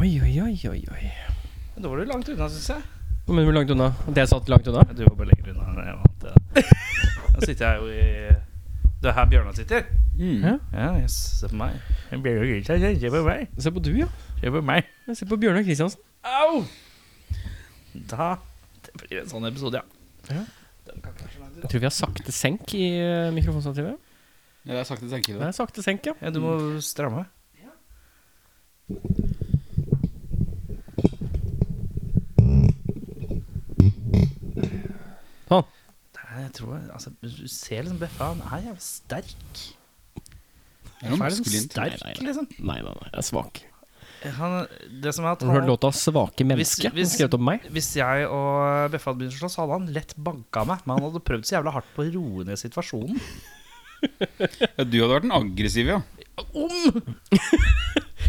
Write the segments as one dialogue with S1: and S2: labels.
S1: Oi, oi, oi, oi, oi.
S2: Men Da var du langt unna, syns jeg.
S1: Men hvor langt unna? Det satt langt unna?
S2: Du var bare lenger unna enn jeg vant til. Nå sitter jeg jo i Det er her Bjørnar sitter.
S3: Mm.
S1: Ja.
S2: Ja, yes, se på meg. Bjørnar Grimstad, se- Se på meg.
S1: Se på du, ja.
S2: Se på meg.
S1: Jeg ser på Bjørnar Kristiansen.
S2: Au! Da Det blir en sånn episode, ja.
S1: Ja.
S2: Den kan ikke være så langt unna.
S1: Jeg tror vi har sakte senk i eh, mikrofonstativet.
S3: Ja, det er sakte senke
S1: Det
S3: det.
S1: er sakte senk, ja.
S2: Ja, du må stramme.
S1: Sånn.
S2: Det er- Jeg tror, altså, du ser liksom Beffa, han er jævlig sterk.
S3: Det er noe
S2: Han er liksom
S3: maskulint.
S2: sterk,
S1: Nei, nei, nei.
S2: liksom.
S1: Nei, nei, nei. Jeg er svak.
S2: Han, det som er at
S1: Har du hørt
S2: han,
S1: låta 'Svake menneske'?
S2: Hvis- hvis-
S1: skrevet om meg?
S2: hvis jeg og Beffa hadde begynt å slåss, hadde han lett banka meg. Men han hadde prøvd så jævla hardt på å roe ned situasjonen.
S3: Ja, du hadde vært den aggressive, ja.
S2: Om!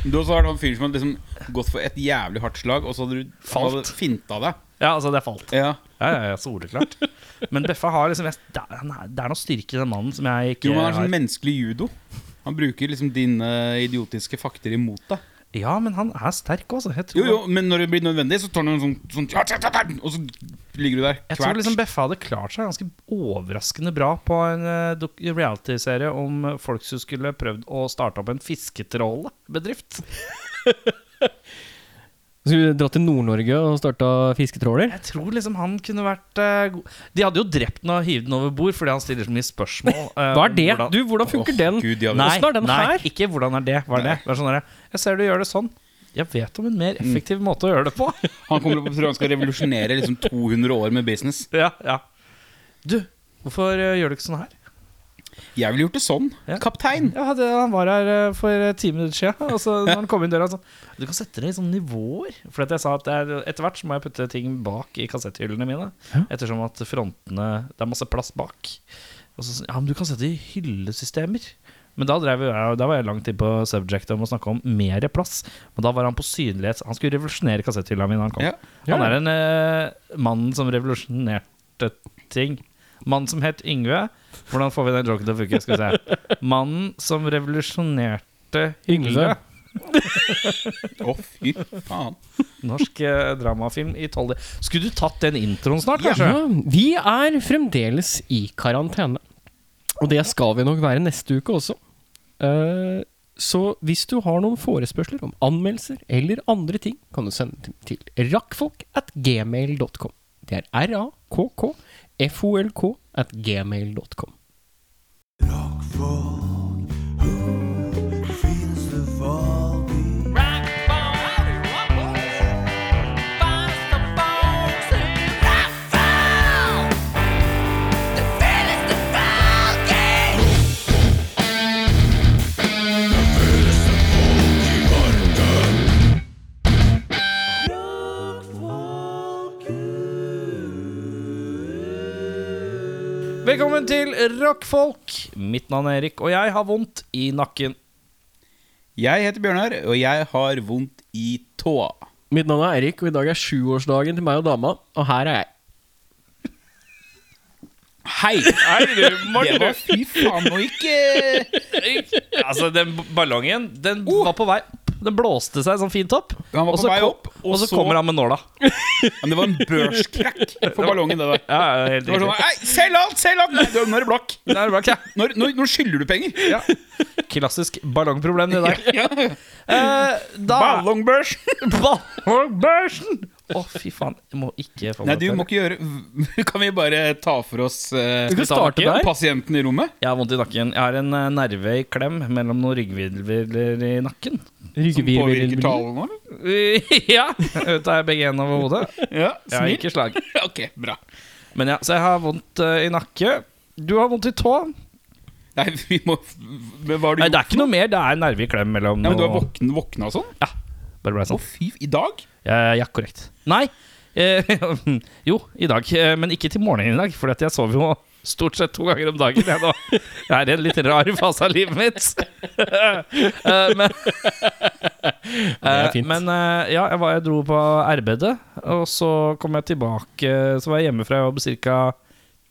S3: Du også har vært han fyren som hadde liksom gått for et jævlig hardt slag, og så hadde du
S2: Falt.
S3: hadde finta deg.
S2: Ja, altså, det falt.
S3: Ja.
S2: Ja, ja, ja, soleklart. Men Beffa har liksom jeg, det, er, han er- det er noe styrke i den mannen som jeg ikke
S3: Jo, men han er
S2: har.
S3: sånn menneskelig judo. Han bruker liksom dine idiotiske fakter imot deg.
S2: Ja, men han er sterk også. Jeg tror,
S3: Jo, jo, men når det blir nødvendig, så tar han en sånn, sånn ja, ja, ja, ja, Og så ligger du der.
S2: Jeg tror liksom Beffa hadde klart seg ganske overraskende bra på en eh, dok- reality-serie om eh, folk som skulle prøvd å starte opp en fisketrålbedrift.
S1: Skulle vi dra til Nord-Norge og starta fisketråler?
S2: Jeg tror liksom han kunne vært eh, god De hadde jo drept han og hivd han over bord fordi han stiller så mye spørsmål. eh,
S1: Hva er
S2: om
S1: det?
S2: hvordan-
S1: Du, hvordan funker
S3: Åh,
S1: den?
S3: Gud, ja,
S2: Nei,
S1: Hvordan er den
S2: nei,
S1: her?
S2: ikke 'hvordan er det'. Hva er det? Det er sånn der, jeg ser du gjør det sånn. Jeg vet om en mer effektiv måte å gjøre det på.
S3: Han kommer opp og tror han skal revolusjonere liksom 200 år med business.
S2: Ja, ja Du, hvorfor eh, gjør du ikke sånn her?
S3: Jeg ville gjort det sånn.
S2: Ja.
S3: Kaptein.
S2: Ja, det, Han var her eh, for eh, ti minutter siden. Og så når han kom inn døra, han sånn Du kan sette deg i sånne nivåer. For at jeg sa at det er, etter hvert så må jeg putte ting bak i kassetthyllene mine.
S1: Ja.
S2: Ettersom at frontene Det er masse plass bak. Og så, sa- ja, men du kan sette det i hyllesystemer. Men da, drev jeg, da var jeg langt inn på subjectet om å snakke om mer plass. Men da var han på synlighet. Han skulle revolusjonere kassetthylla mi når han kom.
S3: Ja.
S1: Ja.
S2: Han er en eh, mann som revolusjonerte ting. Mannen som het Yngve. Hvordan får vi den joken til å funke? Skal vi se. Mannen som revolusjonerte Yngve.
S1: Yngve.
S3: Å, fy faen.
S2: Norsk eh, dramafilm i tolv Skulle du tatt den introen snart, kanskje?
S1: Ja, vi er fremdeles i karantene. Og det skal vi nok være neste uke også. Eh, Så hvis du har noen forespørsler om anmeldelser eller andre ting, kan du sende dem til rakkfolk at gmail.com. Det er r-a-k-k-f-o-l-k at gmail.com.
S2: Velkommen til Rockfolk. Mitt navn er Erik, og jeg har vondt i nakken.
S3: Jeg heter Bjørnar, og jeg har vondt i tåa.
S1: Mitt navn er Eirik, og i dag er sjuårsdagen til meg og dama, og her er jeg.
S3: Hei!
S2: Nei,
S3: Det var fy faen og ikke
S2: altså, den ballongen, den var på vei opp. Den blåste seg sånn fint opp.
S3: Han Oh!
S2: Og
S3: var på
S2: så
S3: vei
S2: kom-
S3: opp, og
S2: og så
S3: så-
S2: kommer han med nåla.
S3: Men det var en børskrakk for ballongen, det der.
S2: Ja, ja, helt
S3: Det var sånn
S2: riktig.
S3: Hei, selg alt! Selg alt! Nei, du, nå er det blakk.
S2: Det er bra, ikke?
S3: Når, når, når skylder du penger?
S2: Ja. Klassisk ballongproblem, det der.
S3: Ja.
S2: Eh, da
S3: Ballongbørs!
S2: Ballongbørsen! Å, fy faen. Jeg må ikke få
S3: Nei,
S2: meg
S3: du
S2: til.
S3: må ikke gjøre Kan vi bare ta for oss eh,
S1: Du kan starte
S3: nakken?
S1: der.
S3: pasienten i rommet?
S2: Jeg har vondt i nakken. Jeg har en eh, nerve i klem mellom noen ryggvirvler i nakken.
S3: Som påvirker talen vår?
S2: ja! Ut er begge hendene over hodet.
S3: Ja,
S2: Jeg har
S3: snill.
S2: ikke slag.
S3: Ok, bra.
S2: Men ja, Så jeg har vondt eh, i nakke. Du har vondt i tå.
S3: Nei, vi må Men hva har du
S2: Nei,
S3: gjort?
S2: det er ikke noe mer. Det er nerve i klem mellom
S3: Nei, men du har
S2: noe-
S3: våkn, våkna og sånn?
S2: Ja. Bare ble
S3: Å,
S2: sånn.
S3: fy I dag?
S2: Eh, ja, korrekt. Nei. Eh, jo, i dag. Eh, Men ikke til morgenen i dag, for jeg sover jo stort sett to ganger om dagen. Jeg, nå. jeg er i en litt rar fase av livet mitt. Eh, men
S1: er fint.
S2: Eh, men eh, ja, jeg, var, jeg dro på arbeidet, og så kom jeg tilbake. Så var jeg hjemmefra jobb ca.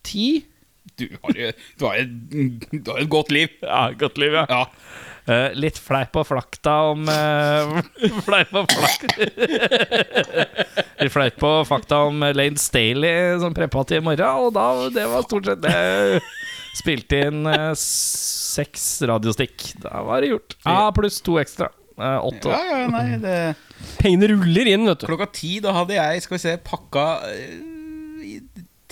S2: ti.
S3: Du har jo du har et, du har et godt liv.
S2: Ja, godt liv, ja.
S3: Ja.
S2: Eh, litt fleip og flakk, da, om eh, Fleip og flakk. litt fleip og fakta om Lane Staley som preppa til i morgen, og da, det var stort sett det. Spilte inn eh, seks radiostikk. Da var det gjort. Ja, pluss to ekstra. Eh, åtte.
S3: Ja, ja, nei, det
S1: Pengene ruller inn, vet du.
S3: Klokka ti, da hadde jeg, skal vi se, pakka eh, i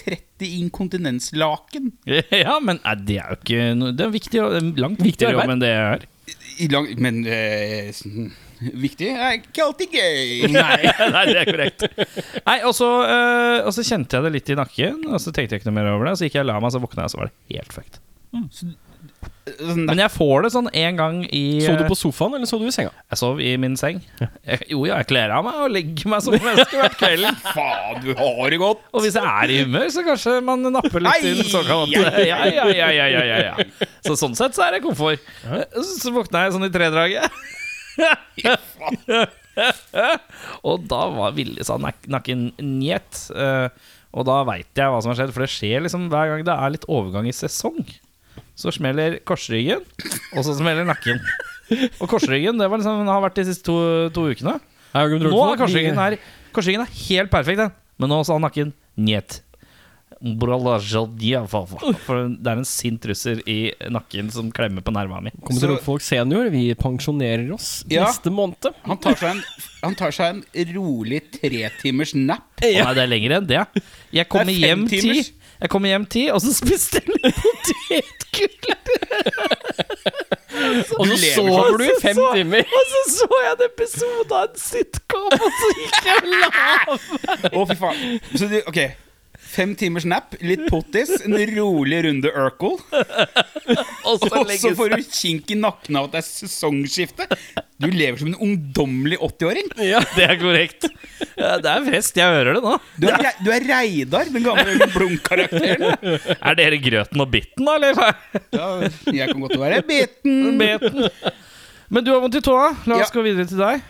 S3: 30 inkontinenslaken.
S2: Ja, men nei, det er jo ikke noe Det er viktig, og- langt viktigere
S1: arbeid.
S2: jobb enn det jeg gjør.
S3: I lang, men eh, s- viktig er ikke alltid gøy.
S2: Nei. det er korrekt. Nei, og så, eh, og så kjente jeg det litt i nakken, og så tenkte jeg ikke noe mer over det. Så gikk jeg og la meg, så våkna jeg, så var det helt fucked.
S3: Sånn,
S2: Men jeg får det sånn en gang i eh,
S1: Så du på sofaen, eller så du i senga?
S2: Jeg sov i min seng. Jeg, jo, ja, jeg kler av meg og legger meg som menneske hvert kveld.
S3: Faen, du har det godt!
S2: Og hvis jeg er i humør, så kanskje man napper litt
S3: Ei,
S2: inn såkalt ja, ja, ja, ja, ja, ja, ja. Så sånn sett så er det komfort. Så, så våkna jeg sånn i tredraget. og da var Ville sa nak nakken njet. Eh, og da veit jeg hva som har skjedd, for det skjer liksom hver gang det er litt overgang i sesong. Så smeller korsryggen, og så smeller nakken. Og korsryggen det var liksom, den har vært de siste to, to ukene. Nå er korsryggen her Korsryggen er helt perfekt den Men nå sa nakken Njet Bralla jadja, fa- fa- For det er en sint russer i nakken Som klemmer på nerva mi
S1: Kommer til Rockfolk senior. Vi pensjonerer oss
S3: Ja.
S1: neste måned.
S3: Han tar seg en, han tar seg en rolig tretimers nap.
S2: Å Nei, det er lenger enn det Jeg kommer
S3: Det er fem
S2: hjem ti
S3: timers.
S2: Jeg kommer hjem ti Og så spiste jeg litt potetgull
S1: Og sånn. så
S3: lever
S1: sover du i fem
S2: så-
S1: timer.
S2: Og så så jeg en episode av en sitcom Og så gikk jeg og la meg.
S3: Å, fy faen. Så du, ok. Fem timers nap, litt pottis, en rolig runde Urkel.
S2: Og så
S3: Og så
S2: legges
S3: får du kink i nakken av at det er sesongskifte. Du lever som en ungdommelig 80-åring.
S2: Det er korrekt Ja, Det er frest, jeg hører det nå
S3: Du, er Re- du er Reidar, den gamle Blunk-karakteren.
S2: Er dere grøten og bitten da, eller?
S3: Ja, jeg kan godt være beten.
S2: Beten. Men du har vondt i tåa. La oss
S3: Ja.
S2: gå videre til deg.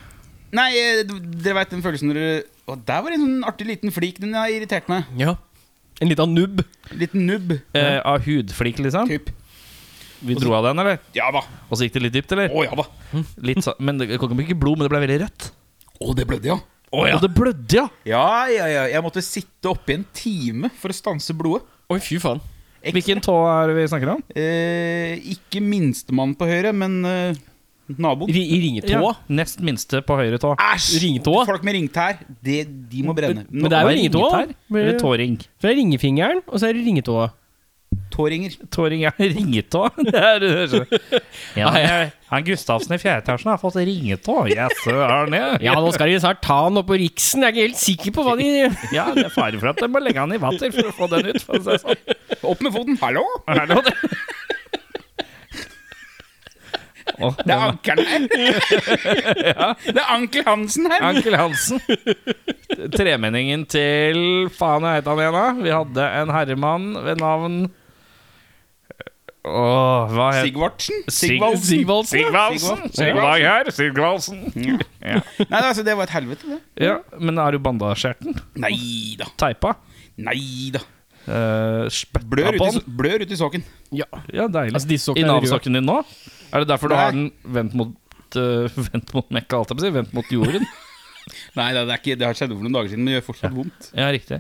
S3: Nei, eh, dere veit den følelsen når dere Å, der var en sånn artig liten flik den har irritert meg.
S1: Ja. En liten nubb.
S3: Liten nubb.
S2: Eh, av hudflik, liksom.
S3: Typ.
S2: Vi dro av den, eller?
S3: Ja da.
S2: Og så gikk det litt dypt, eller?
S3: Å ja da.
S2: Litt så, men det kom ikke blod, men det ble veldig rødt.
S3: Å, det blødde, ja.
S2: Og det blødde, ja!
S3: Ja, ja, ja. Jeg måtte sitte oppe i en time for å stanse blodet.
S1: Oi, fy faen.
S3: Ek-
S2: Hvilken tå er det vi snakker om?
S3: Eh, ikke minstemann på høyre, men eh, naboen.
S1: I ringetåa.
S2: Nest minste på høyre tå.
S3: Æsj!
S1: Ringetåa.
S3: Folk med ringtær, det, de må brenne.
S1: Men det er jo
S2: Hva
S1: ringetåa.
S2: ringetær? Eller tåring.
S1: For det er ringefingeren, og så er det ringetåa.
S3: Tåringer.
S2: Tåring er ringetå. Det er, ja,
S1: Nei,
S2: jeg- han Gustavsen i fjerde etasjen har fått ringetå. Jeg søren, jeg.
S1: Ja, nå skal de snart ta han opp på Riksen. Jeg er ikke helt sikker på hva de
S2: Ja, det er fare for at de må legge han i vater for å få den ut. For å si det sånn.
S3: Opp med foten! Hallo!
S2: Er det noe det? Åh,
S3: Det er ankelen her! Det er ankel Hansen her!
S2: Ankel Hansen. Tremenningen til Faen, jeg heter han igjen, da. Vi hadde en herremann ved navn Åh, hva het
S3: Sigvartsen?
S2: Sig-
S3: Sigvald.
S1: Sigvaldsen.
S2: Sigvaldsen. Sigvald her. Sigvaldsen.
S3: Nei, altså, det var et helvete, det.
S2: Ja, men har du bandasjert den?
S3: Nei da.
S2: Teipa?
S3: Nei da.
S2: Uh, Spytta
S3: Blør ut,
S2: på
S3: i,
S2: den?
S3: so- blør ut i sokken.
S1: Ja.
S2: Ja, deilig.
S1: Altså, disse sokkene
S2: I
S1: er røde.
S2: Nav-sokken din nå? Er det derfor du
S3: Nei.
S2: har den vendt mot eh, Vendt mot Mekka, alt jeg på å si? Vendt mot jorden?
S3: Nei, det, er ikke, det har skjedd for noen dager siden, men det gjør fortsatt vondt.
S2: Ja, riktig.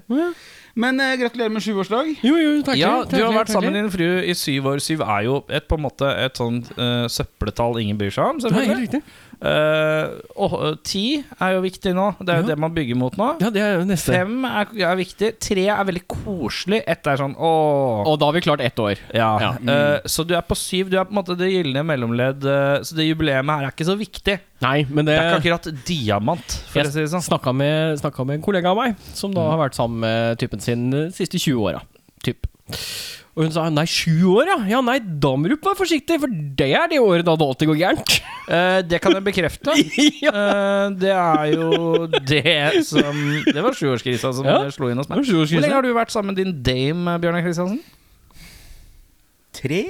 S3: Men eh, gratulerer med sjuårsdag.
S1: Jo, jo, takkje.
S2: Ja, du har vært sammen med din frue i syv år. Syv er jo et, på en måte et sånt eh, søppeltall ingen bryr seg om.
S1: Det er helt
S2: selvfølgelig
S1: riktig.
S2: Eh, og, eh, Ti er jo viktig nå. Det er jo
S1: Ja.
S2: det man bygger mot nå.
S1: Ja, det er jo neste.
S2: Fem er, er viktig. Tre er veldig koselig. Ett er sånn ååå.
S1: Og da har vi klart ett år.
S2: Ja.
S1: Ja.
S2: Eh, så du er på syv. Du er på en måte det gylne mellomledd. eh, så det jubileet her er ikke så viktig.
S1: Nei, men det,
S2: Det er ikke akkurat diamant, for å si det sånn.
S1: Snakka med, snakka med en kollega av meg, som da har vært sammen med typen sin de siste 20 åra. Typ. Og hun sa nei, sju år, ja? Ja, nei, da må du være forsiktig, for det er det året da det alltid går gærent.
S2: Eh, det kan jeg bekrefte.
S1: ja.
S2: Eh, det er jo det som Det var sjuårskrisa som
S1: Ja.
S2: slo inn hos meg.
S1: Hvor
S2: Hvor lenge har du vært sammen med din dame, Bjørnar Kristiansen?
S3: Tre?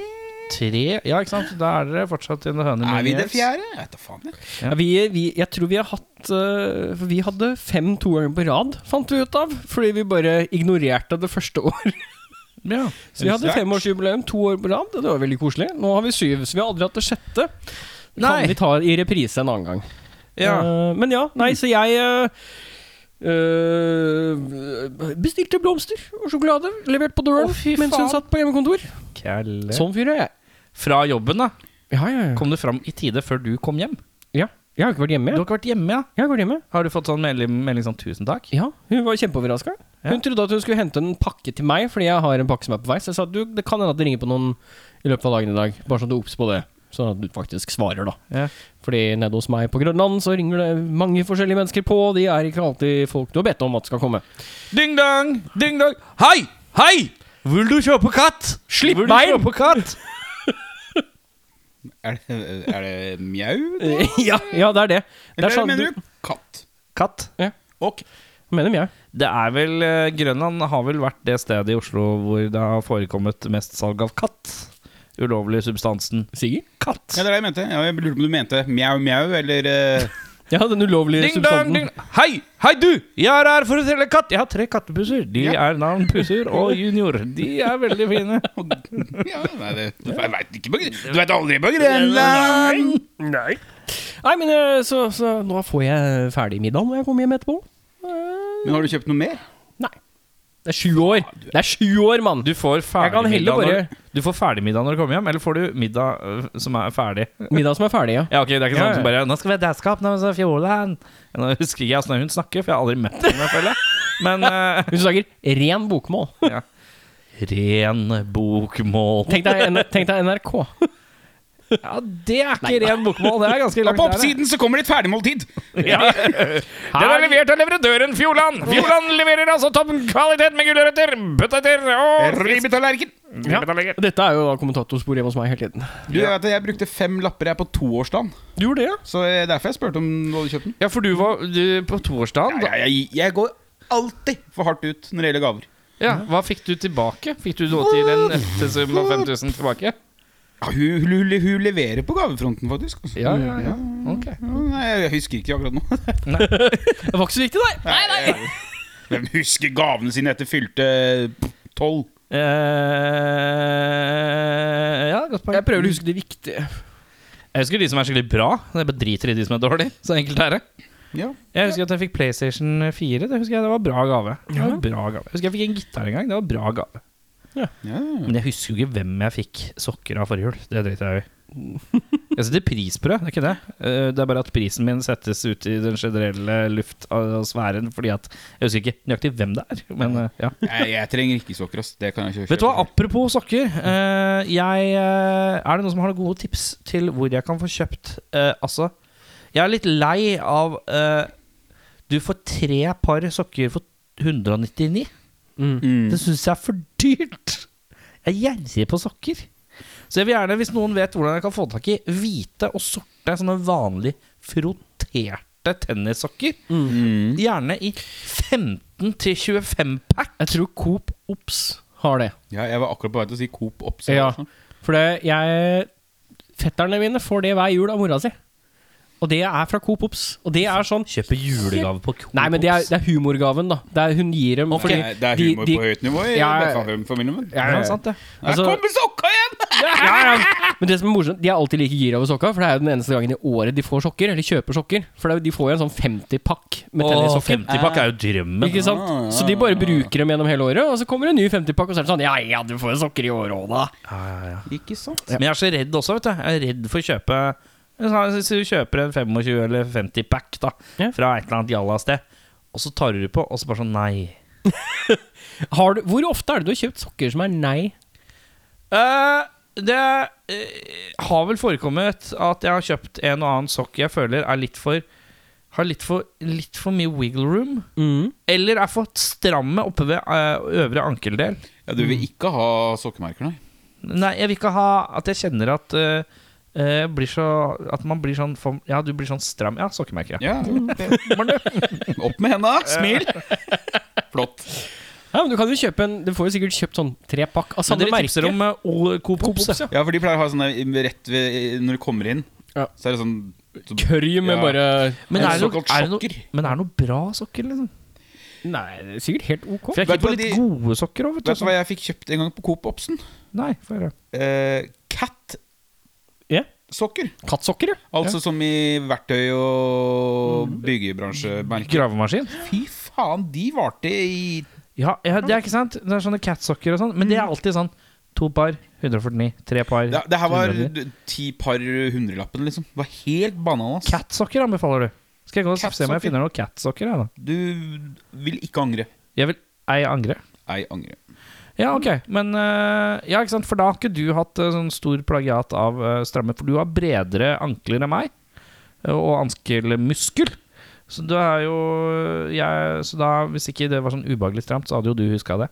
S2: Tre? Ja, ikke sant? Da er dere fortsatt i en høne
S3: Er vi det
S2: years.
S3: fjerde? Jeg vet da faen. jeg.
S1: Ja, vi, vi, jeg tror vi har hatt øh, For vi hadde fem to ganger på rad, fant vi ut av. Fordi vi bare ignorerte det første året.
S2: Ja.
S1: Så vi hadde
S3: Svært.
S1: femårsjubileum to år på rad, og det var veldig koselig. Nå har vi syv, så vi har aldri hatt det sjette. Det
S2: Nei.
S1: Kan vi ta i reprise en annen gang.
S2: Ja.
S1: Eh, men ja, nei, så jeg eh, eh, bestilte blomster og sjokolade levert på døren
S2: Å, fy
S1: mens hun
S2: faen.
S1: satt på hjemmekontor.
S2: Kjelle.
S1: Sånn fyr er jeg.
S2: Fra jobben, da.
S1: Ja, ja, ja.
S2: Kom du fram i tide før du kom hjem?
S1: ja. Jeg har ikke vært hjemme,
S2: Du
S1: jeg.
S2: har ikke vært hjemme, ja?
S1: Jeg har vært hjemme.
S2: Har du fått sånn melding, melding sånn 'tusen takk'?
S1: Ja, hun var kjempeoverraska.
S2: Ja.
S1: Hun trodde at hun skulle hente en pakke til meg, fordi jeg har en pakke som er på vei. Så jeg sa du, det kan hende at det ringer på noen i løpet av dagen i dag. Bare sånn at du er obs på det. Sånn at du faktisk svarer, da.
S2: Ja.
S1: Fordi nede hos meg på Grønland så ringer det mange forskjellige mennesker på, og de er ikke alltid folk du har bedt om at skal komme.
S2: Ding-dong! Ding-dong! Hei! Hei! Vil du kjøpe katt?
S1: Slipp
S2: Vil
S1: meg
S2: du
S1: inn!
S2: kjøpe katt?
S3: Er det, er det mjau? det?
S1: ja, ja, det er det. Det er
S3: Eller
S1: sånn,
S3: mener
S1: du,
S3: du katt?
S2: Katt.
S3: Ok.
S1: mener jeg.
S2: Det er vel eh, Grønland har vel vært det stedet i Oslo hvor det har forekommet mest salg av katt. Ulovlig substansen
S1: Sigurd?
S2: katt.
S3: Ja, det er det jeg mente. Ja, jeg lurte på om du mente mjau, mjau, eller eh,
S1: Ja, den ulovlige
S2: Ding dong, ding
S1: substansen.
S2: Hei, hei du! Jeg er her for å selge katt! Jeg har tre kattepusser. De
S3: Ja.
S2: er navn Pusser og Junior. De er veldig fine.
S3: ja, nei, det, Jeg veit ikke på Gr- Du veit aldri på Grenland!
S1: Nei. Nei, men eh, så, så nå får jeg ferdig middagen når jeg kommer hjem etterpå.
S3: Men har du kjøpt noe mer?
S1: Nei. Det er sju år. Det er sju år, mann!
S2: Du får
S1: Jeg kan heller
S2: ferdigmiddag
S1: bare-
S2: når, du får ferdigmiddag når du kommer hjem, eller får du middag øh, som er ferdig?
S1: Middag som er ferdig, ja.
S2: Ja, ok, det er ikke
S1: Ja,
S2: sånn
S1: ja.
S2: som bare 'Nå skal vi ha dæskap, nå skal vi ha fjordland'. Nå husker ikke jeg åssen hun snakker, for jeg har aldri møtt henne, føler jeg. Men eh,
S1: Hun snakker ren bokmål.
S2: ja. Ren bokmål.
S1: Tenk deg, N- tenk deg NRK.
S2: Ja, det er ikke ren bokmål. Det er ganske
S3: Ja,
S2: langt
S3: på
S2: der, det.
S3: oppsiden så kommer det et ferdigmåltid!
S2: Den er levert av leverandøren Fjordland. Fjordland leverer altså topp kvalitet med gulrøtter, bøtteter og
S3: Ribbetallerken!
S1: Ja. Dette er jo da kommentatorspor hjemme hos meg hele tiden.
S3: Du vet at jeg brukte fem lapper her på toårsdagen,
S1: Du gjorde det, ja?
S3: så eh, derfor jeg spurte om du hadde kjøpt den.
S2: Ja, for du var du, på toårsdagen. da-
S3: Jeg, jeg, jeg går alltid for hardt ut når det gjelder gaver.
S2: Ja, hva fikk du tilbake? Fikk du da til en ettesum av 5000 tilbake?
S3: Ja, hun, hun, hun leverer på gavefronten, faktisk. altså.
S2: Ja, ja, ja. Ok.
S3: Ja, Nei, jeg husker ikke akkurat nå.
S1: Det var ikke så viktig, nei.
S3: Hvem husker gavene sine etter fylte tolv?
S2: Eh, ja, godt poeng.
S1: Jeg prøver å huske det viktige.
S2: Jeg husker de som er skikkelig bra. Jeg bare driter i de som er dårlige. Så enkelt er det.
S3: Ja.
S2: Jeg husker at jeg fikk PlayStation 4. Det husker jeg, det var bra gave. Det var
S1: Ja.
S2: bra gave. Jeg husker jeg fikk en gitar en gang. Det var bra gave.
S3: Ja.
S2: Men jeg husker jo ikke hvem jeg fikk sokker av forrige jul. Det driter jeg i. Jeg setter pris på det, det er ikke det. Eh, Det er bare at prisen min settes ut i den generelle luft og sfæren fordi at Jeg husker ikke nøyaktig hvem det er, men eh, ja.
S3: Jeg, jeg trenger ikke sokker, ass. Det kan jeg ikke kjøpe.
S2: Vet du hva, apropos sokker. eh, jeg, eh, er det noen som har noen gode tips til hvor jeg kan få kjøpt eh, Altså, jeg er litt lei av eh, Du får tre par sokker for 199.
S3: Mm.
S2: Det syns jeg er for dyrt. Jeg er gjerrig på sokker. Så jeg vil gjerne, hvis noen vet hvordan jeg kan få tak i hvite og sorte, sånne vanlige frotterte tennissokker,
S3: Mm.
S2: gjerne i 15 til 25 pack.
S1: Jeg tror Coop Ops har det.
S3: Ja, jeg var akkurat på vei til å si Coop Ops.
S1: Ja.
S3: altså.
S1: For det, jeg Fetterne mine får det hver jul av mora si. Og det er fra Coop Ops. Og det er sånn
S2: Kjøpe julegave på Coop.
S1: Nei, men det er, det er humorgaven, da. Det er, hun gir dem fordi
S3: Nei, det er humor på høyt nivå i
S1: Ja, ja.
S3: Beffarum-familien min.
S1: Ja, ja, ja.
S2: sant det.
S1: Altså-
S3: Jeg kommer sokka igjen!
S1: ja, ja. Men det som er morsomt, de er alltid like gira over sokka, for det er jo den eneste gangen i året de får sokker, eller kjøper sokker. For det er, jo- de får jo en sånn 50-pakk med
S2: Åh,
S1: tennissokker.
S2: 50-pakk er jo drømmen.
S1: Ikke sant?
S3: Ah, ja,
S1: Så de bare bruker dem gjennom hele året, og så kommer en ny 50-pakk, og så er det sånn Ja ja, du får jo sokker i år òg, da.
S3: Ikke sant?
S2: Men jeg er så redd også, vet du. Jeg er redd for å kjøpe Hvis du kjøper en 25 eller 50 pack da
S1: Ja.
S2: fra et eller annet jalla sted, og så tar du det på, og så bare sånn nei.
S1: Har du, hvor ofte er det du har kjøpt sokker som er nei?
S2: Eh, det eh, har vel forekommet at jeg har kjøpt en og annen sokk jeg føler er litt for har litt for, litt for mye wiggle room. Eller er for stramme oppe ved eh, øvre ankeldel.
S3: Ja, Du vil ikke ha sokkemerker, nei?
S2: Nei, jeg vil ikke ha at jeg kjenner at eh, eh, blir så, At man blir sånn for, Ja, du blir sånn stram. Ja, sokkemerke. Ja.
S3: Ja, det- Opp med henda, smil! Flott.
S1: Ja, men Du kan jo kjøpe en Du får jo sikkert kjøpt sånn trepakk av samme
S2: Dere
S1: merke.
S2: tipser om eh, O- Coop
S1: Coop Ops,
S2: Ops.
S1: ja.
S3: Ja, for de pleier å ha sånne rett ved, når du kommer inn.
S1: Ja.
S3: Så er det sånn så,
S1: Kørj med
S3: Ja.
S1: bare
S2: Men
S3: En
S2: er, det noe,
S3: såkalt
S2: er, det noe,
S3: sokker.
S2: men er det noe bra sokker, liksom?
S1: Nei, det er sikkert helt ok.
S2: For jeg
S3: Vet
S2: gikk på
S3: du hva
S2: litt
S3: de-
S2: gode sokker òg, vet
S3: Vet
S2: du.
S3: du hva jeg fikk kjøpt en gang på Coop Obsen?
S2: Nei, få høre.
S3: Eh, Cat-sokker.
S1: Ja. Kattsokker, ja.
S3: Altså som i verktøy- og byggebransjemerker.
S2: Gravemaskin?
S3: Mm. Fy faen, de varte i
S2: Ja, ja, det er ikke sant. Det er sånne catsokker og sånn, men det er alltid sånn to par, 149, tre par
S3: ja, Det her var
S2: 249.
S3: ti par hundrelappen, liksom. Det var helt bananas.
S2: Catsocker anbefaler du. Skal jeg gå og se om
S3: Catsokker.
S2: jeg finner noen catsokker? Jeg, da.
S3: Du vil ikke angre.
S2: jeg vil ei angre.
S3: Ei angre.
S2: Ja, ok. Men eh, Ja, ikke sant, for da har ikke du hatt eh, sånn stor plagiat av eh, stramme, for du har bredere ankler enn meg, eh, og ankelmuskel. Så du er jo eh, jeg, Så da, hvis ikke det var sånn ubehagelig stramt, så hadde jo du huska det.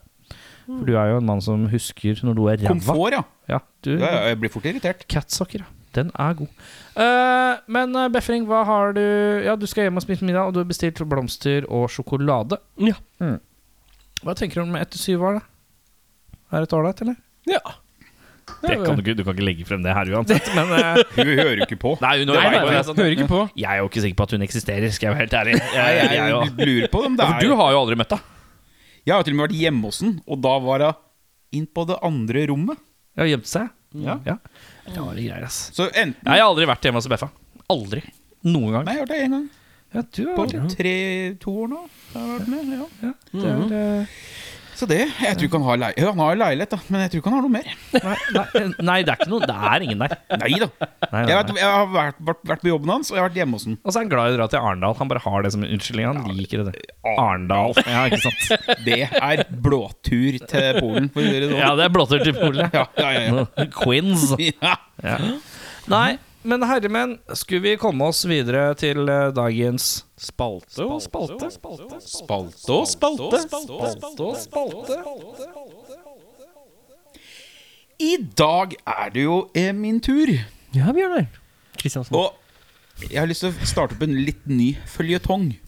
S2: For du er jo en mann som husker når noe er ræva.
S3: Komfort, ja.
S2: Ja, du,
S3: ja. ja, Jeg blir fort irritert.
S2: Catsokker, ja. Den er god. Eh, men eh, Befring, hva har du Ja, du skal hjem og spise middag, og du har bestilt blomster og sjokolade. Mm.
S1: Ja.
S2: Hva tenker du om etter syv år, da? Er det ålreit, eller?
S1: ja.
S2: Det kan du, ikke, du kan ikke legge frem det her uansett, men eh,
S3: Hun hører jo ikke på.
S2: Nei, hun
S1: Nei,
S2: hører
S1: nei,
S2: på
S1: nei,
S2: det, sånn.
S1: hører ikke på.
S2: Jeg er jo ikke sikker på at hun eksisterer, skal jeg være helt ærlig.
S3: Nei,
S2: Jeg, jeg, er jo-
S3: jeg lurer på om
S2: Ja,
S3: det
S2: for du
S3: er
S2: har jo aldri møtt henne.
S3: Jeg har til og med vært hjemme hos den, og da var hun inn på det andre rommet.
S2: Jeg har gjemt seg.
S3: Ja.
S2: Rare greier, ass.
S3: Så enten
S2: Jeg har aldri vært hjemme hos Beffa. Aldri. Noen gang.
S3: Nei, jeg har hørt det én gang.
S2: Ja, du har
S3: På
S2: vært hjemme.
S3: tre-to år nå. Jeg har vært med, ja.
S2: Ja, det
S3: Mm.
S2: er, eh,
S3: Så det Jeg tror ikke han har lei- Ja, Han har jo leilighet, da, men jeg tror ikke han har noe mer.
S2: nei, nei, nei, det er ikke noe Det er ingen der.
S3: Nei da.
S2: Nei,
S3: Jeg, vet, jeg har vært, vært, vært på jobben hans, og jeg har vært hjemme hos han.
S2: Og så er han glad i å dra til Arendal. Han bare har det som en unnskyldning. Han liker det. Arendal. Ja, ikke sant?
S3: Det er blåtur til Polen, for å gjøre det
S2: Ja,
S3: sånn.
S2: det er blåtur til Polen.
S3: Ja, ja, ja, ja.
S2: Quins.
S3: Ja.
S2: Nei, men herremenn, skulle vi komme oss videre til eh, dagens spalte og spalte?
S3: Spalte og spalte. I dag er det jo eh, min tur.
S1: Ja, Bjørnar. Kristiansen.
S3: Og jeg har lyst til å starte opp en litt ny føljetong. I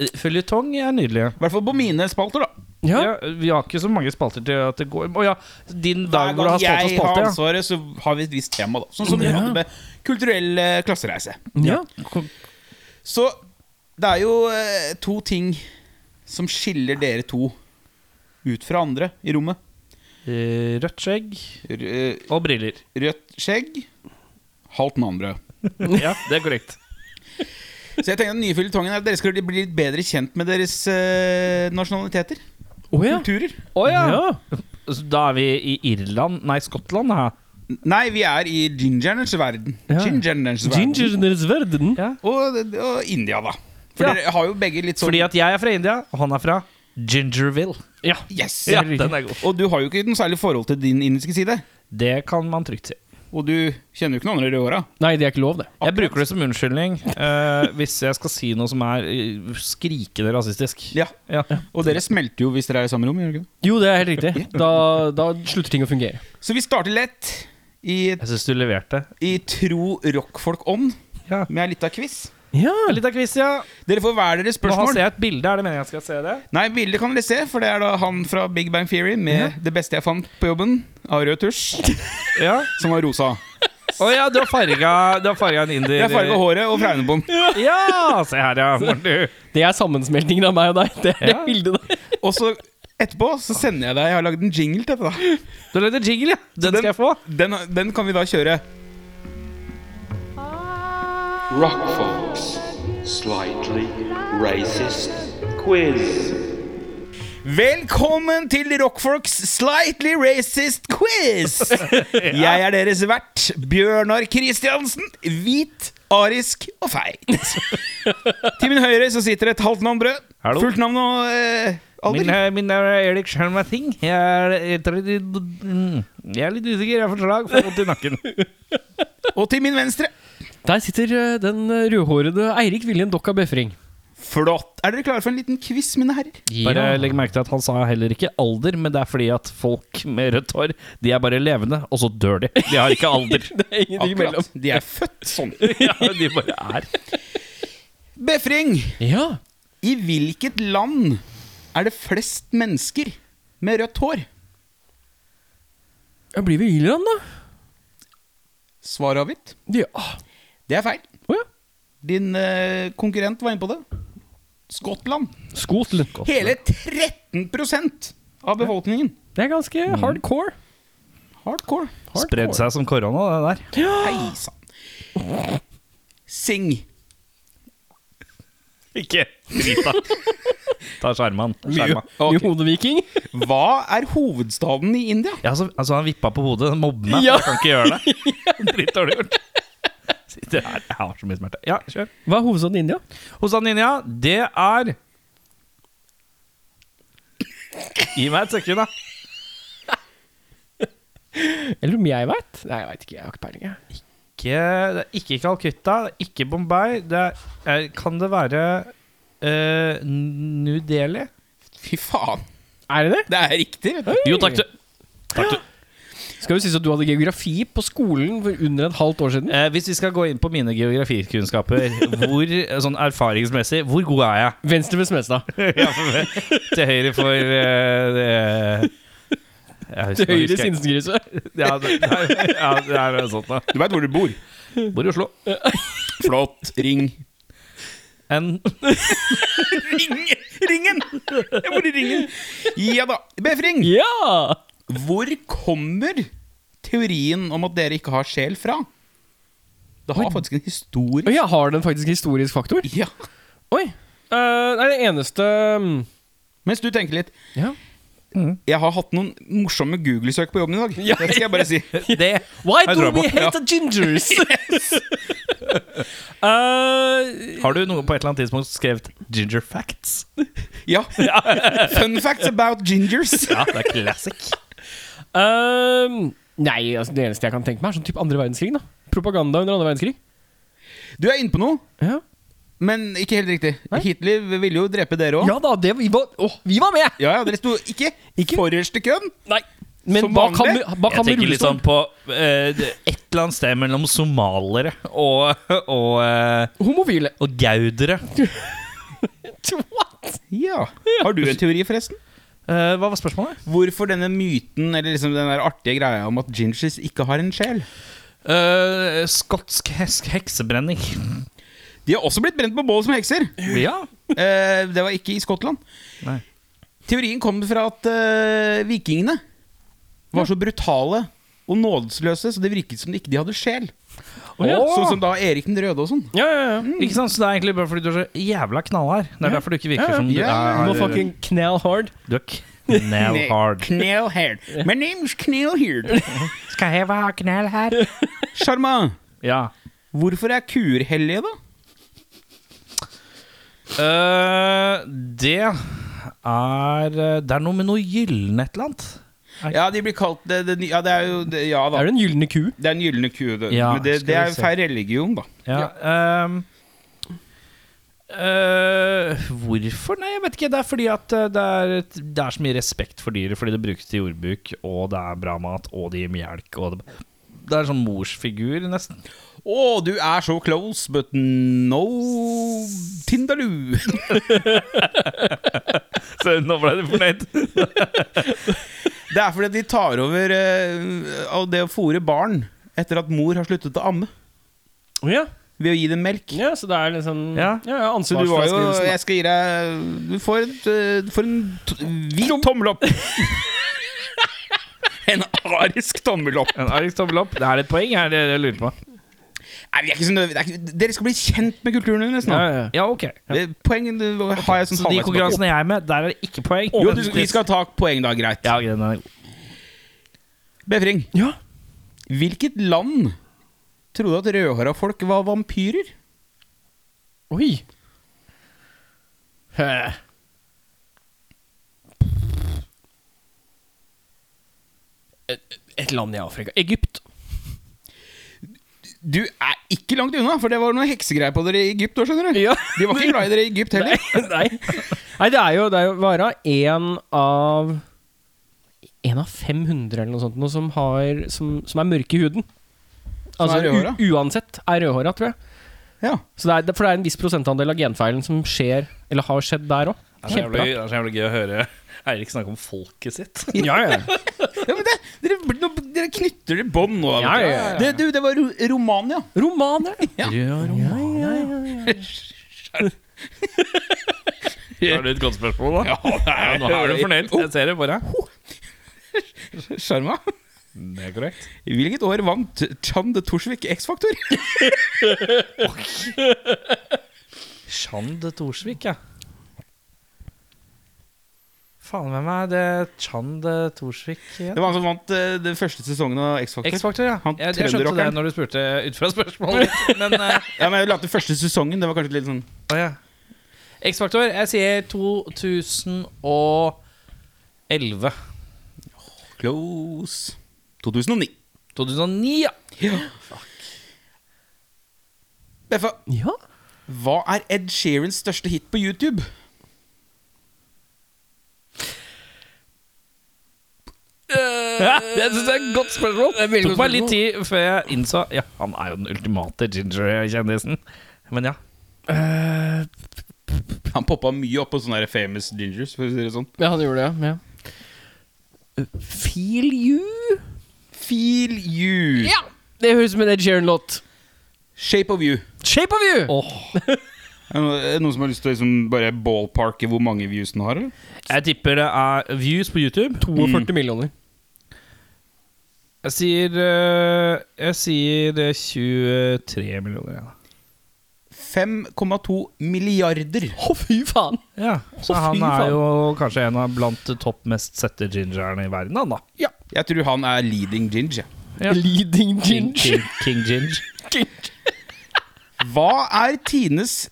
S2: Eh, Føljetong er nydelig.
S3: hvert fall på mine spalter, da.
S2: Ja.
S1: Ja.
S2: vi har ikke så mange spalter til at det går Å ja, din dag
S3: Hver
S2: hvor du har spalte og
S3: gang jeg har
S2: spalte. Ja.
S3: ansvaret, så har vi et visst tema, da. Sånn som vi
S1: Ja.
S3: hadde med kulturell eh, klassereise.
S1: ja.
S3: Så det er jo eh, to ting som skiller dere to ut fra andre i rommet.
S2: Eh, Rødt skjegg
S3: R eh,
S2: og briller.
S3: rødt skjegg, halvt mannbrød.
S2: Ja, det er korrekt.
S3: Så jeg tenker at den nye føljetongen er at dere skal bli litt bedre kjent med deres eh, nasjonaliteter.
S1: Å ja.
S3: Kulturer.
S2: Å ja.
S1: ja.
S2: Så Da er vi i Irland Nei, Skottland. Her.
S3: Nei, vi er i gingernes verden.
S1: Ja.
S3: Gingernes verden.
S1: Gingernes verden.
S2: Ja.
S3: og, og India, da. For
S2: Ja.
S3: dere har jo begge litt sånn
S2: Fordi at jeg er fra India, og han er fra Gingerville.
S1: Ja.
S3: Yes!
S2: Ja, den er god.
S3: Og du har jo ikke noe særlig forhold til din indiske side.
S2: Det kan man trygt si.
S3: Og du kjenner jo ikke noen andre rødhåra.
S1: Nei, det er ikke lov, det.
S2: Jeg bruker det som unnskyldning eh, hvis jeg skal si noe som er eh, skrikende rasistisk.
S3: Ja.
S2: Ja.
S3: Og dere smelter jo hvis dere er i samme rom. gjør dere ikke det?
S1: Jo, det er helt riktig. Da, da slutter ting å fungere.
S3: Så vi starter lett i,
S2: Jeg syns du leverte.
S3: i tro rockfolk-ånd
S2: Ja.
S3: med ei lita quiz.
S1: Ja.
S2: Litt av quiz, ja.
S3: Dere får hver deres
S2: Nå har-
S3: spørsmål.
S2: ser jeg et bilde. Er det meningen jeg skal se det?
S3: Nei, bildet kan dere se, for det er da han fra Big Bang Theory med det beste jeg fant på jobben, av rød tusj,
S2: Ja.
S3: som var rosa.
S2: Å ja, du har farga, du har farga en indier.
S3: Jeg farga håret og fregnebånd.
S2: Ja, se her, ja. Morten, du.
S1: Det er sammensmeltingen av meg og deg. Det er det
S2: Ja.
S1: bildet der.
S3: Og så etterpå så sender jeg deg Jeg har lagd en jingle til dette. da.
S2: Du har lagd en jingle, ja. Den skal jeg få.
S3: Den, den kan vi da kjøre.
S4: Rock Folks Slightly Racist Quiz.
S3: Velkommen til Rockfolks Slightly Racist Quiz! Jeg er deres vert, Bjørnar Kristiansen. Hvit, arisk og feit. Til min høyre så sitter et halvt navn brød.
S2: Hallo.
S3: Fullt navn og eh,
S2: Min,
S3: alder.
S2: eh, min navn er Erik Schjermating. Jeg er, jeg er litt- mm, jeg er litt usikker. Jeg får slag. Får vondt i nakken.
S3: Og til min venstre.
S1: Der sitter eh, den eh, rødhårede Eirik Viljen Dokka Befring.
S3: Flott. Er dere klare for en liten quiz, mine herrer?
S2: Bare legg merke til at han sa heller ikke alder, men det er fordi at folk med rødt hår, de er bare levende, og så dør de. De har ikke alder.
S1: Det er ingenting imellom.
S3: Akkurat. De er født sånn.
S2: ja, de bare er.
S3: Befring,
S1: Ja.
S3: i hvilket land er det flest mennesker med rødt hår?
S1: Jeg blir ved Irland, da.
S3: Svar avgitt.
S1: Ja.
S3: Det er feil.
S1: Å ja.
S3: Din eh, konkurrent var inne på det. Skottland.
S1: Skotland.
S3: Hele 13 av befolkningen.
S1: Det er ganske hardcore.
S3: Hardcore.
S2: Spredd seg som korona, det der.
S3: Hei sann. Sing.
S2: Ikke drit deg. Ta skjermen.
S1: Mye
S2: Skjermen.
S1: mye hodeviking.
S3: Hva er hovedstaden i India?
S2: Ja, så, altså, han vippa på hodet. Den Mobber meg.
S1: Ja.
S2: Jeg kan ikke gjøre det. Dritdårlig gjort. Sitter her. Jeg har så mye smerte. Ja, kjør.
S1: Hva er hovedstaden i India?
S2: Hos Ninja, det er Gi meg et sekund, da.
S1: Eller om jeg veit? Nei, jeg veit ikke. Jeg har ikke peiling. jeg.
S2: Ikke, det er ikke Calcutta, det er ikke Bombay. Det er, er, kan det være eh, New Delhi?
S3: Fy faen.
S1: Er det det?
S3: Det er riktig, vet du.
S2: Jo, takk, du.
S1: Skal jo sies at du hadde geografi på skolen for under et halvt år siden.
S2: Eh, hvis vi skal gå inn på mine geografikunnskaper, hvor, eh, sånn erfaringsmessig, hvor god er jeg?
S1: Venstre ved Smestad.
S2: Ja, for- til høyre for eh, det- jeg husker-
S1: Til høyre i
S2: husker jeg-
S1: Sinsenkrysset.
S2: Ja, det, nei, ja, det er noe sånt, da.
S3: Du veit hvor du bor.
S2: Bor i Oslo.
S3: Flott. Ring.
S2: En
S3: Ring! Ringen! Jeg bor i Ringen. Ja da. Befring,
S1: Ja!
S3: hvor kommer teorien om at dere ikke har sjel fra? Det har faktisk en
S1: Og
S3: historie.
S1: jeg har den faktisk historisk faktor.
S3: Ja.
S1: Oi. Eh, det er det eneste mm,
S3: Mens du tenker litt
S1: Ja.
S3: Jeg har hatt noen morsomme Google-søk på jobben i dag.
S1: Ja.
S3: Det skal jeg bare si.
S2: Det
S1: Why
S2: Jeg
S1: do
S2: tror på-
S1: we hate
S2: Ja.
S1: the gingers? Eh,
S2: Har du noe på et eller annet tidspunkt skrevet 'Ginger Facts'?
S3: Ja. Fun facts about gingers.
S2: Ja, det er classic.
S1: ehm, nei, altså, det eneste jeg kan tenke meg, er sånn type andre verdenskrig. da Propaganda under andre verdenskrig.
S3: Du er inne på noe,
S1: Ja,
S3: men ikke helt riktig. Hitler ville jo drepe dere òg.
S1: ja da, det, vi, var, åh, vi var med!
S3: Ja, ja, dere sto ikke,
S1: Ikke?
S3: forrest i køen.
S1: Nei, men
S3: Som
S1: hva kan,
S3: vanlig.
S1: vi- hva
S2: Jeg
S1: kan vi
S2: tenker
S1: rulle
S2: litt sånn
S1: sånn?
S2: på eh, det- et eller annet sted mellom somalere og, og, eh,
S1: sånn Homofile.
S2: og gaudere.
S1: What?
S3: Ja. Har du en teori, forresten?
S2: Eh, hva var spørsmålet?
S3: Hvorfor denne myten, eller liksom den der artige greia om at gingers ikke har en sjel?
S2: Eh, skotsk hes heksebrenning.
S3: De har også blitt brent på bål som hekser.
S2: Ja.
S3: Eh, det var ikke i Skottland.
S2: Nei.
S3: Teorien kom fra at eh, vikingene var så brutale og nådesløse, så det virket som de ikke de hadde sjel.
S1: ja.
S3: Sånn som da Erik den røde og sånn.
S1: Ja, ja, ja.
S2: Ikke sant? Så det er egentlig bare fordi du er så jævla knallhard. Det er derfor du ikke virker
S1: Ja,
S2: som du
S3: ja,
S1: You
S2: er
S1: må fucking knell hard.
S2: Du er knell hard.
S3: Knellherd. My name is Knellherd.
S2: Skal jeg være knell her?
S3: Sjarma,
S2: Ja.
S3: hvorfor er kuer hellige, da?
S2: Eh, det er eh, Det er noe med noe gylne et eller annet.
S3: Ja, de blir kalt eh, det, det, Ja, det er jo det, Ja da.
S1: Er det en gylne ku?
S3: Det er en gylne ku. Det,
S2: Ja,
S3: men det,
S2: skal
S3: det
S2: vi
S3: er jo
S2: se.
S3: feil religion, da.
S2: Ja. ehm, eh, hvorfor? Nei, jeg vet ikke. Det er fordi at eh, det er, et- det er så mye respekt for dyret. Fordi det brukes til jordbruk, og det er bra mat, og det gir melk. Og det, det er en sånn morsfigur, nesten.
S3: Å, du er så close, but no Tindaloo.
S2: Så nå ble du fornøyd.
S3: Det er fordi de tar over eh, av det å fôre barn etter at mor har sluttet å amme.
S1: Ja.
S3: Ved å gi dem melk.
S1: ja, så det er liksom
S2: Ja.
S1: ja, ja
S3: Så du var jo
S1: ansvarsfraskrivelsen, da.
S3: Jeg skal gi deg Du får, et, eh, du får en t hvit tommel opp. en arisk tommel opp.
S2: En arg tommel opp. Det er et poeng her, det jeg lurer på.
S3: Nei, vi er ikke så nødvendig- det er ikke, dere skal bli kjent med kulturen deres nå.
S1: Ja, ja, ja.
S2: Ja, ok.
S3: Det- Poeng det har
S2: Så
S3: jeg som
S2: de
S3: halvveis tilbake.
S2: konkurransene jeg er med, der er det ikke poeng.
S3: Jo, du, vi skal ta poeng, da. Greit.
S2: Ja, ok, den er god.
S3: Befring.
S1: ja.
S3: Hvilket land trodde at rødhåra folk var vampyrer?
S1: Oi. Hæ. Et, et land i Afrika. Egypt.
S3: Du er ikke langt unna, for det var noe heksegreier på dere i Egypt òg, skjønner du.
S1: Ja.
S3: De var ikke glad i dere i Egypt
S1: Nei,
S3: heller.
S1: nei. nei det er jo, det er jo bare én av En av 500 eller noe sånt noe som, har, som, som er mørke i huden.
S3: Som
S1: Altså
S3: er rødhåra?
S1: u, uansett er rødhåra, tror jeg.
S3: Ja.
S1: Så det er, for det er en viss prosentandel av genfeilen som skjer, eller har skjedd der òg.
S2: Det er så jævlig- det er så jævlig gøy å høre Eirik snakke om folket sitt.
S1: Ja, ja.
S3: ja, men det, dere, blir noe- dere knytter det bånd nå. da, vet
S1: Ja,
S3: du.
S1: ja, ja.
S3: Det, du, det var Ro Romania.
S1: Romania.
S3: Ja.
S2: Ja, Roma. Er det et godt spørsmål, da? Ja, nå er du fornøyd. Jeg ser det på deg.
S3: Sjarma.
S2: Det er korrekt.
S3: I hvilket år vant Chand Torsvik X-Faktor?
S2: Chand Torsvik, ja. Faen med meg, det er Chand Torsvik
S3: Det
S2: igjen.
S3: var han som vant eh, den første sesongen av X-Faktor.
S2: X-Faktor, ja.
S3: Han
S2: Jeg, jeg skjønte det
S3: trønderrockeren.
S2: når du spurte ut fra spørsmålet ditt, men eh,
S3: Ja, men jeg ville hatt den første sesongen. Det var kanskje litt sånn
S2: å ja. X-Faktor, jeg sier 2011.
S3: close 2009.
S2: 2009, ja.
S3: Beffa,
S1: Ja.
S3: hva er Ed Sheerans største hit på YouTube?
S2: Det synes jeg er et godt spørsmål. Det
S1: veldig
S2: tok
S1: godt
S2: meg litt tid før jeg innså Ja, han er jo den ultimate ginger-kjendisen. Men ja.
S3: Han poppa mye opp på sånne der famous gingers. For å si det sånn
S1: ja, han gjorde det, ja. ja. Feel you?
S3: Feel you.
S1: Ja! Det høres ut som en Ed Sheeran-låt.
S3: Shape of you.
S1: Shape of you!
S3: Er det no- er det noen som har lyst til å liksom bare ballparke hvor mange views den har? Eller?
S2: Jeg tipper det er views på YouTube.
S1: 42 millioner.
S2: Jeg sier eh, Jeg sier eh, 23 millioner. Ja.
S3: 5,2 milliarder.
S1: Å, fy faen!
S2: Ja, så
S1: Å, fy
S2: han
S1: faen.
S2: er jo kanskje en av blant topp mest sette gingerne i verden, han da.
S3: Jeg tror han er leading ginger.
S2: Ja.
S1: Leading
S2: King,
S1: ginger.
S2: King, King Ginger.
S3: Hva er Tines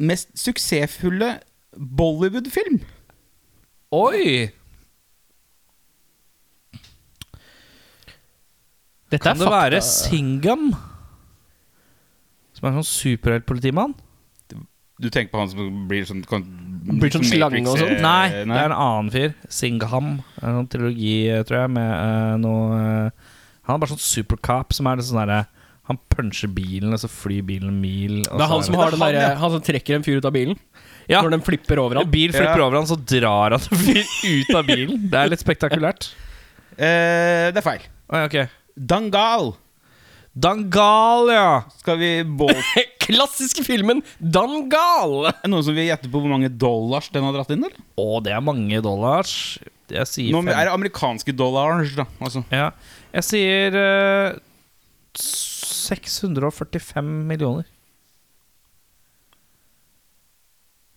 S3: mest suksessfulle Bollywood-film?
S2: Oi!
S1: Dette
S2: Kan det være
S1: fakta.
S2: Singham? Som er en sånn superheltpolitimann?
S3: Du tenker på han som blir sånn kan,
S1: Blir sånn slange og sånn?
S3: eh,
S2: Nei, det er en annen fyr. Singham. Det er en sånn trilogi, eh, tror jeg, med eh, noe eh, Han er bare sånn supercop som er litt sånn derre Han puncher bilen, og så flyr bilen en mil.
S1: Det
S2: og så
S1: er han som har den
S3: han,
S1: der,
S3: ja.
S1: han som trekker en fyr ut av bilen.
S2: ja.
S1: Når den flipper over
S2: En
S1: ham.
S2: bil flipper
S3: Ja.
S2: over han, så drar han en fyr ut av bilen. Det er litt spektakulært.
S3: Eh, det er feil.
S2: Oi, ok
S3: Dangal.
S2: Dangal, ja!
S3: Skal vi ball...
S1: Klassiske filmen Dangal!
S3: Er det noen som vil gjette på hvor mange dollars den har dratt inn? eller?
S2: Å, det er mange dollars. Jeg sier
S3: Nå er
S2: fem.
S3: det amerikanske dollars, da. Altså.
S2: Ja. Jeg sier eh, 645 millioner.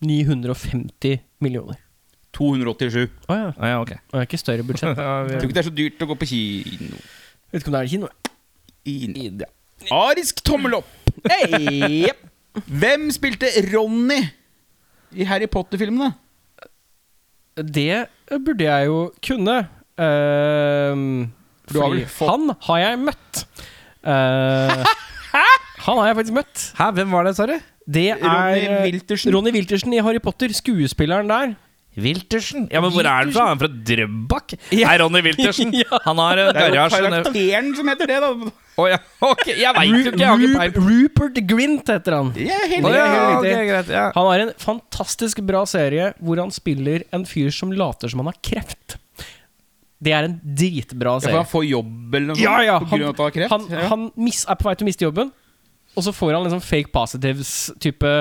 S1: 950 millioner.
S3: 287.
S1: Å ja.
S2: Å ja, ok.
S1: Og det er ikke større budsjett.
S3: Jeg tror ikke det er så dyrt å gå på kino.
S1: Vet ikke om det er kino.
S3: I- Arisk tommel opp! Hey, jep. Hvem spilte Ronny i Harry Potter-filmene?
S1: Det burde jeg jo kunne. ehm,
S3: Du har
S1: fordi
S3: vel fått-
S1: han har jeg møtt. Eh, han har jeg faktisk møtt.
S2: Hæ, hvem var det, sa du?
S1: Det er
S3: Ronny
S1: eh,
S3: Wiltersen.
S1: Ronny Wiltersen i Harry Potter. Skuespilleren der.
S2: Wiltersen? Ja, men hvor er han fra? Er han fra Drøbak?
S1: Ja.
S2: Er Ronny Wiltersen?
S1: Ja.
S2: Han har en
S3: Det er jo
S2: garasje nede-
S3: karakteren som heter det, da.
S2: Å ja, ok. Jeg veit jo ikke, jeg har ikke
S1: Ru-
S2: peil.
S1: Rupert Grint heter han.
S3: Jeg er helt
S2: Å ja,
S3: enig.
S2: ok, greit. Ja.
S1: Han har en fantastisk bra serie hvor han spiller en fyr som later som han har kreft. Det er en dritbra
S3: Ja, for
S1: serie.
S3: han får jobb eller noe sånt?
S1: Ja, ja,
S3: på grunn av at han har kreft?
S1: han,
S3: ja.
S1: han mis, er på vei til å miste jobben, og så får han liksom fake positives-type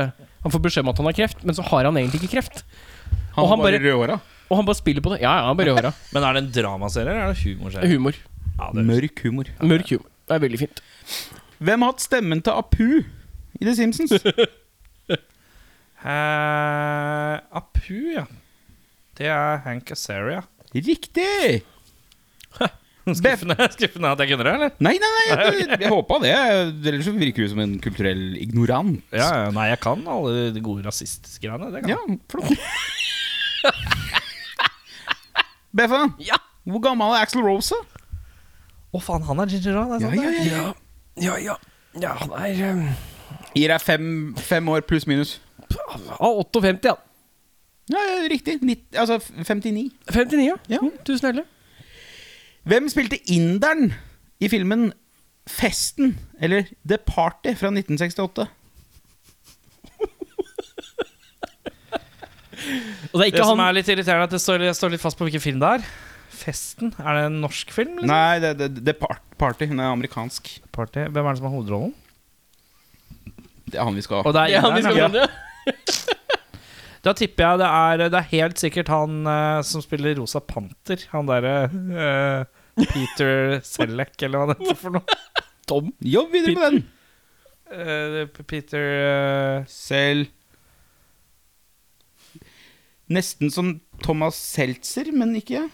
S1: Han får beskjed om at han har kreft, men så har han egentlig ikke kreft.
S3: han
S1: og
S3: har
S1: han bare-
S3: bare røde håra.
S1: Og han bare spiller på det. Ja, ja, han bare gjør det.
S2: Men er det en dramaserie eller er det humorserie?
S1: Humor.
S2: Ja, det-
S3: Mørk humor.
S1: Mørk humor. Det er veldig fint.
S3: Hvem har hatt stemmen til Apu i The Simpsons?
S2: Eh, Apu, ja. Det er Hank Azaria.
S3: Riktig!
S2: Skuffende skuffende at jeg kunne det, eller?
S3: Nei, nei, nei, jeg, jeg håpa det. Ellers så virker du som en kulturell ignorant.
S2: Ja, ja, Nei, jeg kan alle de gode rasistgreiene. Det kan
S3: Ja,
S2: jeg.
S3: flott. Beffa,
S1: Ja.
S3: hvor gammel er Axel Rosa?
S2: Å, faen, han er ginger òg. Det er sant, det.
S1: Ja, ja, ja. ja han er eh,
S3: Gir deg fem, fem år pluss minus.
S1: um, han er 58, ja.
S3: Ja, ja riktig. Nitt, altså f- 59.
S1: 59, ja.
S3: Ja.
S1: Mm, Tusen hjertelig.
S3: Hvem spilte inderen i filmen Festen, eller The Party, fra 1968?
S1: Og det er
S2: Det
S1: ikke
S2: som
S1: han
S2: er litt irriterende, er at det står, jeg står litt fast på hvilken film det er. Festen? Er det en norsk film? Liksom?
S3: Nei, det, det, det er part, Party. Hun er amerikansk.
S2: Party. Hvem er det som har hovedrollen?
S3: Det er han vi skal
S2: Og
S3: ha.
S2: det er
S1: Ja, vi
S2: Inderen,
S1: skal
S2: ja.
S1: nevne det.
S2: Da tipper jeg det er, det er helt sikkert han eh, som spiller Rosa Panter. Han derre eh, Peter Selleck, eller hva det heter for noe.
S1: Tom.
S3: Jobb videre med den.
S2: Eh, Peter eh,
S3: Selv Nesten som Thomas Seltzer, men ikke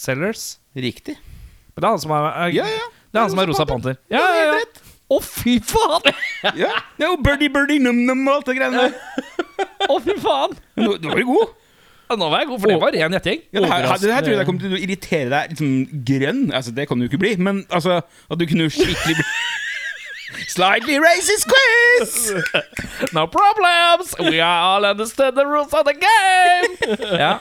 S2: Sellers.
S3: riktig.
S2: Det er han som er, eh,
S3: Ja, ja.
S2: Det er han som er Rosa Panter. Ja, ja, ja.
S1: Å, fy faen!
S3: ja. Det er jo birdie, birdie, num-num og alt det greiene der.
S2: Å, fy faen!
S3: Nå, nå var du god.
S2: Ja, Nå var jeg god, for det var ren gjetting.
S3: Ja, det, her, her- det her tror jeg kommer til å irritere deg liksom, grønn. Altså, det kan du jo ikke bli, men altså, at du kunne skikkelig bli Slightly racist quiz!
S2: No problems! We all understand the rules of the game! Ja.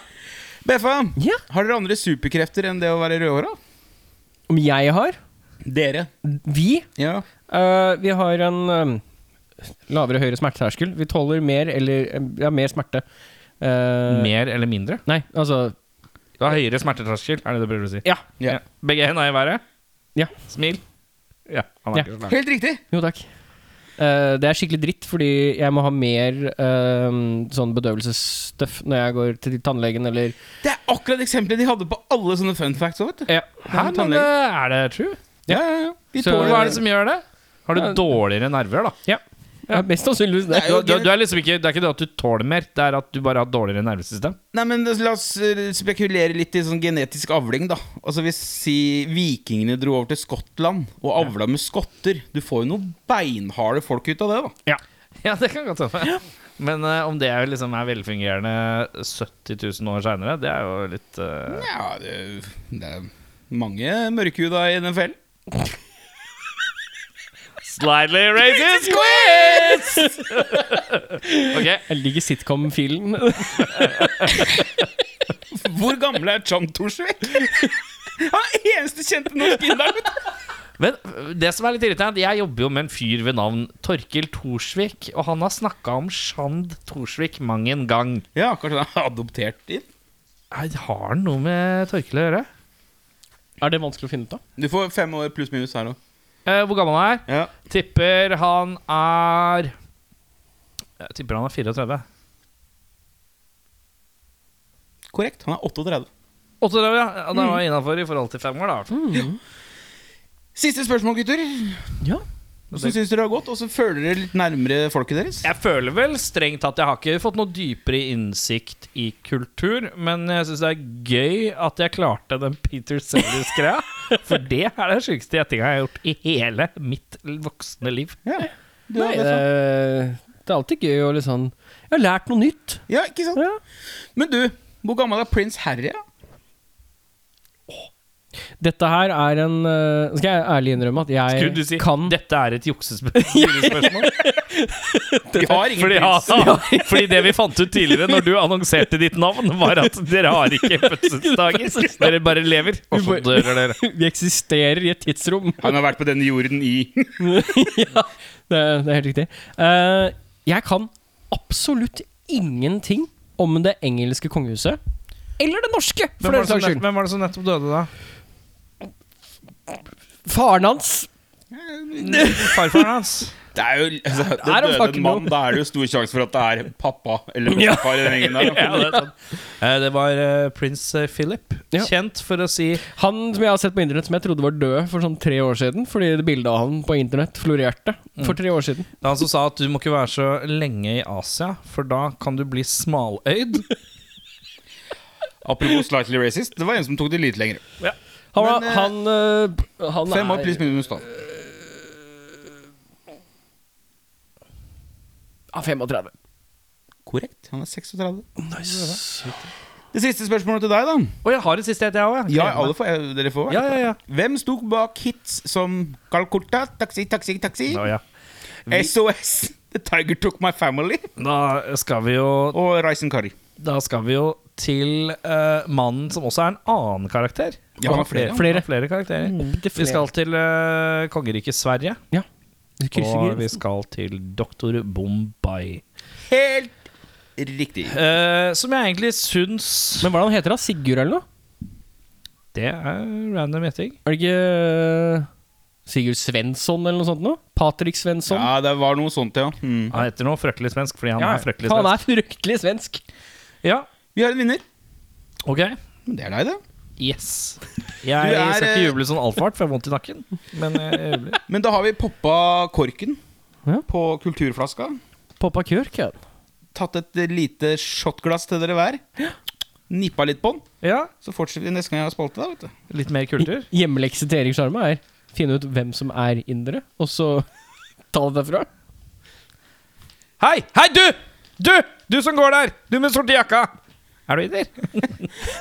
S3: Beffa,
S1: Ja.
S3: har dere andre superkrefter enn det å være rødhåra?
S1: Om jeg har
S3: Dere.
S1: Vi
S3: Ja.
S1: eh, Vi har en eh, lavere og høyere smerteterskel. Vi tåler mer eller eh, Ja, mer smerte. Eh,
S2: Mer eller mindre?
S1: Nei, altså
S2: Du har høyere smerteterskel, er det det du prøver å si?
S1: Ja.
S3: Ja.
S2: Begge hendene i været?
S1: Ja.
S2: Smil? Ja. Han er
S1: Ja.
S2: ikke så nær.
S3: Helt riktig.
S1: Jo, takk. Eh, det er skikkelig dritt, fordi jeg må ha mer eh, sånn bedøvelsesstøff når jeg går til tannlegen eller
S3: Det er akkurat eksempelet de hadde på alle sånne fun facts. Også, vet du.
S1: ja.
S2: Hæ, men
S3: tannlege.
S2: eh, er det true?
S3: Ja, ja, ja. De
S1: Så-
S3: tåler
S2: Hva er det som gjør det? Har du
S1: Ja.
S2: dårligere nerver, da?
S1: ja, Mest sannsynligvis det.
S3: Nei,
S2: Du,
S3: jo,
S2: du, du er liksom ikke, det er ikke det at du tåler mer, det er at du bare har dårligere nervesystem.
S3: Nei, men La oss eh, spekulere litt i sånn genetisk avling. da Altså Hvis si, vikingene dro over til Skottland og avla med skotter Du får jo noen beinharde folk ut av det. da
S2: Ja, det kan godt hende. Men eh, om det liksom er velfungerende 70 000 år seinere, det er jo litt eh,
S3: Ja, det, det er mange mørkhuda i NFL.
S2: Slightly racist quiz! ok,
S1: Jeg liker sitcom-filen.
S3: Hvor gamle er John Thorsvik? Han er eneste kjente norske inderen.
S2: Men eh, det som er litt irriterende, jeg jobber jo med en fyr ved navn Torkil Torsvik, og han har snakka om Shand Torsvik mang en gang.
S3: Ja, kanskje han er adoptert inn.
S2: Nei, Har han noe med Torkil å gjøre?
S1: Er det vanskelig å finne ut av?
S3: Du får fem år pluss minus her òg.
S2: Eh, hvor gammel han er?
S3: Ja.
S2: Tipper han er Jeg tipper han er 34.
S3: Korrekt. Han er 38.
S2: 38, ja. Ja, Det var innafor i forhold til fem år, da.
S3: Siste spørsmål, gutter.
S1: Ja.
S3: Hvordan syns dere det har gått? Og så føler dere litt nærmere folket deres.
S2: Jeg føler vel strengt at jeg har ikke fått noe dypere innsikt i kultur, men jeg syns det er gøy at jeg klarte den Peter Sellers-greia. For det er den sjukeste gjettinga jeg har gjort i hele mitt voksne liv.
S1: Eh,
S3: Ja. Du,
S1: Nei,
S3: har
S1: det, sånn.
S3: det,
S1: det er alltid gøy å liksom Jeg har lært noe nytt.
S3: ja, ikke sant?
S1: Ja.
S3: Men du, hvor gammel er prins Harry? da?
S1: Dette her er en eh, Skal jeg ærlig innrømme at
S2: Skulle du
S1: jeg
S2: si
S1: kan
S2: dette er et juksespørsmål?
S3: Vi har ingen
S2: Fordi,
S3: prins.
S2: ja, fordi det vi fant ut tidligere når du annonserte ditt navn, var at dere har ikke fødselsdager. Dere bare lever, og så dør dere.
S1: Vi eksisterer i et tidsrom.
S3: Han har vært på denne jorden i
S1: ja, det, det er helt riktig. Eh, jeg kan absolutt ingenting om det engelske kongehuset. Eller det norske, for den saks skyld.
S2: var det som nettopp døde, da?
S1: Faren hans
S2: Farfaren hans.
S3: Det er jo altså, det
S1: er han
S3: døde
S1: fucking
S3: en mann.
S1: nå.
S3: Da er det jo stor sjanse for at det er pappa eller
S1: Ja.
S3: pappa i den gjengen der. da.
S2: Ja, det, er sant. Eh, det var eh, prins eh, Philip.
S1: Ja.
S2: Kjent for å si
S1: Han som jeg har sett på internett som jeg trodde var død for sånn tre år siden, fordi det bildet av han på internett florerte for tre år siden.
S2: Det er han som sa at du må ikke være så lenge i Asia, for da kan du bli smaløyd.
S3: Apropos slightly racist, det var en som tok det litt lenger.
S1: Han, var-
S3: Men, eh,
S1: han, eh, han
S3: Fem år
S1: er-
S3: pluss minus, da.
S1: Ja, 35.
S3: Korrekt. Han er 36.
S1: Nice.
S3: Det siste spørsmålet til deg, da.
S2: Og jeg har et siste et, jeg òg.
S3: Ja, alle får, eh, dere får
S2: ja, ja, ja.
S3: Hvem sto bak hits som Calcutta, Taxi, Taxi, Taxi,
S2: Nå, ja.
S3: SOS, The Tiger Took My Family
S2: Da skal vi jo
S3: og Rice and Curry?
S2: Da skal vi jo til eh, mannen som også er en annen karakter.
S3: Ja, han har flere.
S2: flere. flere karakterer. Vi skal til eh, kongeriket Sverige.
S1: Ja. Du krysser
S2: Og vi
S1: gir.
S2: skal til Doktor Bombay.
S3: Helt riktig.
S2: Eh, som jeg egentlig syns
S1: Men hvordan heter han? Sigurd eller noe?
S2: Det er random gjetting.
S1: Er det ikke eh, Sigurd Svensson eller noe sånt noe? Patrick Svensson?
S3: Ja, det var noe sånt, ja. Mm.
S2: Han heter noe frøkkelig svensk fordi han
S1: Ja,
S2: er frøkkelig
S1: Han
S2: svensk.
S1: er fryktelig svensk.
S2: Ja,
S3: Vi har en vinner.
S2: ok
S3: Men Det er deg, det.
S2: Yes. Jeg,
S3: Du er,
S2: skal ikke
S3: eh,
S2: juble sånn altfor hardt, for jeg har vondt i nakken. Men eh, jeg jubler.
S3: Men da har vi poppa korken
S1: Ja.
S3: på kulturflaska.
S1: Pappa Kjørk, ja.
S3: Tatt et lite shotglass til dere hver. Nippa litt på den.
S2: Ja,
S3: Så fortsetter vi neste gang jeg har spalte. Da, vet du.
S2: litt mer kultur.
S1: Hjemmelekse til Erik Sjarma er finne ut hvem som er indere, og så ta det derfra.
S2: Hei, hei, du! Du du som går der! Du med den sorte jakka! Er du inder?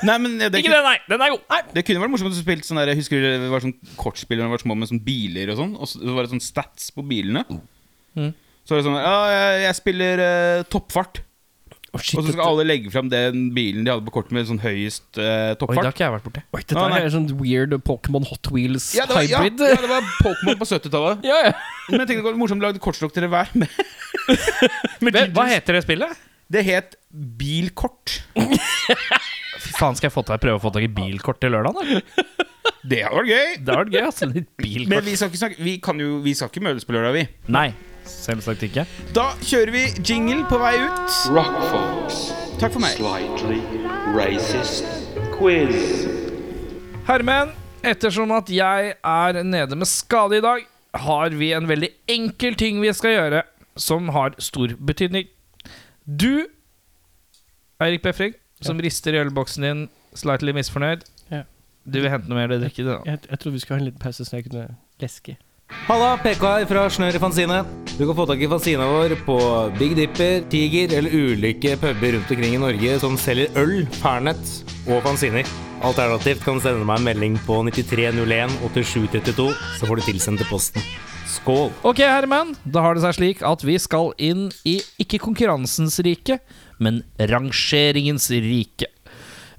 S3: Nei, men det,
S2: Ikke
S3: kunne,
S2: den, nei! Den er god! Nei.
S3: det kunne vært morsomt å spille sånn der, Jeg husker det var sånn kortspill da vi var små, med sånn biler og sånn. Og så var det sånn stats på bilene.
S2: Oh.
S3: Så var det sånn Ja, jeg, jeg spiller eh, toppfart.
S1: Å, shit,
S3: Og så skal
S1: dette-
S3: alle legge fram den bilen de hadde på kortet med sånn høyest
S2: Oi,
S3: eh,
S2: det har
S3: toppfart.
S2: ikke jeg vært borti.
S1: Oi, dette
S3: Å, Ah, nei.
S1: er sånn weird Pokémon Hot Wheels
S3: Ja, det var, ja,
S1: hybrid.
S3: ja, det var Pokémon på 70-tallet.
S1: Ja, ja.
S3: Men jeg tenkte det var morsomt å lage kortstokk til dere hver. Men
S2: Hva- Hva heter det spillet?
S3: det het bilkort.
S2: Fy faen, skal jeg få tak- prøve å få tak i bilkort til lørdag, da?
S3: Det hadde vært gøy.
S2: Det hadde vært gøy. altså, litt
S3: Men
S2: bilkort.
S3: vi skal ikke, snakke, vi kan jo, vi skal ikke møtes på lørdag, vi.
S2: Nei, selvsagt ikke.
S3: Da kjører vi jingle på vei ut.
S4: Rock Fox.
S3: Takk for meg.
S4: Slightly racist quiz.
S2: Hermen, ettersom at jeg er nede med skade i dag, har vi en veldig enkel ting vi skal gjøre, som har stor betydning. Du, Eirik Befring, som rister i ølboksen din, slightly misfornøyd.
S1: Ja.
S2: Du vil hente noe mer eller drikke? du, da?
S1: Jeg, jeg trodde vi skulle ha en liten pause, så jeg kunne leske.
S5: Halla, PK her fra Snør i Fanzine. Du kan få tak i fanzina vår på Big Dipper, Tiger eller ulike puber rundt omkring i Norge som selger øl, Fernet og fanziner. Alternativt kan du sende meg en melding på 9301 8732, så får du tilsendt til posten. Skål!
S2: Ok, Herman, da har det seg slik at vi skal inn i ikke konkurransens rike, men rangeringens rike.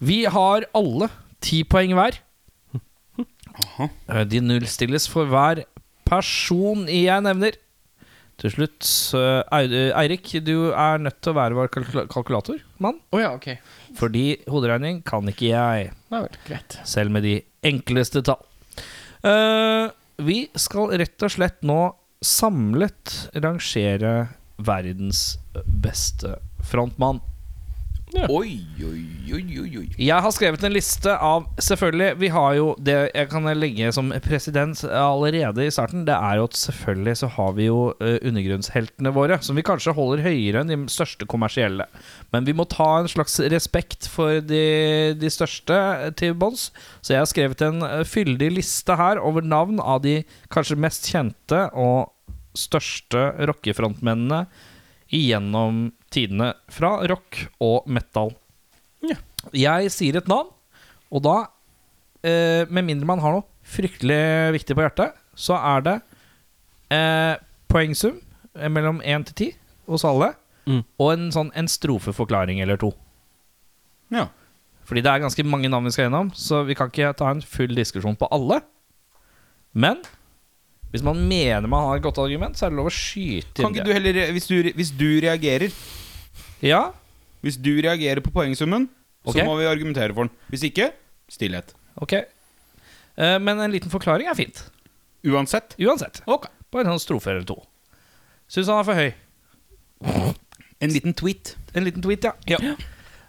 S2: Vi har alle ti poeng hver. Eh, De nullstilles for hver person jeg nevner. Til slutt, eh, Ei- eh, Eirik, du er nødt til å være vår kalkula- kalkulatormann.
S1: Å ja, ok.
S2: Fordi hoderegning kan ikke jeg,
S1: Nei vel, greit.
S2: selv med de enkleste tall. Eh, vi skal rett og slett nå samlet rangere verdens beste frontmann.
S3: Oi, oi, oi, oi, oi.
S2: Jeg har skrevet en liste av Selvfølgelig, vi har jo det jeg kan legge som president allerede i starten. Det er jo at selvfølgelig så har vi jo eh, undergrunnsheltene våre, som vi kanskje holder høyere enn de største kommersielle. Men vi må ta en slags respekt for de, de største eh, til bunns. Så jeg har skrevet en eh, fyldig liste her over navn av de kanskje mest kjente og største rockefrontmennene gjennom tidene fra rock og metal. Jeg sier et navn, og da, eh, med mindre man har noe fryktelig viktig på hjertet, så er det eh, poengsum eh, mellom 1 til 10 hos alle,
S1: Mm.
S2: og en, sånn, en strofeforklaring eller to.
S3: Ja.
S2: Fordi det er ganske mange navn vi skal gjennom, så vi kan ikke ta en full diskusjon på alle. Men hvis man mener man har et godt argument, så er det lov å skyte
S3: Kan
S2: inn det.
S3: ikke du heller Hvis du, hvis du reagerer
S2: Ja,
S3: Hvis du reagerer på poengsummen,
S2: Ok.
S3: så må vi argumentere for den. Hvis ikke stillhet.
S2: ok. Eh, men en liten forklaring er fint.
S3: Uansett.
S2: Uansett.
S3: Ok.
S2: Bare en sånn strofe eller to. Syns han er for høy.
S3: En liten tweet.
S2: En liten tweet, ja.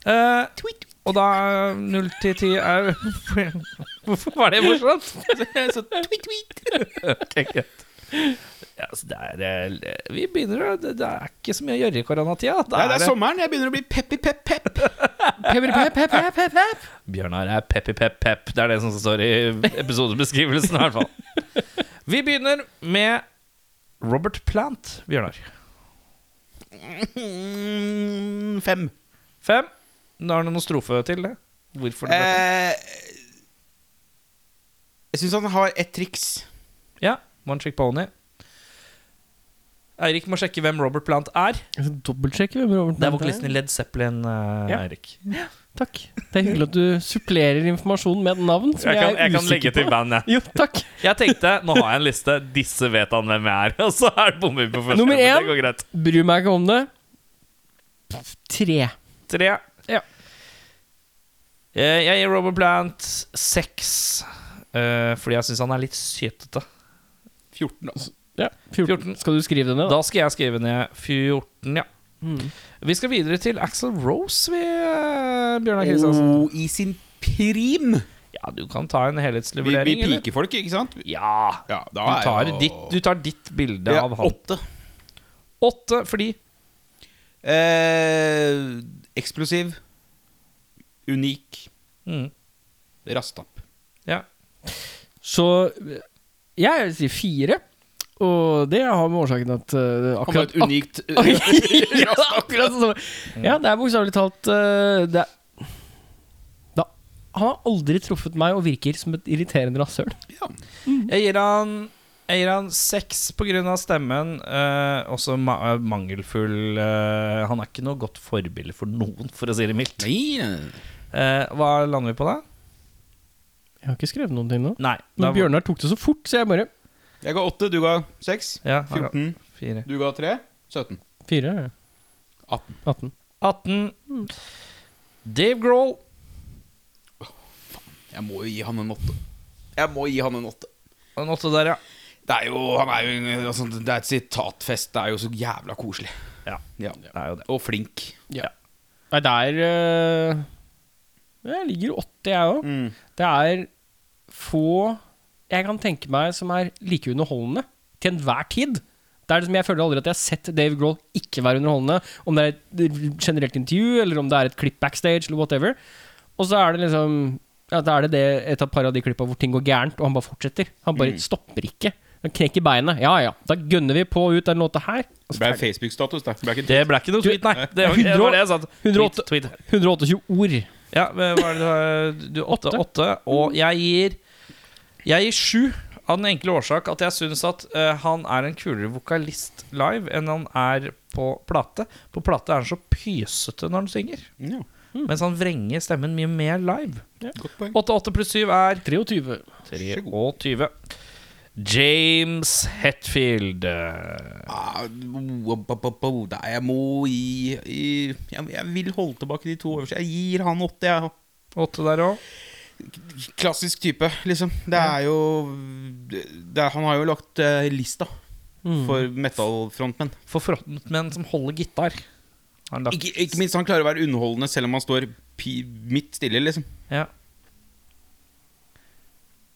S2: Eh, Og da er 0 til 10 er Hvorfor var det morsomt? Så tweet, tweet. ok, greit. Ja, altså, det er, eh, vi begynner å det, det er ikke så mye å gjøre i koronatida. Da
S3: Nei, det er sommeren. Jeg begynner å bli peppi pepp pepp.
S2: Bjørnar er peppi pepp pepp. Det er det som står i episodebeskrivelsen, i hvert fall. Vi begynner med Robert Plant, Bjørnar.
S3: Mm, fem.
S2: Fem. Da har du noen strofe til det. Hvorfor det ble fem.
S3: Eh, jeg syns han har et triks.
S2: Ja, One Trick Pony. Eirik må sjekke hvem Robert Plant er.
S1: Jeg skal dobbeltsjekke hvem Robert
S2: Det er
S1: Plant
S2: vokalisten i Led Zeppelin. eh,
S1: Ja.
S2: Eirik
S1: Takk. Det er hyggelig at du supplerer informasjonen med et navn som jeg, er usikker på.
S2: band, jeg.
S1: Jo, takk.
S2: Jeg tenkte nå har jeg en liste. Disse vet han hvem jeg er. Og så er det bommer vi på første.
S1: Nummer
S2: men
S1: én.
S2: Det går greit.
S1: Bryr meg ikke om det. Tre.
S2: Tre. Eh, Jeg gir Robert Plant seks, eh, fordi jeg syns han er litt sytete.
S3: 14, altså.
S1: Ja, 14.
S2: 14.
S1: Skal du skrive det ned? Da?
S2: Da skal jeg skrive ned 14, ja. Vi skal videre til Axel Rose, vi, eh, Bjørnar Kristiansen.
S3: Og i sin prim.
S2: Ja, du kan ta en
S3: Vi, vi
S2: helhetsvurdering. eller?
S3: piker folk, ikke sant?
S2: Ja.
S3: Ja, da
S2: Du
S3: er
S2: tar,
S3: jo-
S2: ditt, du tar ditt bilde
S3: Ja,
S2: av han.
S3: Åtte.
S2: Åtte, fordi
S3: Eh, eksplosiv. Unik.
S2: mm,
S3: Rastapp.
S2: Ja.
S1: Så eh, jeg vil si fire. Og det har med årsaken at eh,
S3: Han var
S1: akkurat,
S3: et unikt eh,
S1: ak ja, akkurat sånn. ja, det er bokstavelig talt eh, det er, da, Han har aldri truffet meg og virker som et irriterende rasshøl.
S2: Jeg gir han jeg gir han seks pga. stemmen. Eh, også ma eh, mangelfull eh, Han er ikke noe godt forbilde for noen, for å si det mildt. Eh, hva lander vi på da?
S1: Jeg har ikke skrevet noen ting nå.
S2: Nei. da-
S1: Men Bjørnar tok det så fort, så jeg bare
S3: Jeg ga åtte, du ga seks.
S2: Ja,
S3: 14.
S2: Fire.
S3: Du ga tre. 17.
S1: Fire? ja. 18.
S3: 18.
S2: 18. Dave Grohl.
S3: Jeg må jo gi han en åtte. Jeg må gi han en åtte.
S2: En åtte der, ja.
S3: Det er jo, han er jo en- altså, Det er et sitatfest. Det er jo så jævla koselig.
S2: Ja,
S3: Ja.
S2: det er jo det.
S3: Og flink.
S1: Nei, der eh, Jeg ligger 80, jeg òg.
S2: Mm.
S1: Det er få jeg kan tenke meg som er like underholdende til enhver tid. Det er liksom, Jeg føler aldri at jeg har sett Dave Grohl ikke være underholdende. Om det er et generelt intervju, eller om det er et klipp backstage, eller whatever. Og så er det liksom ja, Da er det, det et av par av de klippa hvor ting går gærent, og han bare fortsetter. Han bare
S2: Mm.
S1: stopper ikke. Han knekker beinet. Ja ja, da gønner vi på ut den låta her.
S3: Det ble Facebook-status. Det ble ikke
S2: Det ble ikke noe tweet, nei. Det var, det, var det jeg sa.
S1: 108.
S2: Tweet, tweet.
S1: 128 ord.
S2: Ja, men hva er det du har? Du åtte, åtte. Og jeg gir Jeg gir sju. Av den enkle årsak at jeg syns at eh, han er en kulere vokalist live enn han er på plate. På plate er han så pysete når han synger,
S3: Ja,
S2: mens han vrenger stemmen mye mer live.
S3: godt poeng.
S2: Åtte, åtte pluss syv er
S1: 23.
S2: 23. James Hetfield. Eh,
S3: Ah, bo- bo- bo- bo- Nei, jeg må gi, gi jeg, jeg vil holde tilbake de to øverste. Jeg gir han åtte, jeg.
S2: Åtte der òg.
S3: Klassisk type, liksom. Det er jo det, er- Han har jo lagt eh, lista
S1: Mm.
S3: for metal-frontmenn.
S2: For frontmenn som holder gitar. Har han lagt-
S3: Ikke, ikke minst han klarer å være underholdende selv om han står pi, midt stille, liksom.
S2: Ja.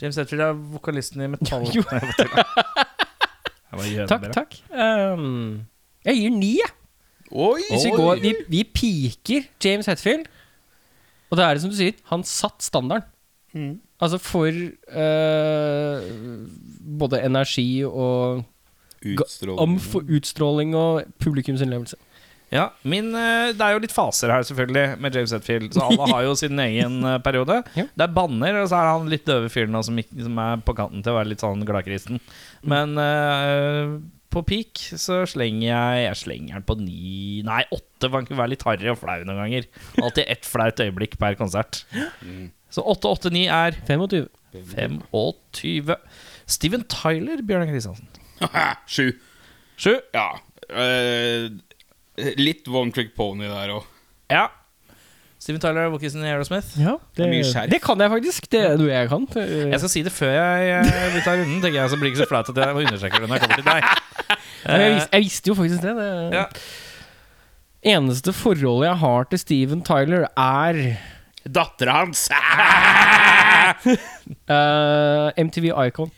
S2: James Hetfield er vokalisten i Metall.
S1: Jo.
S2: Nei, jeg bare tuller.
S1: Takk, takk. Ehm, jeg gir ni, jeg.
S3: Oi!
S1: Hvis vi, går, vi, vi piker James Hetfield. Og det er det som du sier, han satt standarden. Altså for eh, både energi og om
S3: Utstrålende.
S1: for utstråling og publikumsinnlevelse.
S2: Ja, min, eh, det er jo litt faser her, selvfølgelig, med James Hetfield. Så alle har jo sin egen eh, periode.
S1: Ja.
S2: Det er banner, og så er han litt døve fyren nå som, ikke- som er på kanten til å være litt sånn gladkristen. Men eh, på peak så slenger jeg Jeg slenger den på ni Nei, åtte. Man kan være litt harry og flau noen ganger. Alltid ett flaut øyeblikk per konsert. Så åtte, åtte, ni er
S1: 25.
S2: 25. Steven Tyler, Bjørnar Kristiansen.
S3: Sju.
S2: Sju.
S3: Ja. eh, litt one trick pony der òg.
S2: Ja. Steven Tyler, Walkisen i Aerosmith.
S1: Ja, det,
S3: mye skjerf.
S1: det kan jeg faktisk. Det er noe jeg kan.
S2: Jeg skal si det før jeg eh, vi tar runden, tenker jeg, så blir det ikke så flaut at jeg må understreke det når jeg kommer til deg.
S1: Ja, men jeg, visste, jeg visste jo faktisk det. det.
S2: Eh, Ja.
S1: Eneste forholdet jeg har til Steven Tyler, er
S3: Dattera hans!
S1: eh, MTV Icon.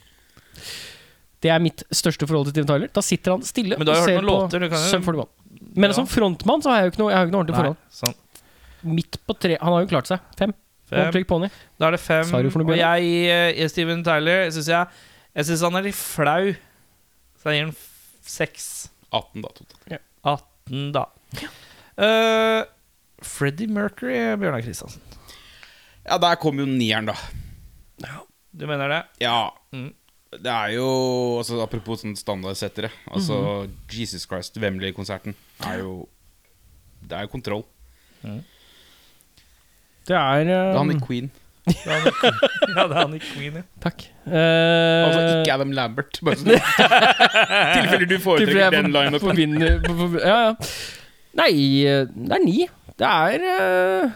S1: Det er mitt største forhold til Steven Tyler. Da sitter han stille
S2: Men du har
S1: og
S2: jo
S1: ser
S2: hørt noen
S1: på
S2: låter, du kan jo-
S1: Sum 41. Men
S2: Ja.
S1: som frontmann så har jeg jo ikke noe, jeg har jo ikke noe ordentlig
S2: Nei,
S1: forhold.
S2: sånn.
S1: Midt på tre Han har jo klart seg. Fem. One
S2: Fem.
S1: Trick Pony.
S2: Da er det fem.
S1: Sorry for noe,
S2: Og jeg, eh, Steven Tyler, syns jeg Jeg syns han er litt flau, så jeg gir han f- seks.
S3: 18, da, totalt.
S2: 18, da. Eh, Freddie Mercury, Bjørnar Kristiansen.
S3: Ja, der kom jo nieren, da.
S2: Du mener det?
S3: Ja.
S2: Mm.
S3: Det er jo altså, Apropos sånn standardsettere. Altså
S1: Mhm.
S3: Jesus Christ, Wembley-konserten er jo Det er jo kontroll.
S1: Det er
S3: Det
S1: eh,
S3: er han i Queen.
S2: Ja, det er han i Queen, ja.
S1: Takk.
S3: Altså
S1: Eh,
S3: ikke Adam Lambert. Bare sånn. tilfeller du foretrekker den
S1: Tilfeller jeg
S3: lineupen.
S1: forbinder for- for- Ja, ja. Nei, eh, det er ni. Det er eh,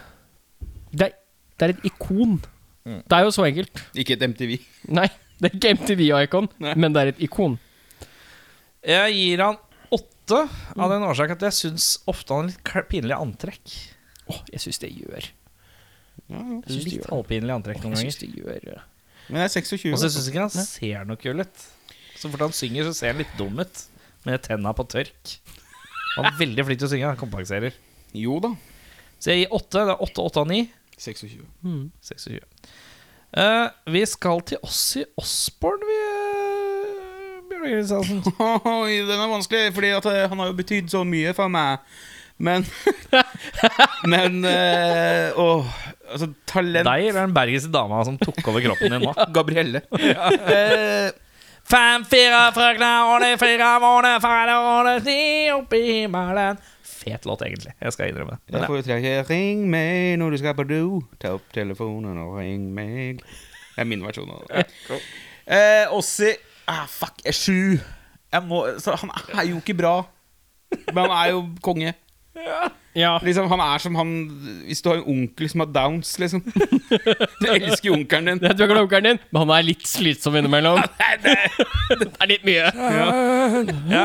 S1: det er, det er et ikon. Det er jo så enkelt.
S3: Ikke et MTV.
S1: Nei. Det er ikke MTV-icon,
S3: Nei.
S1: men det er et ikon.
S2: Jeg gir han åtte av den årsak at jeg syns ofte han har litt kl- pinlig antrekk.
S1: Åh, jeg syns det gjør Jeg synes det
S2: Litt
S1: gjør
S2: halvpinlig antrekk
S1: Jeg
S2: noen ganger.
S1: syns det gjør eh,
S3: Men jeg er 26.
S2: Og så
S3: da.
S2: syns jeg ikke han ser noe kul ut. Så fort han synger, så ser han litt dum ut. Med tenna på tørk. Han er veldig flink til å synge. Han kompenserer.
S3: Jo da.
S2: Så jeg gir åtte. Det er åtte, åtte av ni.
S3: 26.
S2: 26. Eh, vi skal til Ossi Osborn, vi, eh, Bjørn Åge Kristiansen.
S3: Oi, den er vanskelig, Fordi at eh, han har jo betydd så mye for meg. Men Men eh, Åh. Altså, talent
S2: Deg eller den bergenske dama som tok over kroppen din nå?
S3: Gabrielle. Eh,
S2: Fem, fire frøkner og de fire måneder faller og det sni opp i himmelen. Fet låt, egentlig. Jeg skal innrømme det.
S3: jeg
S2: Men,
S3: foretrekker Ring meg når du skal på do. Ta opp telefonen og ring meg. Det er min versjon av det. Eh, Ossi ah, Fuck, jeg er sju. Jeg må, så han er jo ikke bra. Men han er jo konge.
S1: Ja.
S3: Liksom, han er som han Hvis du har en onkel som har downs, liksom. Du elsker jo onkelen din.
S1: Du er glad i onkelen din, men han er litt slitsom innimellom. det er litt mye.
S2: ja.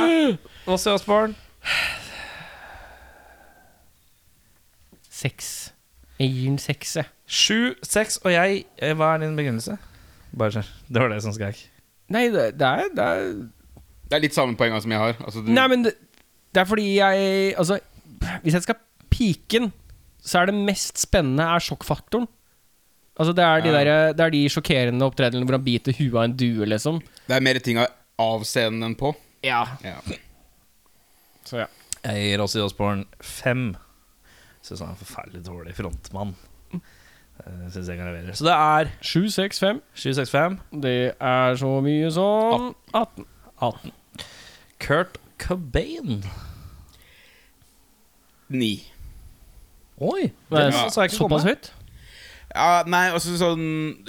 S2: Åssi Osborn.
S1: Seks. Jeg gir den seks, jeg.
S2: Sju, seks og jeg. eh, Hva er din begrunnelse? Bare skjønn. Det var det som skrek.
S1: Nei, det, det er, det er
S3: Det er litt samme poenga som jeg har. Altså, du,
S1: Nei, men det, det er fordi jeg Altså, hvis jeg skal pike den, så er det mest spennende er sjokkfaktoren. Altså, det er de,
S3: Ja.
S1: der, det er de sjokkerende opptredenene hvor han biter huet av en due, liksom.
S3: Det er mer ting av- av scenen enn på.
S1: Ja.
S3: Ja.
S1: Så ja.
S2: Jeg gir Åssi Osborn fem. Syns han er en forferdelig dårlig frontmann. Eh, Synes jeg kan levere. Så det er
S1: 7, 6, 5.
S2: 765.
S1: Det er så mye som 18.
S2: 18. Kurt Cobain.
S3: Ni.
S2: Oi!
S1: Det er
S2: Den
S3: Ja.
S2: så jeg ikke komme.
S1: såpass høyt?
S3: Ja, nei, altså sånn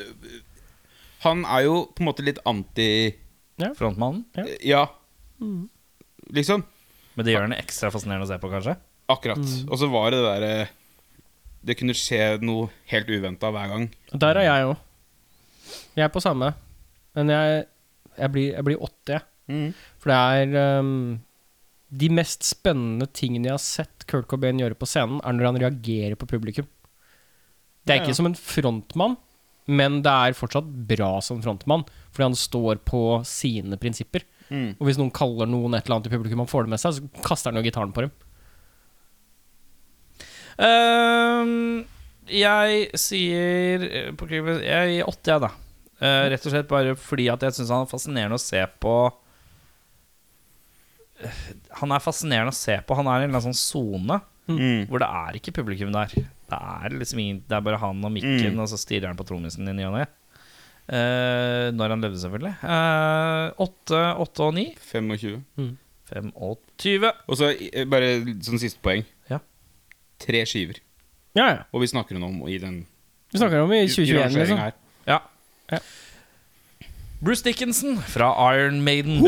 S3: Han er jo på en måte litt anti
S2: Frontmannen.
S3: Ja. Liksom.
S2: Men det gjør den ekstra fascinerende å se på, kanskje?
S3: Akkurat. Og så var det det derre Det kunne skje noe helt uventa hver gang.
S1: Der er jeg òg. Jeg er på samme. Men jeg, jeg, blir, jeg blir 80, jeg.
S3: Mm.
S1: For det er ehm, De mest spennende tingene jeg har sett Kurt Cobain gjøre på scenen, er når han reagerer på publikum. Det er
S3: Ja, ja.
S1: ikke som en frontmann, men det er fortsatt bra som frontmann. Fordi han står på sine prinsipper.
S3: Mm.
S1: Og hvis noen kaller noen et eller annet i publikum, han får det med seg, så kaster han jo gitaren på dem.
S2: Ehm, jeg sier eh, på Cleveland- Jeg gir åtte, jeg, da. Eh, rett og slett bare fordi at jeg syns han er fascinerende å se på. Eh, Han er fascinerende å se på. Han er i en eller annen sånn sone
S3: Mm.
S2: hvor det er ikke publikum der. Det er liksom ingen Det er bare han og mikken,
S3: Mm.
S2: og så stirrer han på trommisen i ny og ne. Eh, når han levde, selvfølgelig. Eh, Åtte, åtte og ni.
S3: 25.
S2: Fem og tyve.
S3: Og så eh, bare sånn siste poeng.
S2: Ja.
S3: Tre skiver.
S1: Ja, ja.
S3: Og vi snakker om i den
S1: Vi snakker om i
S3: i
S1: 2021,
S3: rangeringen
S1: liksom.
S3: her.
S2: Ja.
S1: Ja.
S2: Bruce Dickinson fra Iron Maiden.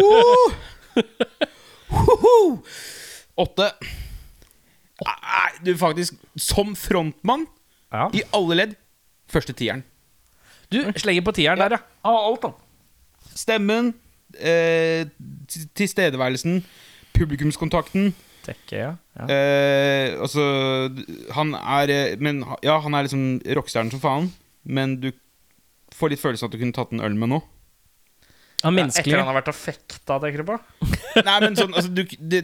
S3: Hoho! Åtte. Nei, du faktisk Som frontmann
S2: Ja.
S3: i alle ledd. Første tieren.
S2: Du slenger på tieren der, ja.
S3: Stemmen, eh, t- tilstedeværelsen, publikumskontakten
S2: Tekke, ja. ja.
S3: eh, Altså, han er eh, men, Ja, han er liksom rockestjernen som faen, men du får litt følelsen av at du kunne tatt en øl med nå.
S1: Han
S2: Etter
S1: menneskelige.
S2: han har vært og fekta, tenker du på?
S3: Nei, men sånn, altså du, det,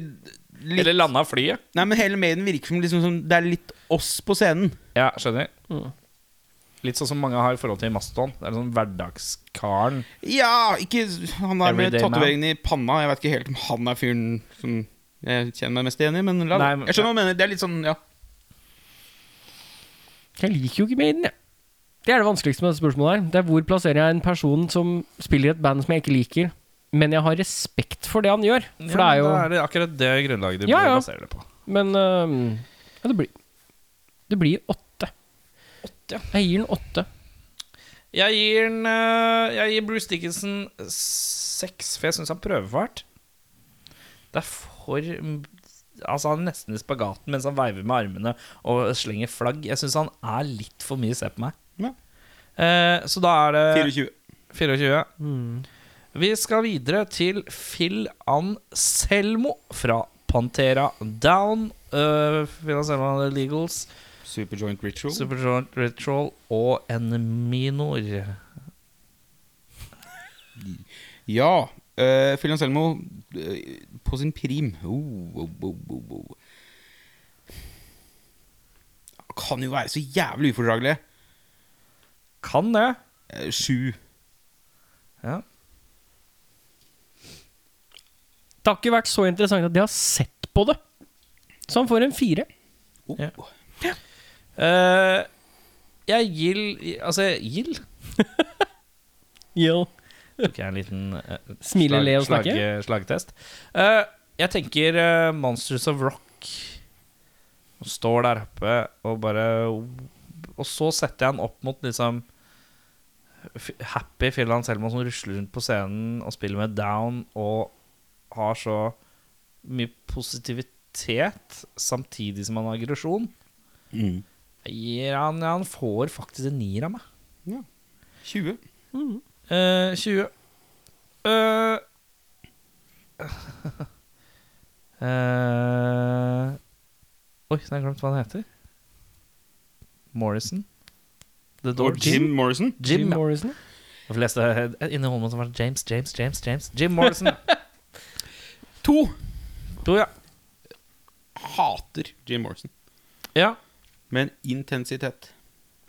S3: litt,
S2: Eller landa flyet?
S3: Nei, men hele Maiden virker som liksom, sånn, det er litt oss på scenen.
S2: Ja, skjønner.
S1: Mm.
S2: Litt sånn som mange har i forhold til Mastodon. Det er sånn hverdagskaren.
S3: Ja, ikke Han der med
S2: Everyday man.
S3: tatoveringen i panna. Jeg vet ikke helt om han er fyren som jeg kjenner meg mest igjen i, men la,
S2: Nei, men-
S3: jeg skjønner hva du mener. Det er litt sånn, ja.
S1: Jeg liker jo ikke Maiden, jeg. Det er det vanskeligste med dette spørsmålet her. Det er hvor plasserer jeg en person som spiller i et band som jeg ikke liker, men jeg har respekt for det han gjør. For det er jo
S2: Da er det akkurat det grunnlaget du
S1: Ja, ja.
S2: baserer det på.
S1: Men øhm, ja, det blir Det blir åtte. Jeg gir den åtte.
S2: Jeg gir, den, eh, jeg gir Bruce Dickinson seks, for jeg syns han prøver for hardt. Det er for Altså, han er nesten i spagaten mens han veiver med armene og slenger flagg. Jeg syns han er litt for mye se på meg.
S3: Ja.
S2: Eh, så da er det
S3: 24.
S2: 24. 24. Vi skal videre til Phil Anselmo fra Pantera Down. øh, Phil Anselmo and the Legals,
S3: Superjoint ritual.
S2: Superjoint Ritual og en minor.
S3: Ja. Uh, Phil Anselmo eh, på sin prim. Oh, oh, oh, oh, oh. Han Kan jo være så jævlig ufordragelig.
S2: Kan det.
S3: Eh, Sju.
S2: Ja.
S1: Det har ikke vært så interessant at de har sett på det. Så han får en fire.
S3: Oh.
S2: Ja. Eh, jeg gil Altså, gil
S1: Yo.
S2: tok jeg en liten eh,
S1: Smile, le og snakke.
S2: slag- slagtest. Eh, jeg tenker eh, Monsters of Rock Og står der oppe og bare Og så setter jeg han opp mot liksom f- Happy Phil Anselmo som rusler rundt på scenen og spiller med Down og har så mye positivitet samtidig som han har aggresjon.
S3: Mm.
S2: Jeg Gir han, han får faktisk en nier av meg.
S3: 20.
S2: Eh, 20. Eh, eh, Oi, så har jeg glemt hva han heter. Morrison. The Door
S3: Og Jim Morrison.
S1: Jim
S2: Jim, ja.
S1: Morrison.
S2: Jeg leste inni hodet som var James, James, James, James. Jim Morrison.
S3: To.
S2: to, ja.
S3: Hater Jim Morrison.
S2: ja.
S3: Med en intensitet.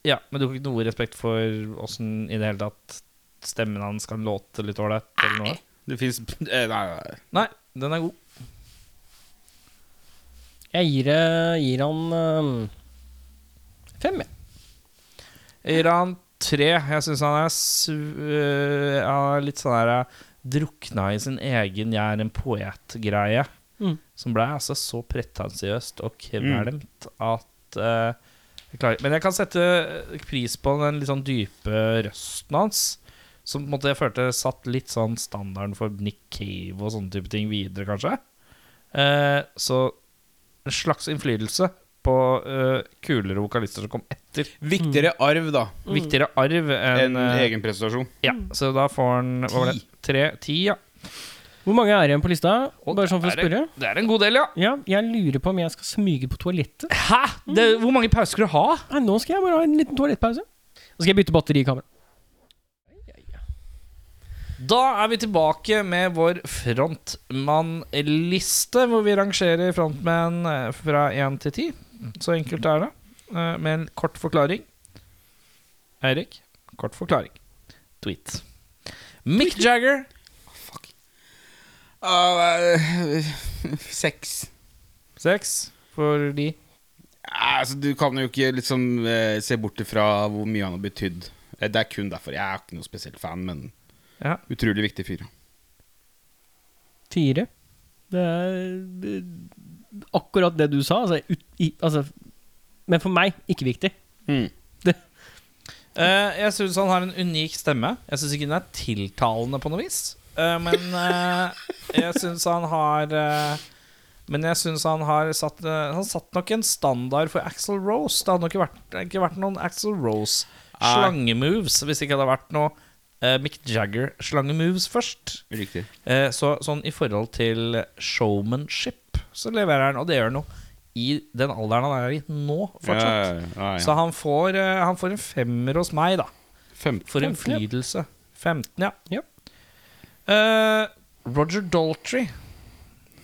S2: Ja, men du har ikke noe respekt for åssen i det hele tatt stemmen hans kan låte litt ålreit? eller noe?
S3: Det fins Nei, nei.
S2: Nei, den er god.
S1: Jeg gir, eh, gir han eh, fem, jeg.
S2: Jeg gir han tre. Jeg syns han er su øh, han er litt sånn her eh, drukna i sin egen 'jeg er en poet'-greie.
S1: Mm.
S2: Som blei altså så pretensiøst og kvelmt at eh, jeg klarer. Men jeg kan sette pris på den litt sånn dype røsten hans. Som på en måte jeg følte satt litt sånn standarden for Nick Cave og sånne type ting videre, kanskje. Eh, så en slags innflytelse på eh, kulere vokalister som kom etter
S3: Viktigere arv, da,
S2: viktigere arv enn
S3: enn
S2: Mm. eh,
S3: egen prestasjon.
S2: Ja, så da får han Hva var det? Tre? Ti, ja.
S1: Hvor mange er igjen på lista?
S2: Og
S1: Bare sånn for å
S2: det er-
S1: spørre.
S2: Det er en god del, ja.
S1: Ja, jeg lurer på om jeg skal smyge på toalettet.
S2: Hæ? Det, hvor mange pauser skal du ha?
S1: Nei, nå skal jeg bare ha en liten toalettpause. Så skal jeg bytte batteri i kameraet.
S2: Da er vi tilbake med vår frontmannliste, hvor vi rangerer frontmenn eh, fra én til ti. Så enkelt er det. Eh, Med en kort forklaring. Eirik, kort forklaring. Tweet. Mick Jagger. Ah,
S3: Seks.
S2: Seks for de.
S3: Nei, Altså, du kan jo ikke liksom eh, se bort ifra hvor mye han har betydd. Eh, Det er kun derfor. Jeg er ikke noe spesielt fan, men
S2: Ja.
S3: utrolig viktig fyr.
S1: Fire. Det er det, akkurat det du sa. Altså, ut, i, altså, men for meg ikke viktig.
S2: Eh, jeg syns han har en unik stemme. Jeg syns ikke den er tiltalende på noe vis. Eh, men eh, jeg syns han har eh, Men jeg syns han har satt eh, Han satt nok en standard for Axel Rose. Det hadde nok ikke vært, det hadde ikke vært noen Axel Rose-slangemoves hvis ikke det hadde vært noe eh, Mick Jagger-slangemoves først.
S3: Riktig.
S2: Eh, så sånn i forhold til showmanship så leverer han, og det gjør han jo i den alderen han er i nå fortsatt.
S3: Ja, ja,
S2: Så
S3: ja.
S2: han får, eh, han får en femmer hos meg, da.
S3: Fem.
S1: 15,
S2: For
S1: ja.
S2: innflytelse. 15, ja.
S1: Ja.
S2: Eh, Roger Daltrey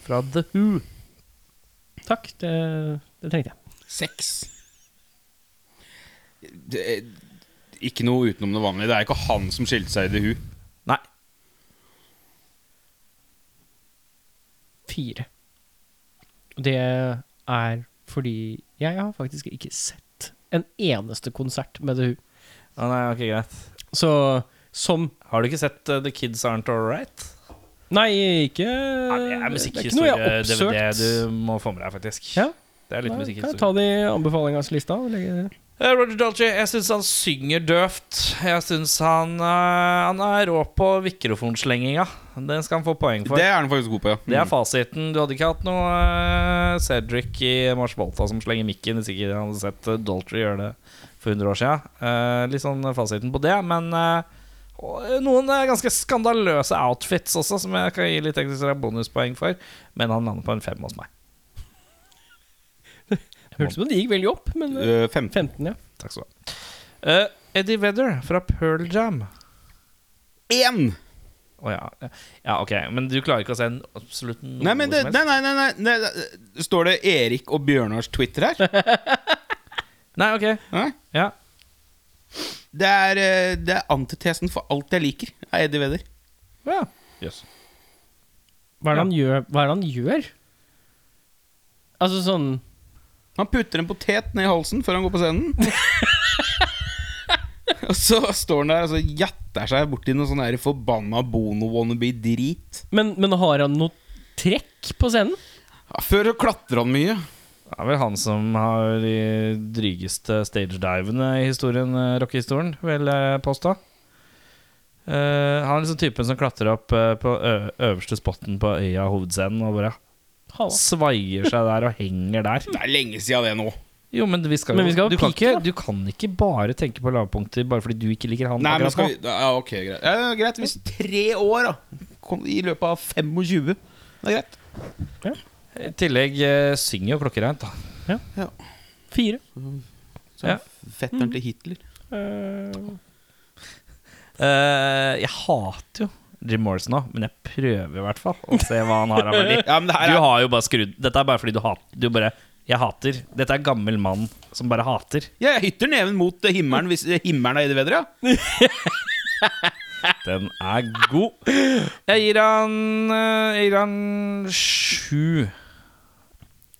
S2: fra The Who.
S1: Takk, det, det trengte jeg.
S3: Seks. Det er ikke noe utenom det vanlige. Det er ikke han som skilte seg i The Who.
S2: Nei.
S1: Fire. Og Det er fordi jeg har faktisk ikke sett en eneste konsert med The Who.
S2: Å, nei, ok, greit.
S1: Så som
S2: Har du ikke sett eh, The Kids Aren't Alright?
S1: Nei, ikke
S2: Nei, det er
S1: det er ikke noe jeg har oppsøkt.
S2: musikkhistorie-DVD du må få med deg, faktisk.
S1: Ja,
S2: Det er litt
S1: da kan jeg
S2: musikkhistorie.
S1: ta det i anbefalingaslista. og legge-
S2: Eh, Roger Daltrey, jeg syns han synger døvt. Jeg syns han, eh, han er rå på mikrofonslenginga. Den skal han få poeng for.
S3: Det er han faktisk god på, ja.
S2: Det er fasiten. Du hadde ikke hatt noe eh, Cedric i Mars Volta som slenger mikken hvis ikke han hadde sett eh, Daltrey gjøre det for 100 år siden. Eh, litt sånn fasiten på det, men eh, Og eh, noen eh, ganske skandaløse outfits også, som jeg kan gi litt ekstra bonuspoeng for. Men han lander på en fem hos meg.
S1: Hørtes ut som det gikk veldig opp, men eh,
S3: Øh, 15.
S1: 15, ja.
S2: Takk skal du ha. Eh, Eddie Vedder fra Pearl Jam.
S3: Én!
S2: Å ja. ja, ok, men du klarer ikke å se en absolutt noe
S3: Nei, men det,
S2: som
S3: nei,
S2: helst?
S3: nei, nei, nei, nei, nei. Står det Erik og Bjørnars Twitter her?
S2: Nei, ok.
S3: Nei?
S2: Ja.
S3: Det er, eh, det er antitesen for alt jeg liker av Eddie Vedder.
S2: ja. Yes.
S1: Hva er det han gjør? Hva er det han gjør? Altså sånn
S3: Han putter en potet ned i halsen før han går på scenen. og så står han der og så jatter seg borti noe sånn her forbanna Bono-wannabe-drit.
S1: men, men har han noe trekk på scenen?
S3: Ja, før så klatrer han mye.
S2: Det er vel han som har de drygeste stagedivene i historien, eh, rockehistorien, vil jeg påstå. Eh, han er liksom typen som klatrer opp eh, på ø øverste spotten på øya hovedscenen og bare
S1: Halla.
S2: svaier seg der og henger der.
S3: Det er lenge siden det nå.
S2: Jo, men vi skal, jo-
S1: Men vi skal ha
S2: du, kan
S1: peak, da.
S2: ikke, du kan ikke bare tenke på lavpunkter bare fordi du ikke liker han.
S3: Nei, men
S2: akkurat
S3: skal
S2: nå.
S3: vi Ja, ok, greit. Ja, greit hvis tre år, da. Kom, I løpet av 25. Det er greit.
S2: I tillegg eh, synger jo klokkereint, da.
S1: Fire.
S3: Så
S2: Ja.
S3: Fetteren til Hitler.
S2: Eh, jeg hater jo Jim Morrison nå, men jeg prøver i hvert fall å se hva han har av verdi.
S3: Ja, men det her
S2: Du
S3: er-
S2: har jo bare skrudd Dette er bare fordi du hater Du bare Jeg hater Dette er gammel mann som bare hater
S3: Ja, jeg hytter neven mot eh, himmelen hvis eh, himmelen er i det bedre, ja.
S2: Den er god Jeg gir han eh, Jeg gir han Sju Eh,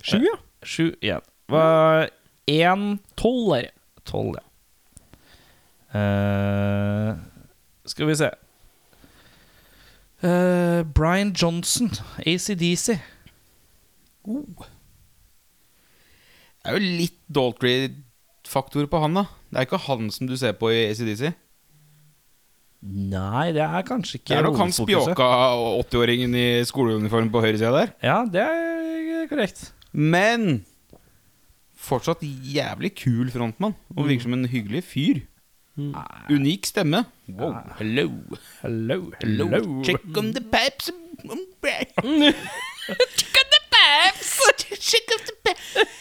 S1: Sju, ja.
S2: Sju igjen Hva En
S1: Tolv er det.
S2: Tolv ja Eh, Skal vi se Eh, Brian Johnson ACDC
S3: Oh. Det er jo litt Daltry-faktor på han, da. Det er ikke han som du ser på i ACDC.
S2: Nei, det er kanskje ikke
S3: Det er nok han
S2: hovedfokuset.
S3: spjåka 80-åringen i skoleuniform på høyresida der.
S2: Ja, det er korrekt
S3: Men fortsatt jævlig kul frontmann. Og virker som en hyggelig fyr. Unik stemme. Mm. Wow, hello.
S2: Hello,
S3: hello.
S2: hello.
S3: Check on the pipes. Check on the pipes. Check on the pipes.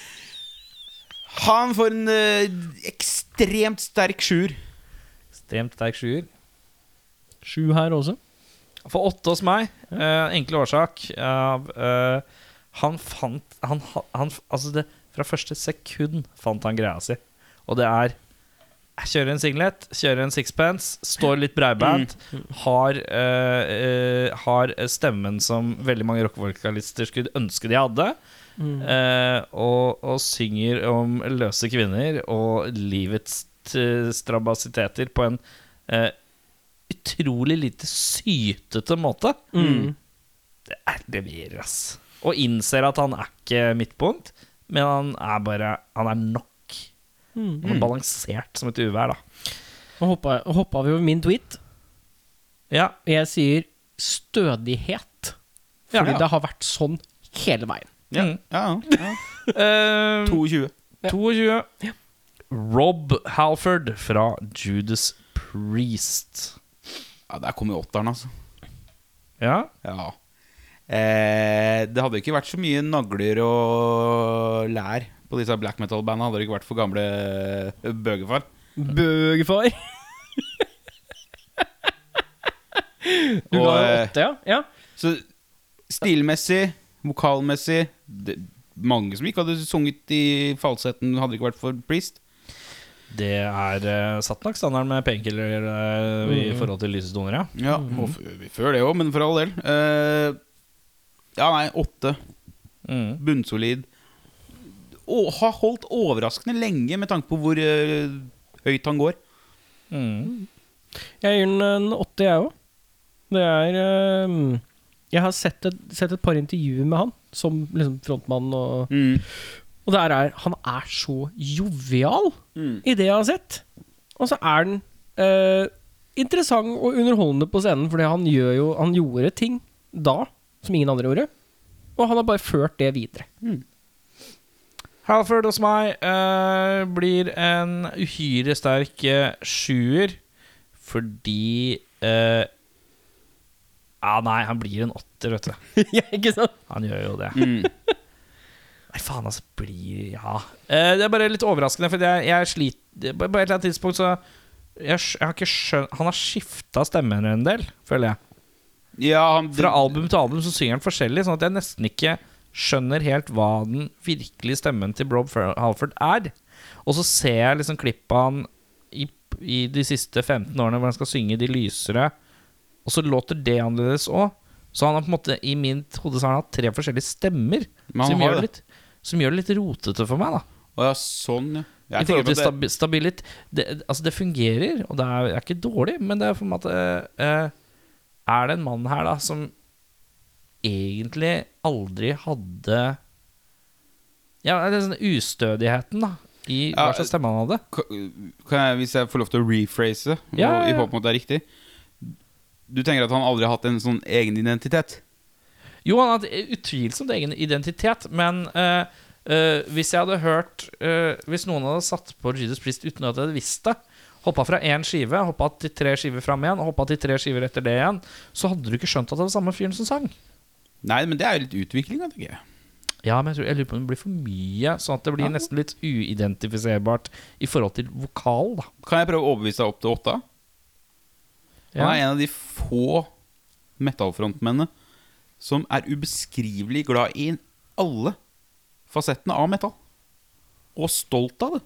S3: Han får en eh, ekstremt sterk sjuer.
S2: Ekstremt sterk sjuer.
S1: Sju her også.
S2: For åtte hos meg. eh, enkel årsak av eh, Han fant han, ha- han, f- Altså, det, fra første sekund fant han greia si. Og det er jeg Kjører en singlet, kjører en sixpence, står litt breibeint. Har, eh, eh, har stemmen som veldig mange rockevokalister skulle ønske de hadde. Eh, og, og synger om løse kvinner og livets t- strabasiteter på en eh, utrolig lite sytete måte. Det er leverer, ass. Og innser at han er ikke midtpunkt, men han er bare Han er nok. Han er balansert som et uvær, da.
S1: Nå hoppa, hoppa vi over min tweet.
S2: Ja,
S1: Jeg sier stødighet.
S2: Ja,
S1: Fordi
S2: ja.
S1: det har vært sånn hele veien.
S3: Ja,
S2: Mm.
S3: ja, ja.
S2: Eh,
S3: 22.
S2: 22. Rob Halford fra Judas Priest.
S3: Ja, der kom jo åtteren, altså.
S2: Ja.
S3: Ja. Eh, det hadde ikke vært så mye nagler og lær på disse black metal-bandene. Hadde det ikke vært for gamle eh, bøgefar.
S1: Bøgefar. Du
S3: Og,
S1: ga jo
S3: eh,
S1: åtte, ja? ja.
S3: Så stilmessig, vokalmessig det, Mange som ikke hadde sunget i falsetten, hadde det ikke vært for Priest.
S2: Det er eh, satt nok standarden med painkiller eh, i forhold til lysesdoner, ja.
S3: Ja,
S1: Mhm.
S3: og f- Før det òg, men for all del. Eh, ja, nei, åtte.
S2: Mm.
S3: Bunnsolid. Og har holdt overraskende lenge med tanke på hvor eh, høyt han går.
S2: Mm.
S1: Jeg gir den en åtte, jeg òg. Det er eh, Jeg har sett et, sett et par intervjuer med han som liksom frontmann, og,
S3: Mm.
S1: og der er han er så jovial i det jeg har sett. Og så er den eh, interessant og underholdende på scenen, fordi han, gjør jo, han gjorde ting da som ingen andre gjorde, og han har bare ført det videre.
S2: Halford hos meg eh, blir en uhyre sterk eh, sjuer Fordi eh, Ja, nei, han blir en åtter, vet du.
S1: ja, ikke sant?
S2: Han gjør jo det. Nei, faen, altså. Blir Ja. Eh, det er bare litt overraskende, for jeg, jeg sliter På på et eller annet tidspunkt så jeg, skj- jeg har ikke skjønt Han har skifta stemmen en del, føler jeg.
S3: Ja, han,
S2: Fra album til album så synger han forskjellig, sånn at jeg nesten ikke skjønner helt hva den virkelige stemmen til Rob Fer- Halford er. Og så ser jeg liksom klippet han i, i de siste 15 årene hvor han skal synge de lysere, og så låter det annerledes òg. Så han har på en måte i mitt hode så har han hatt tre forskjellige stemmer,
S3: Men han
S2: som
S3: har
S2: gjør, det
S3: det.
S2: litt, som gjør det litt rotete for meg. da
S3: Å ja, sånn, ja. Jeg
S2: i forhold til
S3: tenker på det-
S2: stabi stabilit det, Altså det fungerer Og det er, er ikke dårlig Men det er for meg at eh, eh, Er det en mann her da Som egentlig aldri hadde Ja, det er sånn ustødigheten da I hva
S3: Ja,
S2: slags stemme han hadde
S3: Ka- kan jeg, Hvis jeg får lov til å rephrase, og-
S2: Ja, ja, ja.
S3: i håp om at det er riktig Du tenker at han aldri har hatt en sånn egen identitet?
S2: Jo, han hadde utvilsomt egen identitet, men eh, eh, hvis jeg hadde hørt eh, Hvis noen hadde satt på Jesus Priest uten at jeg hadde visst det, hoppa fra én skive, hoppa til tre skiver fram igjen, hoppa til tre skiver etter det igjen, så hadde du ikke skjønt at det var samme fyren som sang.
S3: Nei, men det er jo litt utvikling, da, tenker jeg.
S2: Ja, men jeg, tror, jeg lurer på om det blir for mye, sånn at det blir nesten litt uidentifiserbart i forhold til vokal, da.
S3: Kan jeg prøve å overbevise deg opp til åtta? Han er en av de få metallfrontmennene som er ubeskrivelig glad i alle fasettene av metall. Og stolt av det.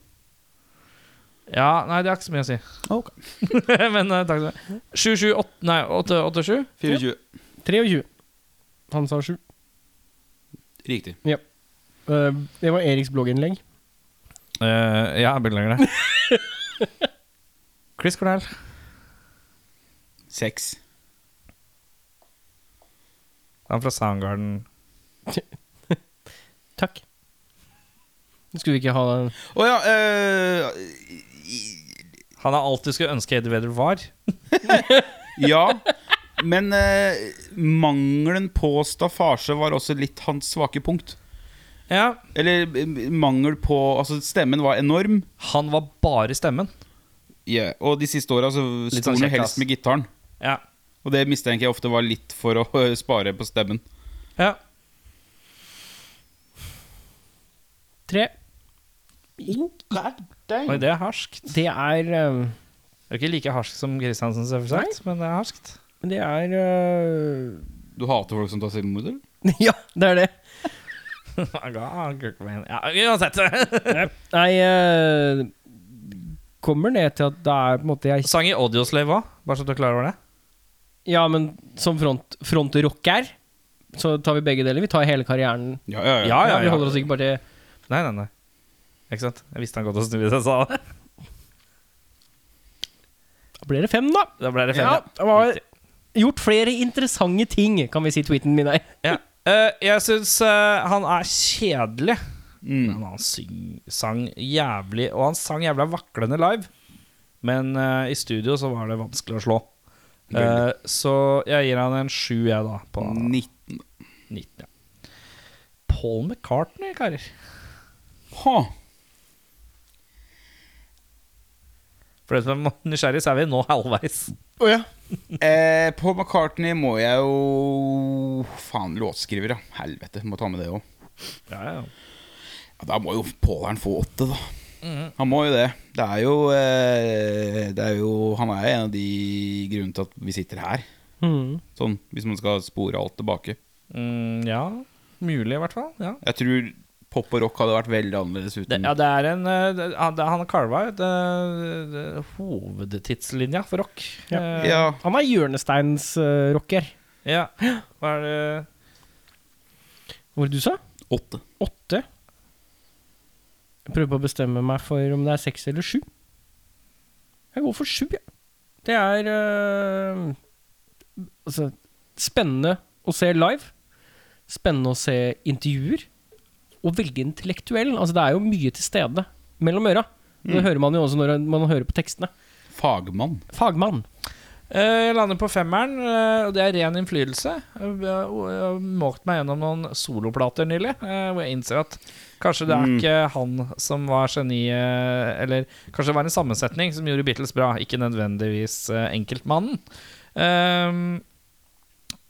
S2: ja, nei, det har ikke så mye å si.
S3: Ok.
S2: men eh, takk skal du ha. 7-7-8, nei, 8-8-7?
S3: 24.
S1: 23. Han sa 7.
S3: Riktig.
S1: Eh, det var Eriks blogginnlegg.
S2: Eh, ja, jeg beklager det. Chris Cornell.
S3: Seks.
S2: Han er fra Soundgarden.
S1: Takk. Skulle vi ikke ha den
S3: Å ja eh,
S2: Han har alltid skulle ønske Eddie Vedder var.
S3: Ja. Men eh, mangelen på staffasje var også litt hans svake punkt.
S2: Ja,
S3: Eller eh, mangel på Altså, stemmen var enorm.
S2: Han var bare stemmen.
S3: Ja, Og de siste åra sto
S2: Litt sånn
S3: han jo
S2: kjekk, ass.
S3: helst med gitaren.
S2: Ja.
S3: Og det mistenker jeg ofte var litt for å spare på stemmen.
S2: ja.
S1: Tre.
S2: Oi, det er harskt.
S1: Det er eh,
S2: Det er ikke like harskt som Kristiansen, selvsagt, men det er harskt.
S1: Det er eh,
S3: Du hater folk som tar selvmord, eller?
S1: Ja, det er det.
S2: ja, uansett.
S1: Nei eh, Kommer ned til at det er på en måte jeg
S2: Sang i Audioslave òg, bare så du er klar over det.
S1: Ja, men som front, frontrocker så tar vi begge deler. Vi tar hele karrieren.
S3: Ja, ja, ja.
S2: Ah, Ja, ja,
S1: Vi
S2: ja.
S1: holder oss ikke bare til
S2: Nei, nei, nei. Ikke sant? Jeg visste han godt å snu hvis jeg sa det.
S1: Da blir det fem, da.
S2: Da ble det fem.
S1: Ja, det var gjort flere interessante ting, kan vi si tweeten min er.
S2: Ja. Eh, jeg syns eh, han er kjedelig. Men han syng, sang jævlig Og han sang jævla vaklende live. Men eh, i studio så var det vanskelig å slå. Eh, så jeg gir han en sju, jeg, da. På
S3: 19.
S2: 19. Ja. Paul McCartney, karer.
S3: Ha.
S2: For det som er nysgjerrig, så er vi nå halvveis.
S3: Eh, på McCartney må jeg jo Faen, låtskriver, ja. Helvete, må ta med det òg.
S2: Ja, ja.
S3: Ja, da må jo Påleren få åtte, da.
S2: Mhm.
S3: Han må jo det. Det er jo, eh, det er jo Han er jo en av de grunnene til at vi sitter her. Sånn, Hvis man skal spore alt tilbake.
S2: Mm, ja. Mulig, i hvert fall. Ja.
S3: Jeg tror pop og rock hadde vært veldig annerledes uten
S2: Det, ja, det er en eh, det, Han det- han karva ut eh, det- hovedtidslinja for rock.
S1: Ja.
S2: Eh,
S3: ja.
S1: Han er hjørnesteinsrocker.
S2: ja. Hva er det
S1: Hvor du sa?
S3: Åtte.
S1: Åtte. Jeg prøver på å bestemme meg for om det er seks eller sju. Jeg går for sju, jeg. Det er øh, altså, spennende å se live. Spennende å se intervjuer. Og veldig intellektuell. Altså, det er jo mye til stede mellom øra. Det hører man jo også når man hører på tekstene.
S3: Fagmann.
S1: Fagmann.
S2: Eh, Eh, Jeg lander på femmeren, eh, og det er ren innflytelse. Jeg har- jeg har målt meg gjennom noen soloplater nylig, eh, hvor jeg innser at kanskje det er ikke han som var geniet eh, Eller kanskje det var en sammensetning som gjorde Beatles bra, ikke nødvendigvis eh, enkeltmannen. Ehm,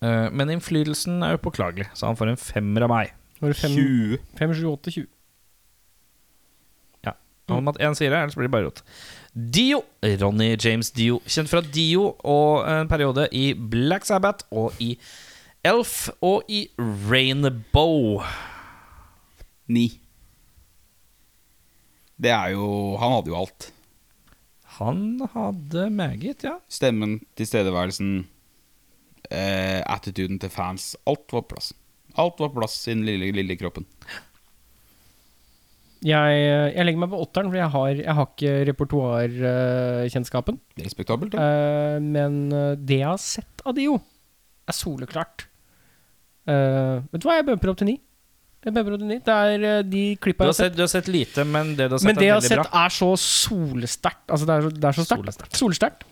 S2: eh, Men innflytelsen er upåklagelig, så han får en femmer av meg.
S1: Var det 5,
S3: 20.
S1: 5, 7, 8, 20?
S2: Han måtte én sier det, ellers blir det bare rot. Dio. Ronny James Dio. Kjent fra Dio og eh, en periode i Black Sabbath og i Elf og i Rainbow.
S3: 9. Det er jo Han hadde jo alt.
S2: Han hadde meget, ja.
S3: Stemmen, tilstedeværelsen, eh, attituden til fans. Alt var på plass. Alt var på plass i den lille, lille kroppen.
S1: Jeg, eh, jeg legger meg på åtteren, for jeg har, jeg har ikke repertoarkjennskapen.
S3: Det er Respektabelt. da.
S1: Eh, men eh, det jeg har sett av Dio, er soleklart. Eh, vet du hva, jeg bumper opp til ni. Jeg bumper opp til ni. Det er eh, de
S2: Du
S1: klippa jeg
S2: har
S1: har sett.
S2: sett, du har sett lite, men det du har sett,
S1: Men det jeg
S2: er
S1: har
S2: veldig
S1: sett,
S2: bra.
S1: er så solsterkt. Altså, det er så, det er så sterkt.
S2: Solsterkt.
S1: Solsterkt.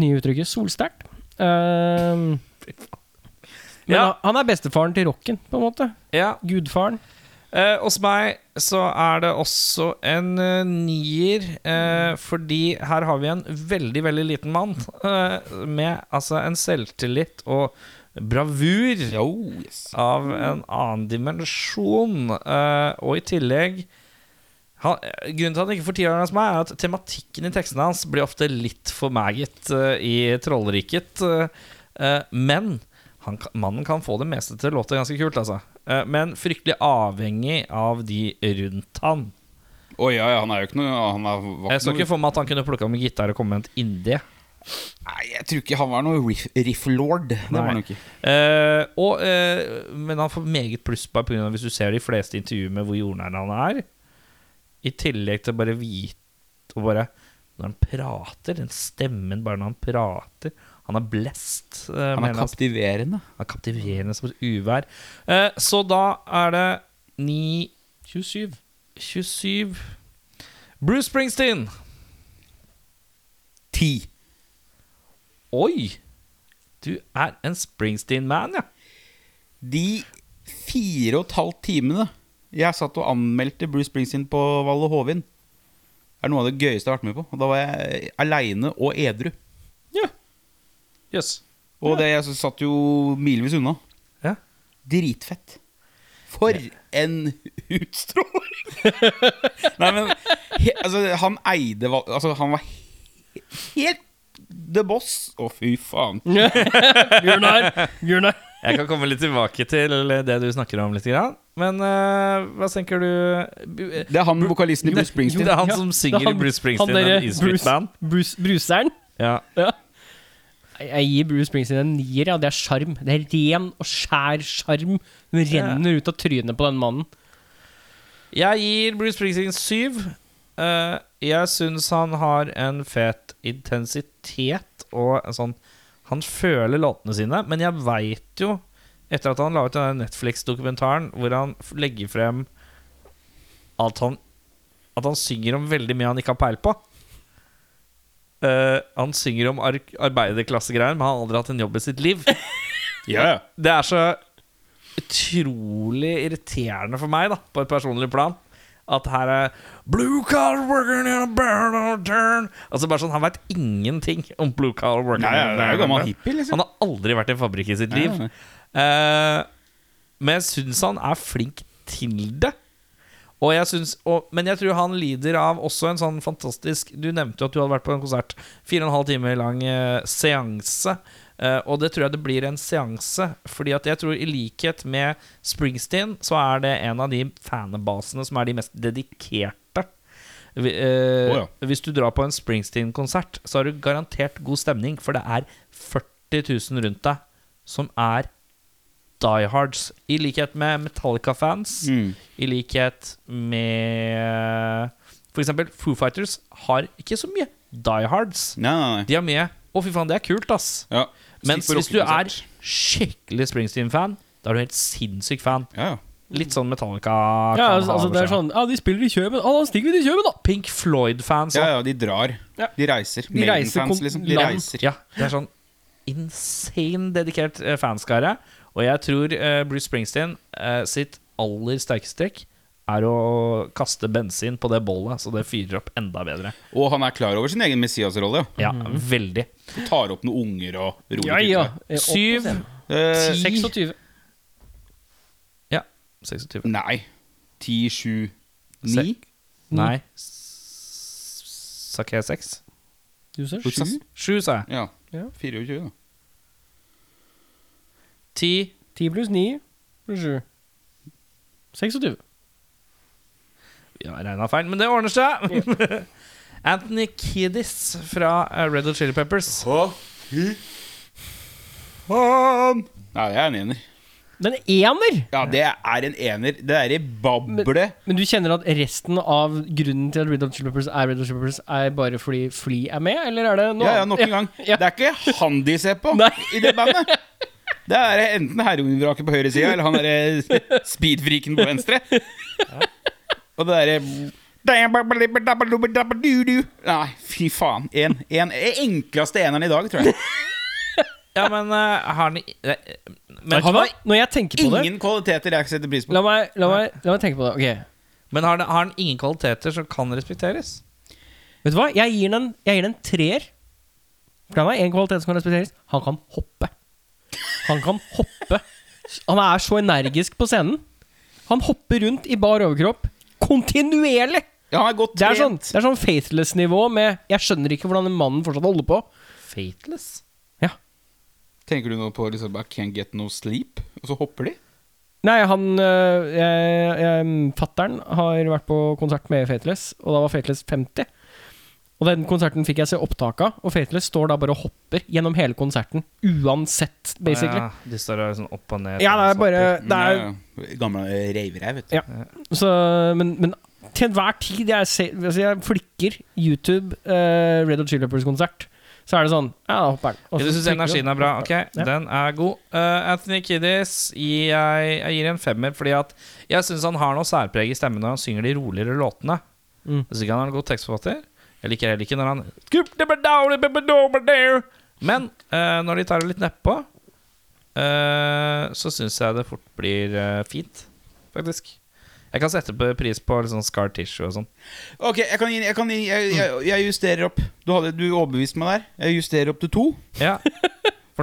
S1: Nye uttrykket. Solsterkt. Eh, men
S2: Ja.
S1: han er bestefaren til rocken, på en måte.
S2: Ja.
S1: Gudfaren.
S2: Eh, hos meg så er det også en eh, nier, eh, fordi her har vi en veldig, veldig liten mann eh, med altså en selvtillit og bravur.
S3: Jo, oh, yes.
S2: av en annen dimensjon. eh, og i tillegg han, eh, Grunnen til at han ikke får tiåren hos meg, er at tematikken i tekstene hans blir ofte litt for maggot eh, i trollriket. eh, eh, men han, kan- mannen kan få det meste til å låte ganske kult, altså. Eh, men fryktelig avhengig av de rundt han.
S3: Å ja, ja, han er jo ikke noe Han er
S2: Jeg så
S3: vakt
S2: ikke for meg at han kunne plukka med gitar og kommet indie.
S3: Nei, jeg tror ikke han var noe riff- riff-lord. Det var han jo ikke.
S2: Eh, og, eh, men han får meget pluss på grunn av hvis du ser de fleste intervjuer med hvor jordnær han er. I tillegg til bare vite og bare Når han prater, den stemmen bare når han prater Han er blessed. eh,
S3: Han
S2: med
S3: er
S2: en-
S3: kaptiverende.
S2: han er kaptiverende som et uvær. Eh, så da er det 9 27. 27. Bruce Springsteen.
S3: Ti.
S2: Oi! Du er en Springsteen-man, ja.
S3: De fire og et halvt timene jeg satt og anmeldte Bruce Springsteen på Valle Hovin, er noe av det gøyeste jeg har vært med på. Og da var jeg aleine og edru.
S2: Jøss.
S3: Og det, jeg satt jo milevis unna.
S2: Ja.
S3: Dritfett. For en utstråling! Nei, men he, altså, han eide Val- Altså, han var he- helt the boss. Å, fy faen.
S1: Jørnar. Jørnar.
S2: Jeg kan komme litt tilbake til det du snakker om litt. Grann. Men eh, hva tenker du Bu- eh,
S3: Det er han vokalisten i Bruce
S2: Det
S3: Springsteen.
S2: er han
S1: Ja,
S2: som
S1: det
S2: synger
S1: er
S2: i
S1: han-
S2: Bruce Springsteen
S1: han
S2: and
S1: derre
S2: His
S1: Bruce-
S2: Band.
S1: Bruce, bruseren.
S2: Ja.
S1: Ja. Jeg- Jeg gir Bruce Springsteen en nier. Ja. Det er sjarm. Det er ren og skjær sjarm. Den renner ut av trynet på den mannen.
S2: Jeg gir Bruce Springsteen syv. Eh, jeg syns han har en fet intensitet og en sånn Han føler låtene sine, men jeg veit jo, etter at han la ut den der Netflix-dokumentaren hvor han f- legger frem at han, at han synger om veldig mye han ikke har peil på Eh, Han synger om ar arbeiderklassegreier, men han har aldri hatt en jobb i sitt liv.
S3: Ja, ja.
S2: Det er så utrolig irriterende for meg, da, på et personlig plan. At her er Blue collar working in a barn on turn Altså bare sånn, Han veit ingenting om blue collar working.
S3: Nei,
S2: in a
S3: ja, det er jo
S2: barn on
S3: gammel
S2: turn.
S3: hippie, liksom.
S2: Han har aldri vært i en fabrikk i sitt
S3: Nei,
S2: liv.
S3: nei.
S2: Eh, men jeg syns han er flink til det. Og jeg synes, og, men jeg tror han lider av også en sånn fantastisk Du nevnte jo at du hadde vært på en konsert. Fire og en halv time lang eh, seanse. Eh, og det tror jeg det blir en seanse. Fordi at jeg tror i likhet med Springsteen, så er det en av de fanbasene som er de mest dedikerte. Vi- eh,
S3: Å,
S2: Hvis du drar på en Springsteen-konsert, så har du garantert god stemning, for det er 40 000 rundt deg som er Die Hards. I likhet med Metallica-fans,
S3: Mm.
S2: i likhet med For eksempel Foo Fighters har ikke så mye Die Hards.
S3: Nei, nei, nei.
S2: De har mye Å, fy faen, det er kult, ass.
S3: Ja.
S2: Mens
S3: Stikk på
S2: hvis du er
S3: rockekonsert.
S2: skikkelig Springsteen-fan, da er du helt sinnssyk fan.
S3: Ja, ja.
S2: Litt sånn Metallica kan
S1: Ja, altså,
S2: ha
S1: altså,
S2: over
S1: det er
S2: seg.
S1: sånn Ja, de spiller i Kjøben. Å, da stikker vi til Kjøben, da!
S2: Pink Floyd-fans.
S3: ja,
S2: Ja,
S3: ja, de drar.
S1: Ja.
S3: De reiser.
S1: De reiser
S3: Maiden-fans,
S1: kon-
S3: liksom. De
S1: land.
S3: reiser.
S2: det er sånn insane dedikert eh, fanskare. Og jeg tror eh, Bruce Springsteen eh, sitt aller sterkeste trekk er å kaste bensin på det bollet, så det fyrer opp enda bedre.
S3: Og han er klar over sin egen Messias-rolle.
S2: Ja, veldig.
S3: ja. Tar opp noen unger og
S1: Ja,
S3: roer litt
S1: ja. Eh, opp
S3: ut
S1: på
S2: Syv.
S1: scenen.
S3: der. Eh,
S1: 26.
S2: Ja, 26.
S3: Nei. Ti, sju, ni?
S2: Nei. S- Sa ikke jeg seks?
S1: Du ser
S3: Sju?
S1: sju.
S2: Sju, sa jeg.
S3: Ja.
S1: Ja.
S3: 24, da.
S2: Ti.
S1: 10 pluss 9 pluss 7. 26.
S2: Vi har regna feil, men det ordner seg. Anthony Kiddis fra eh, Red Hot Chili Peppers.
S3: Nei, det er en ener.
S1: Den ener!
S3: Ja, det er en ener. Det derre bablet
S1: Men du kjenner at resten av grunnen til at Red Hot Chili Peppers er Red Hot Chili Peppers, er bare fordi Fly er med, eller er det noe
S3: Ja, ja, nok en gang.
S1: ja.
S3: Det er ikke han de ser på
S1: Nei.
S3: i det bandet. Det er enten heroinvraket på høyre side, eller han derre speedfreaken på venstre. Og det derre Nei, fy faen. En, en, enkleste eneren i dag, tror jeg.
S2: Ja, men eh, har han i- nei, men,
S1: Vet du hva? Når jeg tenker på det
S3: Ingen kvaliteter jeg setter pris på.
S1: La meg, la, meg, la meg tenke på det. Ok,
S2: men har, han, har han ingen kvaliteter som kan respekteres?
S1: Vet du hva? Jeg gir den en, jeg gir den en treer. For han har én kvalitet som kan respekteres. Han kan hoppe. Han kan hoppe. Han er så energisk på scenen. Han hopper rundt i bar overkropp kontinuerlig.
S3: Ja, han er godt
S1: Det er sånn,
S3: trent.
S1: det er sånn faithless-nivå med 'jeg skjønner ikke hvordan den mannen fortsatt holder på'.
S2: Fateless?
S1: Ja.
S3: Tenker du nå på liksom, I can't get no sleep, og så hopper de?
S1: Nei, han øh, jeg- jeg- Fatteren har vært på konsert med Faithless, og da var Faithless 50. Og den konserten fikk jeg se opptak av, og Faithless står da bare og hopper gjennom hele konserten. Uansett, basically.
S2: Ja, de står der sånn opp og ned.
S1: Ja, det er
S2: sånn
S1: bare det
S3: Ja,
S1: er,
S3: ja. Gamle reiverev, vet du.
S1: Ja. så, men, men til enhver tid jeg, ser, altså jeg flikker YouTube eh, Red Hot Chili Peppers-konsert, så er det sånn Ja, da hopper den. Og
S2: Ja,
S1: så
S2: Du syns
S1: flikker
S2: energien
S1: den.
S2: er bra? Ok,
S1: Ja.
S2: den er god. Eh, Anthony Kiddis gir jeg, jeg gir en femmer fordi at jeg syns han har noe særpreg i stemmen når han synger de roligere låtene.
S1: Mm.
S2: Jeg syns ikke han er en god tekstforfatter. Jeg liker heller ikke når han Men eh, når de tar det litt nedpå, eh, så syns jeg det fort blir eh, fint, faktisk. Jeg kan sette på pris på litt sånn scar tissue og sånn.
S3: Ok, jeg, kan, gi- jeg, kan, gi- jeg, jeg, jeg justerer opp. Du, hadde, du overbeviste meg der. Jeg justerer opp til to.
S2: Ja. For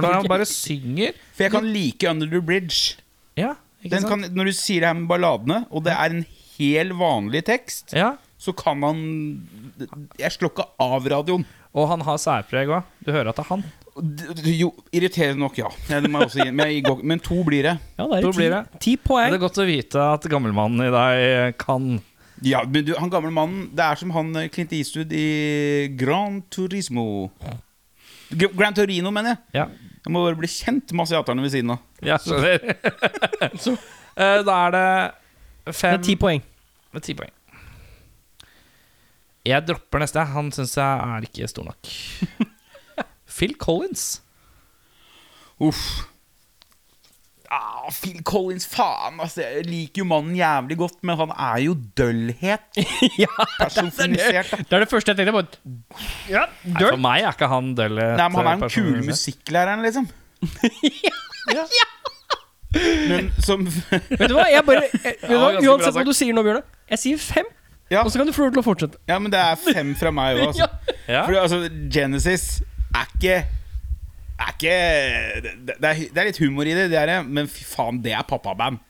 S2: når han bare synger
S3: For jeg kan like Under the Bridge.
S2: Ja, ikke
S3: Den
S2: sant?
S3: kan, når du sier det her med balladene, og det er en helt vanlig tekst,
S2: Ja.
S3: så kan han Jeg slår ikke av radioen.
S2: Og han har særpreg òg. Du hører at det er han.
S3: D- d- Jo, irriterende nok, ja. Ja, det må jeg også gi, men, jeg, går- men to blir det.
S1: Ja, det er
S2: Da blir
S1: jo ti, ti poeng.
S2: Det er godt å vite at gammelmannen i deg eh, kan
S3: Ja, men du, Han gamle mannen, det er som han eh, Clint Eastwood i Gran Turismo. Gr- Gran Torino, mener jeg.
S2: Ja,
S3: Jeg må bare bli kjent med asiaterne ved siden av.
S2: jeg skjønner. Eh, da er det
S1: Det
S2: fem
S1: er ti poeng.
S2: med ti poeng. Jeg dropper neste. Han syns jeg er ikke stor nok. Phil Collins.
S3: Uff. Ah, Phil Collins, faen! Altså, jeg liker jo mannen jævlig godt, men han er jo døllhet.
S1: ja,
S3: Personifisert. da.
S1: det er det første jeg tenkte på. Ja,
S2: Nei,
S1: dirt.
S2: for meg er ikke han dølle.
S3: Nei, men Han er den kule musikklæreren, liksom. Men som
S1: Vet du hva, jeg bare jeg, vet du hva?
S2: ganske bra
S1: Uansett hva
S2: sagt.
S1: du sier nå, Bjørne. Jeg sier fem,
S3: Ja.
S1: og så kan du få lov til å fortsette.
S3: Ja, men det er fem fra meg òg, altså.
S2: Ja.
S3: For altså, Genesis er ikke er ikke det, det, er, det er litt humor i det, det er det, men fy faen, det er pappaband.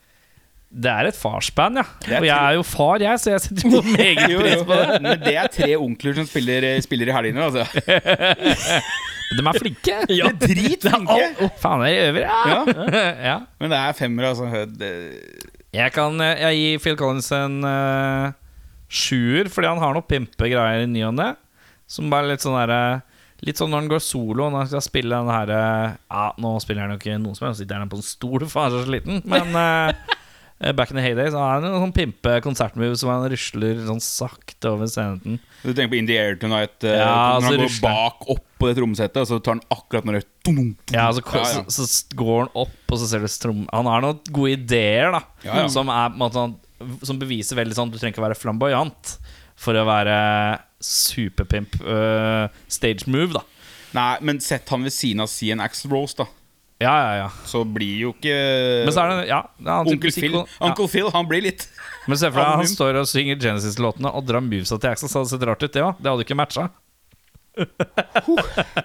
S2: Det er et farsband, ja.
S3: er
S2: Og jeg er jo far, jeg, så jeg setter jo meget
S3: Jo,
S2: pris
S3: jo.
S2: på det.
S3: Men det er tre onkler som spiller, eh, spiller i helgene, altså.
S2: De er flinke.
S3: Dritflinke!
S2: Faen, jeg øver, ja. ja.
S3: Men det er femmer, altså. Det,
S2: Jeg kan eh, Jeg gir Phil Collins en eh, sjuer, fordi han har noen pimpegreier i ny og ne. Som bare er litt sånn derre Litt sånn når han går solo, når han skal spille den herre Ja, nå spiller han jo ikke noen som helst, sitter han på en stol, for han er så sliten. Men eh, back in the heyday så har han en sånn pimpe konsertmove som han rusler sånn sakte over scenen.
S3: du tenker på In the Air Tonight, eh,
S2: Ja, altså, så
S3: når han går
S2: rusler.
S3: bak opp på det trommesettet, og så tar han akkurat når det dum, dum.
S2: Ja, så,
S3: Ja, ja.
S2: Så, så går han opp, og så ser du strom... Han har noen gode ideer, da.
S3: Ja, ja.
S2: Som, er, på en måte sånn- som beviser veldig sånn Du trenger ikke være flamboyant for å være superpimp øh, stage move, da.
S3: Nei, men sett han ved siden av CN Axl Rose, da.
S2: Ja, ja, ja.
S3: Så blir jo ikke
S2: Men så er det Ja, det er annen type
S3: Onkel
S2: musikk,
S3: Phil,
S2: og- ja.
S3: Uncle Phil, han blir litt
S2: Men se for deg han
S3: Anonym.
S2: står og synger Genesis-låtene og drar movesa til Axel. Så hadde det sett rart ut, det òg. Det hadde ikke matcha.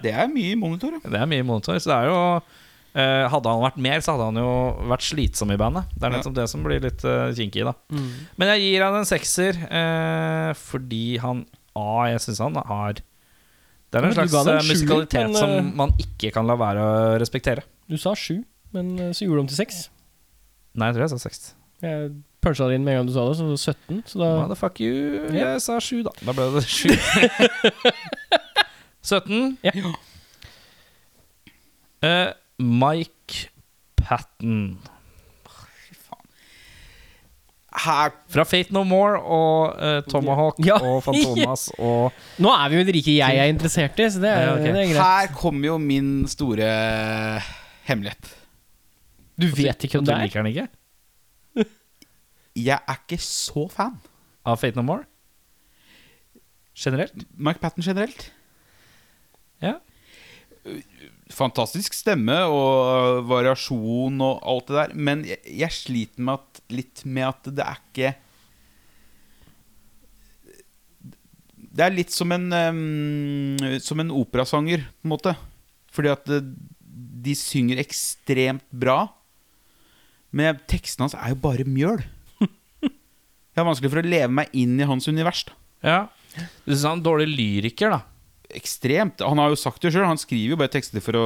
S3: Det er mye i monitor, ja.
S2: Det er mye monitor. Så det er jo eh, Hadde han vært mer, så hadde han jo vært slitsom i bandet. Det er nettopp det som blir litt eh, kinkig, da.
S1: Mm.
S2: Men jeg gir han en sekser eh, fordi han A, jeg syns han har Det er
S1: Men
S2: en
S1: du
S2: slags
S1: ga det en
S2: eh,
S1: sjuer,
S2: musikalitet
S1: men,
S2: som
S1: eh,
S2: man ikke kan la være å respektere.
S1: Du sa sju, men eh, så gjorde du om til seks.
S2: Nei, jeg tror jeg sa seks.
S1: Jeg punchet det inn med en gang du sa det, så det var 17. Så da
S2: Motherfuck you.
S1: Ja.
S2: Jeg sa sju, da. Da ble det sju. 17.
S1: Ja.
S2: Eh, Mike Patten
S3: Her
S2: fra Fate No More og eh, Tomahawk
S1: Ja.
S2: og Fantomas og
S1: Nå er vi jo i det riket jeg er interessert i, så det er,
S2: Ja, ok.
S1: det er greit.
S3: Her kommer jo min store eh, hemmelighet.
S1: Du vet ikke
S2: Du
S1: hvem det er?
S2: liker den ikke?
S3: Jeg er ikke så fan.
S2: Av Fate No More? Generelt?
S3: Mike Patten generelt.
S2: Ja.
S3: Fantastisk stemme og variasjon og alt det der, men jeg, jeg sliter med at, litt med at det er ikke Det er litt som en ehm, Som en operasanger, på en måte. Fordi at det, de synger ekstremt bra, men jeg- tekstene hans er jo bare mjøl. Det er vanskelig for å leve meg inn i hans univers. da
S2: Ja. Du syns han er en dårlig lyriker, da?
S3: ekstremt. Han har jo sagt det sjøl, han skriver jo bare tekster for å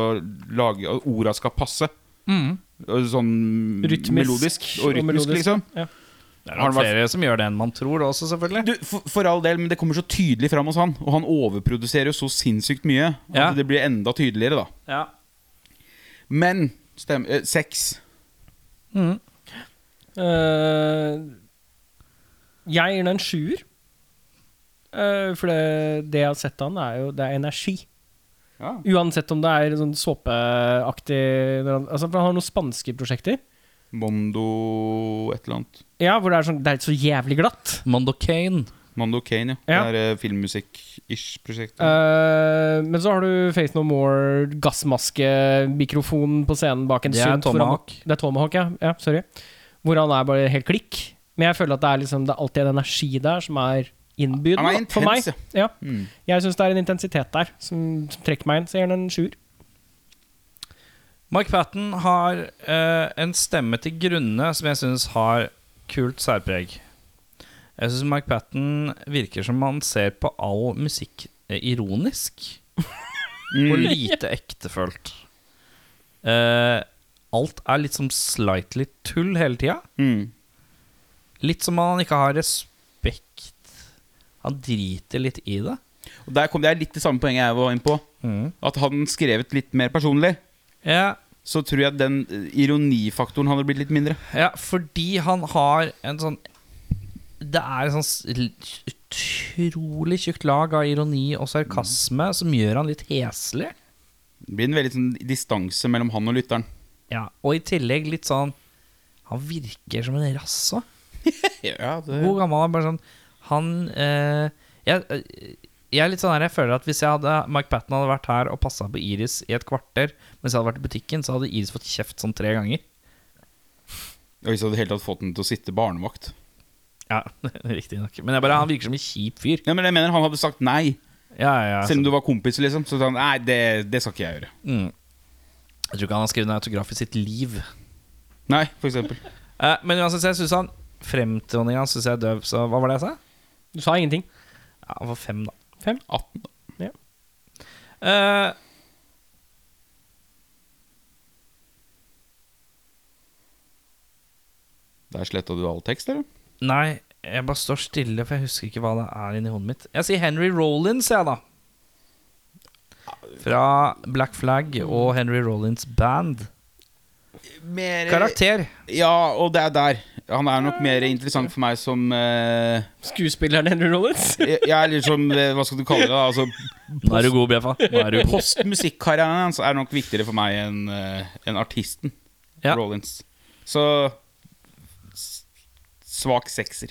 S3: lage at Orda skal passe. Og Sånn
S1: Mm. Rytmisk
S3: melodisk og
S1: og
S3: rytmisk,
S1: melodisk,
S3: liksom.
S1: ja.
S2: Det
S3: Har
S2: er
S3: han vært-
S2: flere som gjør det enn man tror også, selvfølgelig.
S3: Du, for, for all del, men det kommer så tydelig fram hos han. Og han overproduserer jo så sinnssykt mye at
S2: Ja.
S3: det blir enda tydeligere, da.
S2: Ja.
S3: Men stem, eh, sex
S1: Eh, jeg gir den en sjuer. Eh, for det, det jeg har sett av den, er jo det er energi.
S3: ja.
S1: Uansett om det er sånn såpeaktig når han- altså, For han har noen spanske prosjekter.
S3: Mondo et eller annet.
S1: Ja, hvor det er, sånn, det er så jævlig glatt.
S2: Mondo Kane.
S3: Mondo Kane, ja.
S1: Ja.
S3: Det er eh, filmmusikk-ish-prosjektet.
S1: Eh, men så har du Face No More, gassmaske, mikrofon på scenen bak en
S2: Det er
S1: synt hvor han-
S2: Tomahawk.
S1: Det er Tomahawk, ja. ja sorry. Hvor han er bare helt klikk. Men jeg føler at det er, liksom, det er alltid en energi der som er innbydende
S3: Han er
S1: da, for meg.
S3: intens,
S1: Ja.
S3: ja. Mm.
S1: Jeg syns det er en intensitet der som, som trekker meg inn. Så jeg gir den en sjuer.
S2: Mike Patten har eh, en stemme til grunne som jeg syns har kult særpreg. Jeg syns Mike Patten virker som han ser på all musikk eh, ironisk og lite ektefølt. Eh, alt er litt som slightly tull hele tida.
S3: Mm.
S2: Litt som om han ikke har respekt. Han driter litt i det.
S3: Og der kom, det er litt det samme poenget jeg var inne på. At han skrevet litt mer personlig,
S2: Ja,
S3: så tror jeg den eh, ironifaktoren hadde blitt litt mindre.
S2: Ja, fordi han har en sånn Det er en sånn s- l- utrolig tjukt lag av ironi og sarkasme som gjør han litt heslig.
S3: Det blir en veldig sånn distanse mellom han og lytteren.
S2: Ja, og i tillegg litt sånn Han virker som en rasse.
S3: Ja,
S2: Hvor gammel er bare sånn Han eh, jeg, eh, jeg er litt sånn her Jeg føler at hvis jeg hadde Mike Patten hadde vært her og passa på Iris i et kvarter mens jeg hadde vært i butikken, så hadde Iris fått kjeft sånn tre ganger.
S3: Og hvis jeg hadde helt tatt fått den til å sitte barnevakt.
S2: Ja, riktig nok. Men jeg bare, han virker som en kjip fyr.
S3: Ja, men jeg mener Han hadde sagt nei,
S2: Ja, ja, ja.
S3: selv om du var kompis. liksom Så sa han nei, det, det skal ikke jeg gjøre.
S2: Mm. Jeg tror ikke han har skrevet en autograf i sitt liv.
S3: Nei, for eksempel.
S2: Eh, men uansett, jeg synes han Fremtoningen hans syns jeg er døv, så hva var det jeg sa?
S1: Du sa ingenting.
S2: Ja, han var fem, da.
S3: 18.
S2: Eh,
S3: Der sletta du all tekst, eller?
S2: nei, jeg bare står stille, for jeg husker ikke hva det er inni hodet mitt. Jeg sier Henry Rollins, jeg, da. Fra Black Flag og Henry Rollins Band. Karakter.
S3: Ja, og det er der. Han er nok mer interessant for meg som eh,
S1: Skuespilleren Henry Rollins.
S3: jeg, jeg er litt som eh, Hva skal du kalle det? da Altså
S2: Nå er du god, Bjeffa. Nå er du god.
S3: Postmusikkarrieren hans er nok viktigere for meg enn eh, enn artisten
S2: Ja.
S3: Rollins. Så s- svak sekser.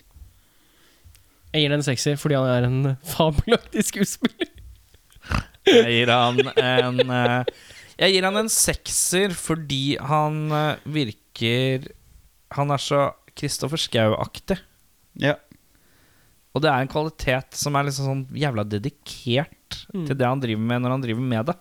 S1: Jeg gir den en sekser fordi han er en fabelaktig skuespiller.
S2: Jeg gir han en eh, Jeg gir han en sekser fordi han eh, virker Han er så Kristoffer Schou-aktig.
S3: Ja.
S2: Og det er en kvalitet som er liksom sånn jævla dedikert
S1: Mm.
S2: til det han driver med når han driver med det.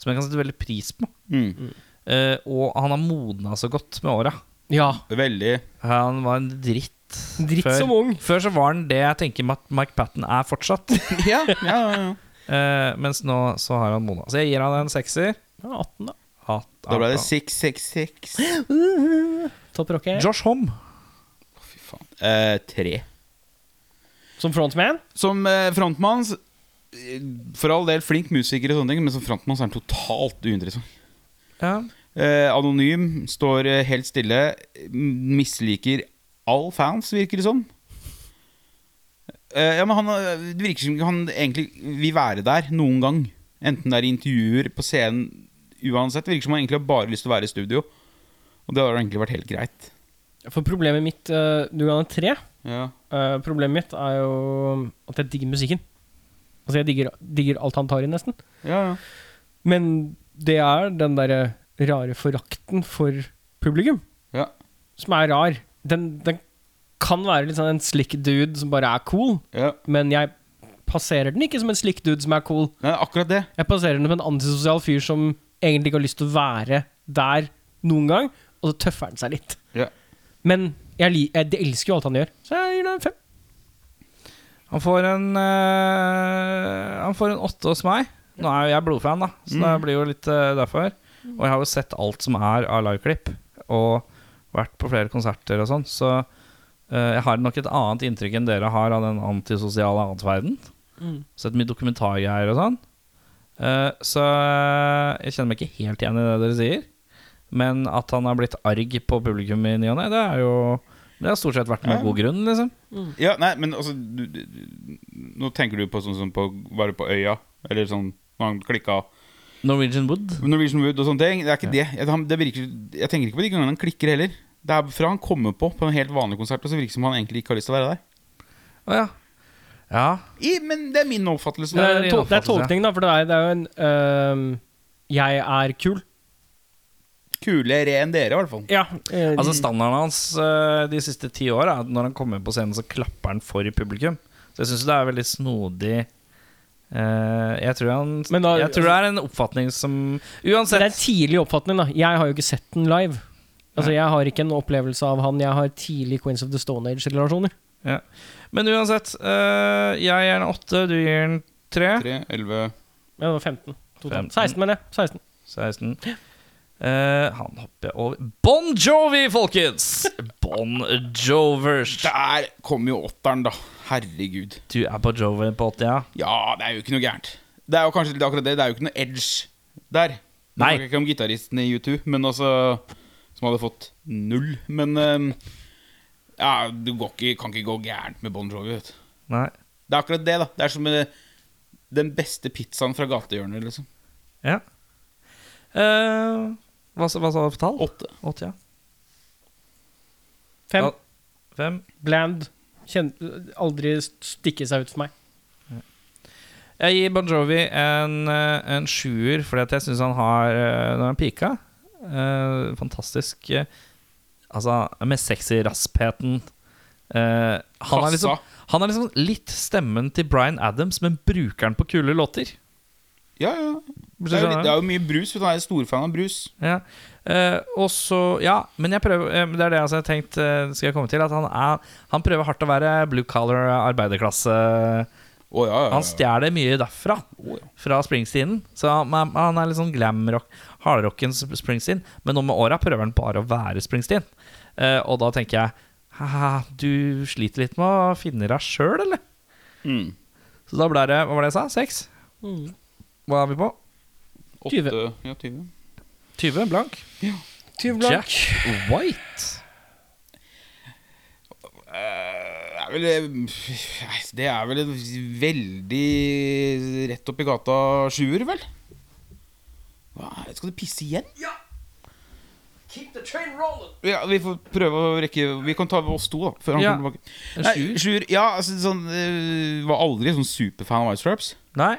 S2: Som jeg kan sette veldig pris på.
S3: Mm.
S2: Eh, og han har modna så godt med åra.
S1: Ja.
S3: Veldig.
S2: Han var en dritt.
S1: Dritt
S2: før.
S1: som ung.
S2: Før så var han det jeg tenker Ma- Mike Patten er fortsatt.
S3: Ja, ja, ja, ja.
S2: Eh, mens nå så har han modna. Så jeg gir han en sekser.
S1: ja 18, da.
S2: Hat-
S3: Da ble det
S2: hat-
S3: 666.
S1: Topp rocker.
S2: Josh Homme.
S3: Fy faen. Eh, tre.
S1: Som frontman?
S3: Som eh, frontmann s- eh, For all del flink musiker og sånne ting, men som frontmann så er han totalt uinteressant.
S2: Ja.
S3: Eh, anonym, står eh, helt stille, m- misliker all fans, virker det som. Eh, ja, men han, eh, det virker som han egentlig vil være der noen gang. Enten det er i intervjuer, på scenen, uansett. Det virker som han egentlig har bare lyst til å være i studio. Og det har egentlig vært helt greit.
S1: For problemet mitt eh, Du kan ha tre.
S3: Ja.
S1: Eh, problemet mitt er jo at jeg digger musikken. Altså, jeg digger, digger alt han tar i, nesten.
S3: Ja, ja.
S1: Men det er den derre rare forakten for publikum,
S3: Ja.
S1: som er rar. Den, den kan være litt sånn en slick dude som bare er cool,
S3: ja.
S1: men jeg passerer den ikke som en slick dude som er cool.
S3: Nei, akkurat det.
S1: Jeg passerer den som en antisosial fyr som egentlig ikke har lyst til å være der noen gang, og så tøffer han seg litt.
S3: Ja.
S1: Men jeg, li- jeg jeg elsker jo alt han gjør, så jeg gir det en fem.
S2: Han får en eh, Han får en åtte hos meg. Nå er jo jeg blodfan, da, så det blir jo litt eh, derfor. Og jeg har jo sett alt som er av liveklipp, og vært på flere konserter og sånn, så eh, jeg har nok et annet inntrykk enn dere har av den antisosiale atferden. Sett mye dokumentargreier og sånn. Eh, så eh, jeg kjenner meg ikke helt igjen i det dere sier. Men at han har blitt arg på publikum i ny og ne, det er jo Det har stort sett vært med
S3: Ja.
S2: god grunn, liksom.
S3: Ja, nei, men altså du, du, du- Nå tenker du på sånn som på Bare på øya Eller sånn Når han klikka
S2: Norwegian Wood.
S3: Norwegian Wood og sånne ting Det er ikke det jeg, han, det virker, jeg tenker ikke på de gangene han klikker heller Det er fra han kommer på På en helt vanlig konsert Og så virker det som han egentlig ikke har lyst til å være der
S2: Å ja. Ja.
S3: I, Men det er min
S1: Det
S3: oppfattelse
S2: Ja,
S1: er, tol eh, det
S2: din
S1: er
S2: oppfattelse.
S1: tolkning, da, for det er, det er jo en øhm, Jeg er kul.
S3: Kulere enn dere i hvert fall
S1: Ja.
S2: Altså Standarden hans eh, de siste ti åra er at når han kommer på scenen, så klapper han for publikum. Så jeg syns det er veldig snodig. Eh, jeg, tror han,
S1: Men da-
S2: jeg tror det er en oppfatning som Uansett.
S1: det er tidlig oppfatning, da. Jeg har jo ikke sett den live. Altså, Jeg har ikke en opplevelse av han. Jeg har tidlig Queens of the Stone Age-relasjoner.
S2: Men uansett. eh, jeg gir den åtte, du gir den tre.
S3: 3, 11
S1: Ja, det var 15. totalt.
S2: 15.
S1: 16, mener jeg. 16.
S2: 16. Eh, han hopper jeg over Bon Jovi, folkens! Bon Jovers.
S3: Der kommer jo åtteren da Herregud
S2: Du er på Jovi på 80, ja?
S3: Ja, det er jo ikke noe gærent Det er jo kanskje litt akkurat det Det er jo ikke noe edge der Nå
S2: Nei.
S3: snakker jeg Ikke om gitaristen i U2 Men altså Som hadde fått null Men ehm, Ja, du går ikke, kan ikke gå gærent med Bon Jovi vet du.
S2: Nei.
S3: Det er akkurat det da Det er som eh, den beste pizzaen fra gatehjørnet liksom
S2: Ja. Eh, hva, sa- hva sa du for tall?
S3: Åtte
S2: Åtte, ja.
S1: 5.
S2: Ja. Fem.
S1: Bland. Kjen aldri stikke seg ut for meg.
S2: Jeg gir Bon Jovi en, eh, en sjuer, fordi at jeg syns han har eh, Når han pika eh, Fantastisk eh, Altså, med sexy raspheten. Eh, han, er liksom,
S3: Kassa.
S2: han er liksom litt stemmen til Bryan Adams, men bruker den på kule låter.
S3: Ja, ja
S2: Hvis du
S3: Det er jo,
S2: skjønner?
S3: litt, det er jo mye brus vet du, Han er stor fan av brus
S2: Ja. Eh, og så Ja, men jeg prøver eh, Det er det altså, jeg har tenkt eh, skal jeg komme til. At han, er, han prøver hardt å være blue collar arbeiderklasse.
S3: Å ja, ja,
S2: Han
S3: ja,
S2: stjeler mye derfra. Fra Springsteenen. Så han, er- han er litt sånn glamrock, hardrockens Springsteen. Men nå med åra prøver han bare å være Springsteen. Eh, og da tenker jeg Haha, du sliter litt med å finne deg sjøl, eller?
S3: Mm.
S2: Så da ble det Hva var det jeg sa? Seks? Hva er vi på?
S3: Åtte Ja, 20
S2: 20? Blank?
S1: Tyv
S2: Jack
S1: blank.
S2: White.
S3: Det er vel eh, Det er vel en veldig rett opp i gata sjuer, vel? Hva er det? Skal du pisse igjen? Ja! Vi får prøve å rekke Vi kan ta oss to, da. Før han
S2: Ja.
S3: kommer tilbake.
S2: En
S3: Nei,
S2: sjuer?
S3: sjuer Ja, altså, sånn eh, Var aldri sånn superfan av White Stripes.
S2: Nei?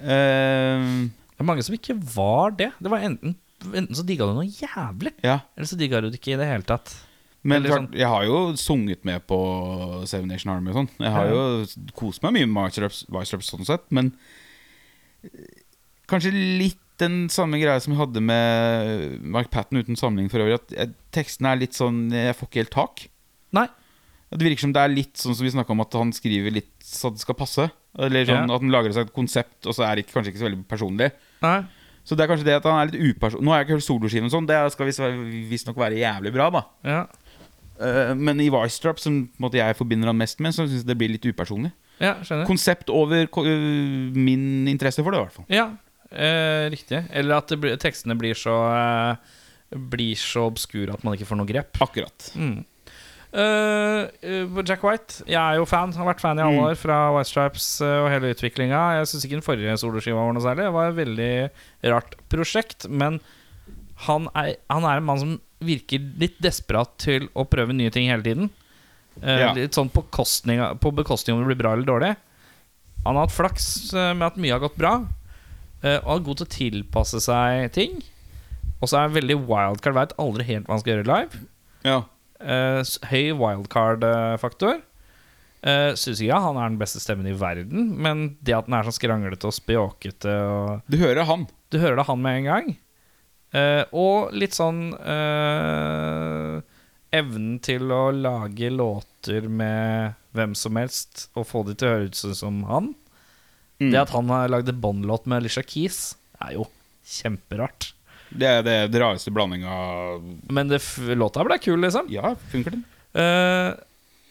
S3: Eh,
S2: Det er mange som ikke var det. Det var Enten, enten så digga du noe jævlig,
S3: ja.
S2: eller så digga du det ikke i det hele tatt.
S3: Men
S2: Eller
S3: klart, jeg har jo sunget med på Seven Nation Army og sånn. Jeg har jo kost meg mye med Vicerups sånn sett, men eh, kanskje litt den samme greia som jeg hadde med Mark Patten uten sammenligning for øvrig, at jeg, tekstene er litt sånn Jeg får ikke helt tak.
S2: Nei.
S3: Det virker som det er litt sånn som vi snakka om, at han skriver litt så det skal passe. Eller sånn
S2: Ja.
S3: at han lager seg et konsept, og så er det ikke- kanskje ikke så veldig personlig.
S2: Nei.
S3: Så det er kanskje det at han er litt uperson... Nå har jeg ikke hørt soloskiven og sånn, det skal visst- visstnok være jævlig bra, da.
S2: Ja.
S3: Eh, men i Vicetrap, som på en måte, jeg forbinder han mest med, så syns jeg det blir litt upersonlig.
S2: ja, skjønner.
S3: Konsept over ko- øh, min interesse for det, i hvert fall.
S2: Ja, eh, riktig. Eller at det blir- tekstene blir så eh, Blir så obskure at man ikke får noe grep.
S3: Akkurat.
S2: Mm. Eh, eh, Jack White. Jeg er jo fan. Har vært fan i alle
S3: Mm.
S2: år fra White Stripes eh, og hele utviklinga. Jeg syns ikke den forrige soloskiva var noe særlig. Det var et veldig rart prosjekt. Men han er, han er en mann som virker litt desperat til å prøve nye ting hele tiden. Eh,
S3: Ja.
S2: Litt sånn på, kostning, av- på bekostning om det blir bra eller dårlig. Han har hatt flaks eh, med at mye har gått bra, eh, og er god til å tilpasse seg ting. Og så er han veldig wildcard, veit aldri helt hva han skal gjøre live.
S3: Ja.
S2: Eh, s- høy wildcard-faktor. Uh, Syns ikke han er den beste stemmen i verden, men det at den er så skranglete og spjåkete og
S3: Du hører han.
S2: Du hører det han med en gang. Eh, og litt sånn eh, Evnen til å lage låter med hvem som helst og få de til å høres ut som han.
S3: Mm.
S2: Det at han har lagd en båndlåt med Alicia Keys, er jo kjemperart.
S3: Det er det, det rareste blandinga
S2: Men det, f- låta ble kul, liksom.
S3: Ja, funker den?
S2: Eh,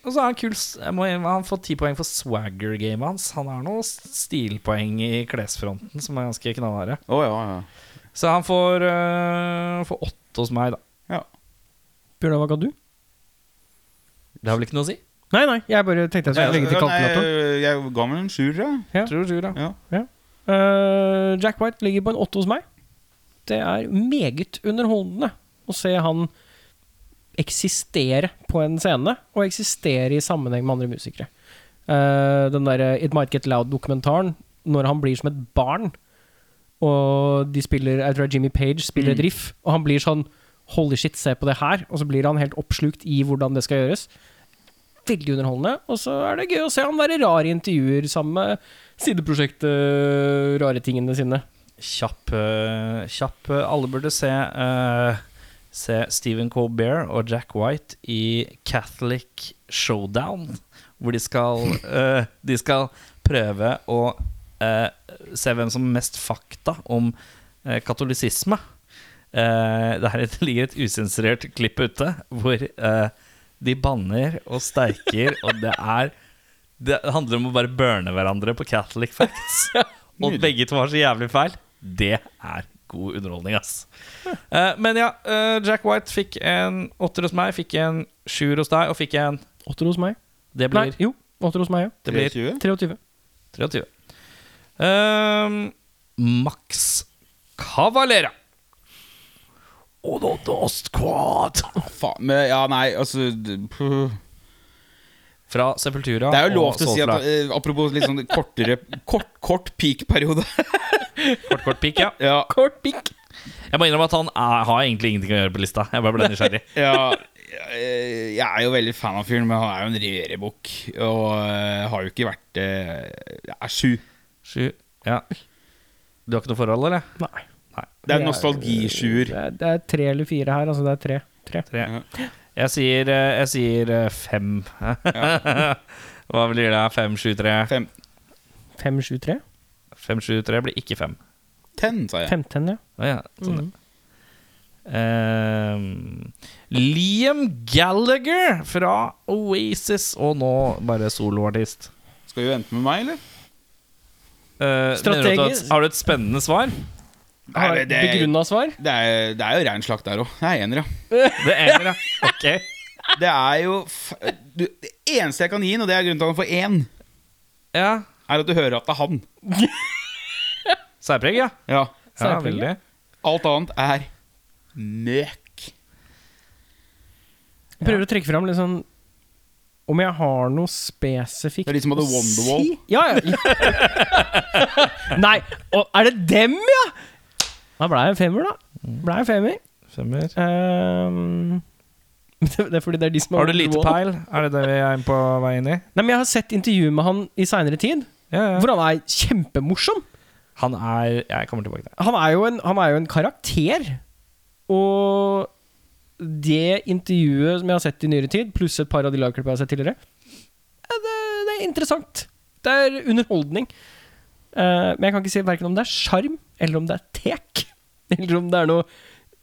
S2: og så er han kul s- jeg må, innrømme, Han får ti poeng for swagger-gamet hans. Han har noen s- stilpoeng i klesfronten som er ganske knallharde.
S3: Å ja, ja.
S2: Så han får, eh, får åtte hos meg, da.
S1: Bjørnar, hva ga du?
S2: Det har vel ikke noe å si?
S1: Nei, nei, jeg bare tenkte jeg skulle legge til
S3: Nei, eh,
S1: kalkulatoren.
S3: jeg ga meg en sjuer, jeg.
S1: Ja.
S2: Tror du, da?
S3: Ja.
S1: Eh, Jack White ligger på en åtte hos meg. Det er meget underholdende å se han eksistere på en scene, og eksistere i sammenheng med andre musikere. Eh, den derre It Might Get Loud-dokumentaren, når han blir som et barn, og de spiller Jeg tror det er Jimmy Page spiller et riff, og han blir sånn Holy shit, se på det her! Og så blir han helt oppslukt i hvordan det skal gjøres. Veldig underholdende. Og så er det gøy å se han være rar i intervjuer sammen med sideprosjektet rare tingene sine.
S2: Kjapp, eh, kjapp eh, Alle burde se eh, Se Stephen Colbert og Jack White i Catholic Showdown. Hvor de skal, eh, de skal prøve å eh, se hvem som har mest fakta om eh, katolisisme. Eh, der det ligger et usensurert klipp ute hvor eh, de banner og steiker, og det er Det handler om å bare burne hverandre på Catholic facts. Og at begge to har så jævlig feil. Det er god underholdning, ass. Eh, men ja, eh, Jack White fikk en åtter hos meg, fikk en sjuer hos deg, og fikk en
S1: Åtter hos meg.
S2: Det
S1: Nei,
S2: blir,
S1: jo. Åtter hos meg, ja.
S2: det blir
S3: 23.
S1: 23.
S2: 23. Ehm, Max Cavalera. Og da Dost Quad.
S3: Faen, men ja, nei, altså d- puh.
S2: Fra Sepultura.
S3: Det er jo
S2: og
S3: lov til å si at
S2: Soulfly.
S3: eh, Apropos litt sånn kortere Kort, kort peak-periode.
S2: Kort, kort pikk, ja.
S3: ja,
S1: Kort pikk.
S2: Jeg må innrømme at han er, har egentlig ingenting å gjøre på lista. Jeg bare ble nysgjerrig.
S3: ja, eh, jeg er jo veldig fan av fyren, men han er jo en rerebukk. Og eh, har jo ikke vært det Jeg er sju.
S2: Sju. Ja. Du har ikke noe forhold, eller?
S1: Nei.
S3: Det er nostalgisjuer.
S1: Det er, det er tre eller fire her, altså. Det er tre. tre.
S2: Tre. Jeg sier, eh, jeg sier eh, fem. Hva blir det? Fem, sju, tre?
S3: Fem,
S1: Fem, sju, tre.
S2: Fem, sju, tre blir ikke fem.
S3: ten, sa jeg.
S1: Femten, ja.
S2: Å ja, sånn ja. Ehm, Liam Gallagher fra Oasis, og nå bare soloartist.
S3: Skal du vente med meg, eller?
S2: Eh, mener du at du har et-
S1: Strategi-
S2: har du et spennende svar?
S3: Nei,
S1: Har
S3: men det-
S1: Begrunna svar.
S3: Det er, det er jo rein slakt der òg. Jeg er ener, ja.
S2: Det er det, ja. Ok.
S3: Det er jo f du, Det eneste jeg kan gi den, og det er grunnen til at han får én,
S2: Ja.
S3: er at du hører at det er han.
S2: Særpreg, ja.
S3: Ja.
S2: ja
S1: Særpreg, ja.
S2: veldig.
S3: Alt annet er møk.
S1: Jeg prøver å trekke fram litt sånn om jeg har noe spesifikt
S3: Det er de som hadde
S1: å
S3: Wonderwall.
S1: si. Ja, ja. Nei, og er det dem, ja? Da ble jeg en femmer, da. Ble jeg en femmer.
S2: Femmer.
S1: Ehm, det det er fordi det er de som
S2: Har du
S1: vært
S2: lite
S1: på Wall.
S2: peil? Er det det vi er på vei inn i?
S1: Nei, men Jeg har sett intervjuer med han i seinere tid,
S2: Ja, ja.
S1: hvor han er kjempemorsom.
S2: Han er Jeg kommer tilbake der.
S1: Han er jo en, han er jo en karakter. Og det intervjuet som jeg har sett i nyere tid, pluss et par av de lagklippene jeg har sett tidligere, ja, det, det er interessant. Det er underholdning. Eh, men jeg kan ikke si verken om det er sjarm, eller om det er tek. Eller om det er noe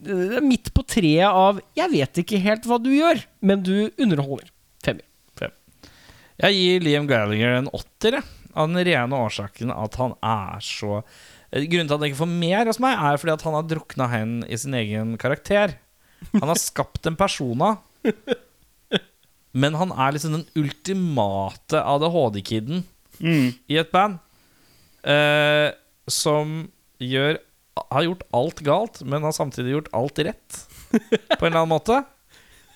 S1: det er midt på treet av 'jeg vet ikke helt hva du gjør, men du underholder'. Femmer.
S2: Jeg gir Liam Gallagher en åtter, jeg. Av den rene årsaken at han er så Eh, Grunnen til at han ikke får mer hos meg, er fordi at han har drukna hen i sin egen karakter. Han har skapt en persona. Men han er liksom den ultimate ADHD-kiden i et band. eh, som gjør Har gjort alt galt, men har samtidig gjort alt rett. På en eller annen måte.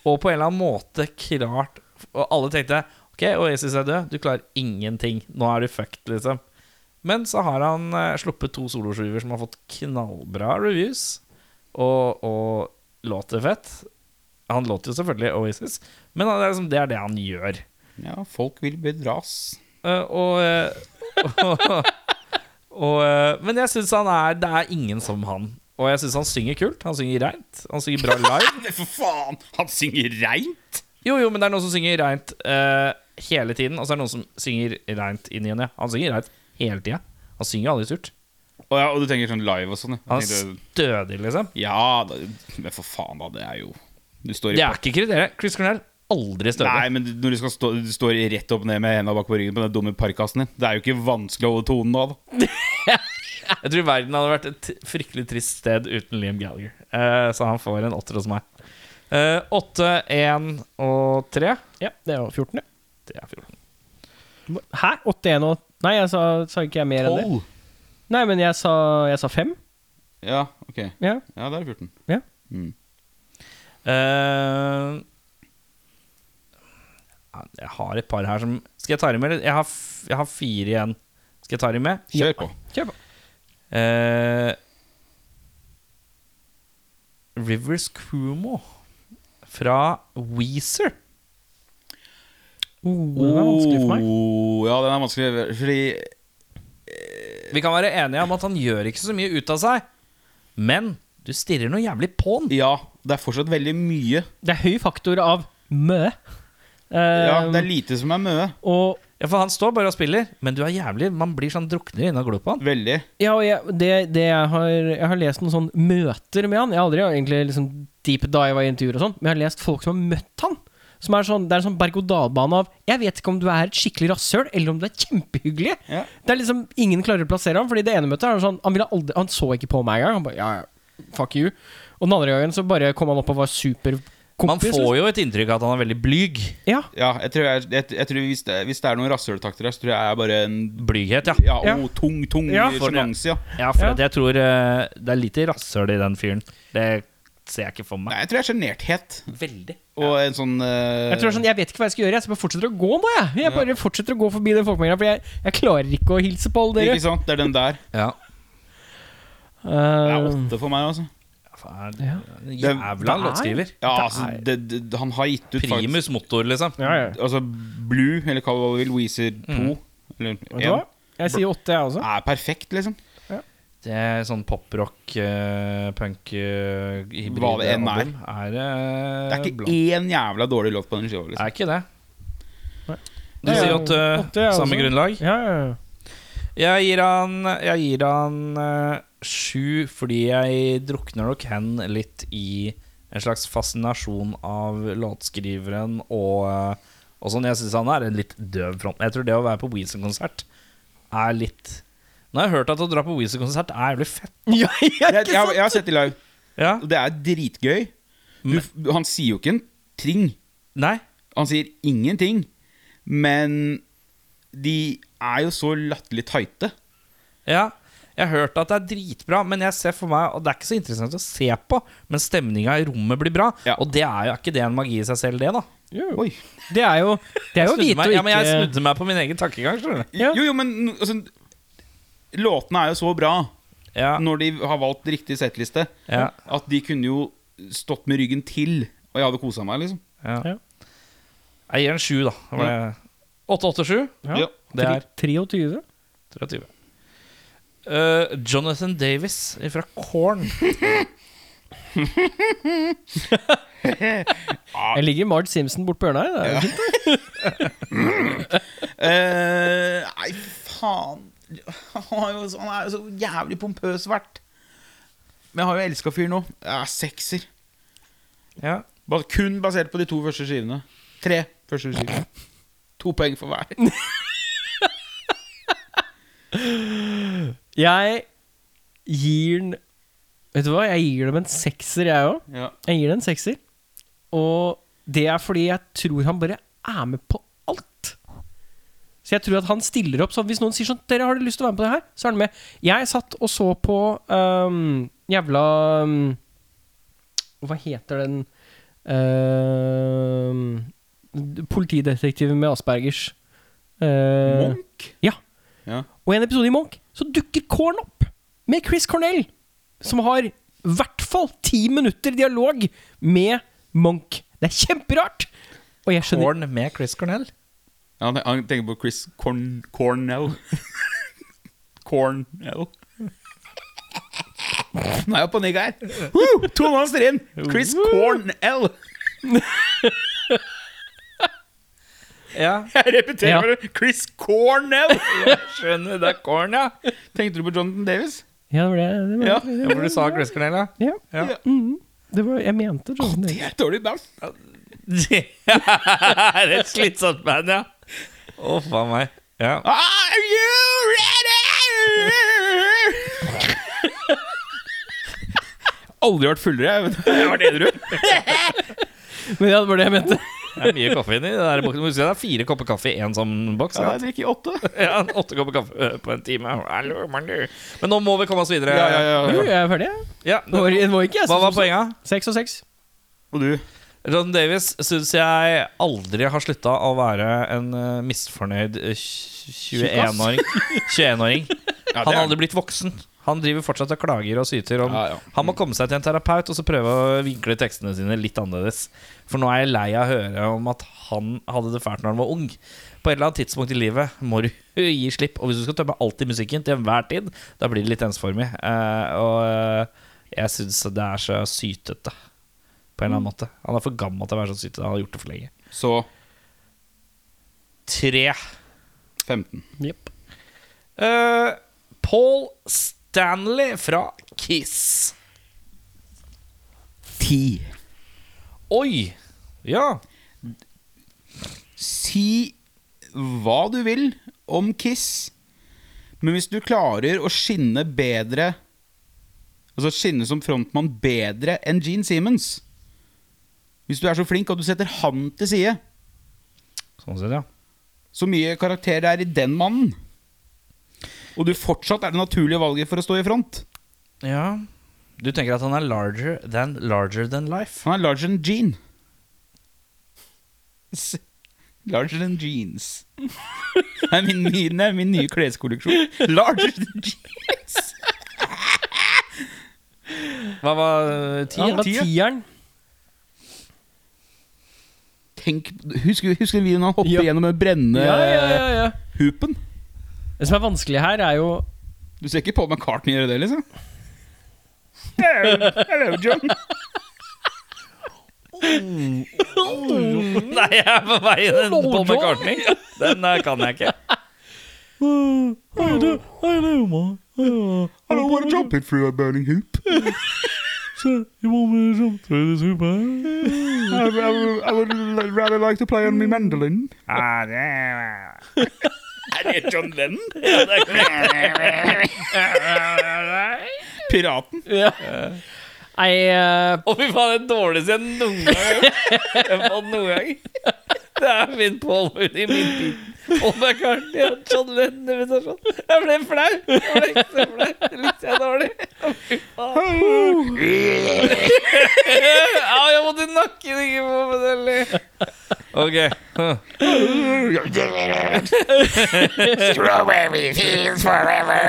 S2: Og på en eller annen måte klart Og alle tenkte Ok, Oasis er død, du klarer ingenting. Nå er du fucked, liksom. Men så har han eh, sluppet to soloskiver som har fått knallbra reviews, og, og låter fett. Han låter jo selvfølgelig Oasis, men han, det, er liksom, det er det han gjør.
S3: Ja, folk vil bedras.
S2: Eh, og, eh, og, eh, Men jeg syns han er Det er ingen som han. Og jeg syns han synger kult. Han synger reint. Han synger bra live.
S3: Men for faen! Han synger reint!
S2: Jo, jo, men det er noen som synger reint eh, hele tiden, og så er det noen som synger reint inn igjen. Ja. Han synger reint hele tida. Han synger aldri surt.
S3: Og, ja, og du tenker sånn live og sånn? ja.
S2: Han
S3: Jeg tenkte,
S2: stødig, liksom.
S3: Ja, da, men for faen, da. Det er jo Du står i
S2: Det er ikke kriteriet. Chris Cornell aldri
S3: Nei,
S2: stødig.
S3: men du- når du, skal stå, du står rett opp ned med hendene bak på ryggen på den dumme parkasen din Det er jo ikke vanskelig å holde tonen da. da.
S2: Jeg tror verden hadde vært et fryktelig trist sted uten Liam Gallagher. Eh, så han får en åtter hos meg. Eh, Åtte, én og tre.
S1: Ja, det er jo 14.
S2: Det er 14.
S1: Hæ? 81 og Nei, jeg sa, sa ikke jeg mer enn det? Nei, men jeg sa, jeg sa fem.
S3: Ja, ok.
S1: Ja.
S3: Ja, da er det 14.
S1: Ja.
S3: Mm.
S2: Eh, jeg har et par her som Skal jeg ta dem med? eller? Jeg har, f jeg har fire igjen. Skal jeg ta dem med?
S3: Kjør på.
S1: Kjør på.
S2: Eh, Rivers Cuomo fra Weezer.
S1: Oh, det var vanskelig for meg.
S3: Oh, ja, den er vanskelig, fordi
S2: Vi kan være enige om at han gjør ikke så mye ut av seg, men du stirrer noe jævlig på han.
S3: Ja, det er fortsatt veldig mye.
S1: Det er høy faktor av mø.
S3: Ja,
S1: Ehm,
S3: Det er lite som er mye.
S1: og
S2: Ja, for han står bare og spiller, men du er jævlig Man blir sånn drukner inne og glor på han.
S3: Veldig.
S1: ja, og jeg, det, det jeg, har, jeg har lest noen sånn møter med han. Jeg har aldri egentlig liksom deep dive i intervjuer og sånn, men jeg har lest folk som har møtt han. Som er sånn, det er en sånn berg-og-dal-bane av Jeg vet ikke om du er et skikkelig rasshøl, eller om du er kjempehyggelig.
S3: Ja.
S1: Det er liksom Ingen klarer å plassere ham, Fordi det ene møtet er sånn Han, ville aldri, han så ikke på meg engang. Han bare ja, ja, fuck you. Og den andre gangen så bare kom han opp og var
S2: Man
S1: superkompis. liksom.
S2: får jo et inntrykk av at han er veldig blyg.
S1: Ja,
S3: Ja, jeg tror, jeg, jeg, jeg tror hvis, det, hvis det er noen rasshøltakter her, så tror jeg jeg er bare en
S2: Blyghet, ja.
S3: ja,
S1: Ja.
S3: oh, tung, tung
S1: Ja.
S3: sjenanse. Ja.
S2: Ja, for
S1: Ja.
S2: at jeg tror eh, det er lite rasshøl i den fyren. Det ser jeg ikke for
S3: Nei,
S2: meg.
S3: Jeg tror jeg er sjenerthet
S2: Veldig.
S3: og en sånn eh,
S1: Jeg tror det er sånn, jeg vet ikke hva jeg skal gjøre, jeg så bare fortsetter å gå nå, jeg. Jeg bare fortsetter å gå forbi den folkemengda, for jeg, jeg klarer ikke å hilse på alle dere.
S3: Ikke sant? Det er den der.
S2: Ja.
S3: Det er
S1: Eh,
S3: åtte for meg, altså.
S2: Faen,
S1: Ja.
S2: Jævla
S1: Det er-
S2: låtskriver.
S3: Ja, altså det, det, han har gitt ut faktisk
S2: Primus motor, liksom.
S1: ja, ja.
S3: Altså Blue, eller hva man vil, Weezer 2 eller
S1: Vet du hva?
S3: 1,
S1: Jeg sier åtte, jeg også.
S3: er perfekt, liksom.
S2: Det er sånn poprock, uh, punk, uh, hybrid
S3: Hva det enn er.
S2: album. Er, eh,
S3: Det er ikke
S2: blant-
S3: én jævla dårlig låt på den skiva. Liksom.
S2: er ikke det.
S1: Nei.
S2: Du
S1: Nei,
S2: sier
S1: ja,
S2: åtte,
S1: åtte, ja,
S2: samme
S1: altså.
S2: grunnlag.
S1: Ja, ja, ja.
S2: Jeg gir han Jeg gir han eh, sju fordi jeg drukner nok hen litt i en slags fascinasjon av låtskriveren og, eh, og sånn. Jeg syns han er en litt døv front. Jeg tror det å være på Weezer-konsert er litt Nå har jeg hørt at å dra på Weezer-konsert er jævlig fett.
S1: ja, ja
S3: Jeg,
S1: ikke
S3: jeg, har-
S1: sant?
S3: jeg har sett de live,
S2: Ja.
S3: og det er dritgøy. Du, f- han sier jo ikke en ting.
S2: Nei.
S3: Han sier ingenting. Men de er jo så latterlig tighte.
S2: Ja. Jeg har hørt at det er dritbra, men jeg ser for meg Og det er ikke så interessant å se på, men stemninga i rommet blir bra.
S3: Ja.
S2: Og det er jo ikke det en magi i seg selv, det, da.
S1: Jo, jo.
S3: Oi.
S1: Det er jo Det er jo
S2: Jeg snudde
S1: hvite
S2: meg,
S1: og
S2: ja, men jeg
S1: ikke
S2: snudde meg på min egen tankegang. skjønner du
S1: Ja.
S3: Jo, jo, men altså, låtene er jo så bra
S2: Ja.
S3: når de har valgt riktig settliste,
S2: Ja.
S3: at de kunne jo stått med ryggen til, og jeg hadde kosa meg, liksom.
S2: ja.
S1: Ja.
S2: Jeg gir en sju, da. Det var det- 887.
S3: Ja.
S2: Det er
S1: 23.
S2: 23. Eh, Jonathan Davis fra Korn.
S1: Jeg ligger Marge Simpson bort på hjørnet her. det er fint.
S3: Eh, nei, faen. Han er jo så- han er jo så jævlig pompøs vert. Men jeg har jo elska fyren nå. Jeg er sekser.
S2: Ja.
S3: Bare- Kun basert på de to første skivene. Tre første skivene. To poeng for hver.
S1: Jeg gir den Vet du hva, jeg gir dem en sekser, jeg òg.
S3: Ja.
S1: Jeg gir det en sekser. Og det er fordi jeg tror han bare er med på alt. Så jeg tror at han stiller opp sånn Hvis noen sier sånn 'Dere har dere lyst til å være med på det her?' Så er han med. Jeg satt og så på øhm, jævla øhm, Hva heter den øhm, Politidetektiven med Aspergers. Eh,
S3: Munch?
S1: Ja.
S3: Ja.
S1: Og i en episode i Monk så dukker Korn opp med Chris Cornell, som har i hvert fall ti minutter dialog med Monk. Det er kjemperart! Og jeg skjønner
S2: Korn med Chris Cornell.
S3: Ja, Han han tenker på Chris Corn Cornell. Cornell. Nå er jeg på nigga her. Woo! To monster inn! Chris Cornell.
S2: Ja,
S3: Jeg repeterer
S1: Ja.
S3: bare. Chris Cornell!
S2: skjønner. Det er Korn, ja.
S3: Tenkte du på Jonathan Davis?
S1: Ja, det var det. det var,
S3: Ja.
S2: Ja, Hvor du sa Chris Cornell, ja.
S1: ja.
S2: Ja.
S1: Mhm. det var Jeg mente Jordan
S3: Det
S1: Davis.
S3: er et dårlig navn.
S2: Det er et slitsomt band, ja. Å, faen meg. Ja.
S3: Are you ready? Aldri vært fullere, jeg. vet du. Jeg har vært edru.
S1: Men ja, det var det jeg mente.
S2: Det er mye kaffe inni den der boksen. Må huske, Det er fire kopper kaffe i én sånn boks.
S3: Ja,
S2: Ja.
S3: jeg drikker åtte.
S2: Ja, Åtte kopper kaffe ø, på en time. Hallo, Marner. Men nå må vi komme oss videre.
S3: Ja, ja, ja,
S1: Jo,
S3: ja.
S1: jeg er ferdig, jeg.
S2: Ja,
S1: Det var, det var ikke jeg
S2: Hva
S1: som
S2: var poenget?
S1: Seks og seks.
S3: Og du?
S2: John Davis syns jeg aldri har slutta å være en eh, misfornøyd eh, tj- 21-åring. 21-åring
S3: Ja,
S2: Han har
S3: det er-
S2: aldri blitt voksen. Han driver fortsatt og klager og syter. Om.
S3: Ja, ja.
S2: Han må komme seg til en terapeut og så prøve å vinkle tekstene sine litt annerledes. For nå er jeg lei av å høre om at han hadde det fælt når han var ung. På et eller annet tidspunkt i livet må du gi slipp. Og hvis du skal tømme alt i musikken til enhver tid, da blir det litt ensformig. Eh, og eh, jeg syns det er så sytete. På en eller annen måte. Han er for gammel til å være så sytete. Han har gjort det for lenge.
S3: Så
S2: Tre.
S3: 15.
S1: Jepp.
S2: Eh, Paul Stanley fra Kiss.
S3: 10.
S2: Oi! Ja.
S3: Si hva du vil om Kiss, men hvis du klarer å skinne bedre Altså skinne som frontmann bedre enn Gene Simmons Hvis du er så flink at du setter han til side,
S2: Sånn sett, ja.
S3: så mye karakter det er i den mannen, og du fortsatt er det naturlige valget for å stå i front
S2: Ja Du tenker at han er larger than larger than life?
S3: Han er larger than Gene. S- Larger than jeans. Det er min, min, det er min nye kleskolleksjon. Larger than jeans.
S2: Hva var eh,
S1: Ja, det
S2: tieren?
S1: var tieren.
S3: Tenk, husker, husker du videoen han hopper
S1: Ja.
S3: gjennom den brennende
S1: Ja, ja, ja, ja.
S3: hupen?
S1: Det som er vanskelig her, er jo
S3: Du ser ikke på meg Carton gjøre det, liksom? Hello, hello, John.
S2: Nei, jeg er på vei i den Paul
S1: Lord
S2: McCartney. Den eh, kan jeg ikke.
S3: Hello, what a jump it through a burning hoop. I, I, I would rather like to play on my mandolin. Ah, Er det John Lennon? Piraten.
S1: ja. Nei, eh,
S2: Å, fy faen, det er det dårligste jeg noen gang har hørt. Jeg fant noen gang. Det er min Paul i min bil. Paul McCartney og John Lennon invitasjon. sånn. Jeg ble flau. Jeg ble så flau. Det likte jeg dårlig. Å, fy faen. Au, jeg måtte nakke det ikke på meg selv. Ok.
S3: Strawberry fields forever.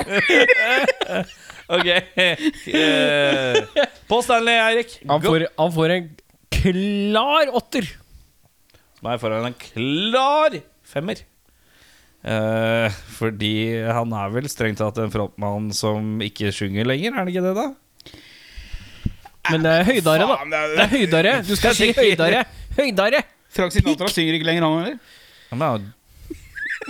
S2: Ok. Eh, På Stanley, Eirik.
S1: Han
S2: Gå.
S1: får, han får en klar åtter.
S2: Som er foran en klar femmer. Eh, fordi han er vel strengt tatt en frontmann som ikke synger lenger, er det ikke det, da?
S1: Men det er høydare, da.
S3: Faen, det er-
S1: Det er høydare. Du skal si høydare. Høydare!
S3: Frank Sinatra synger ikke lenger, han heller.
S2: Ja,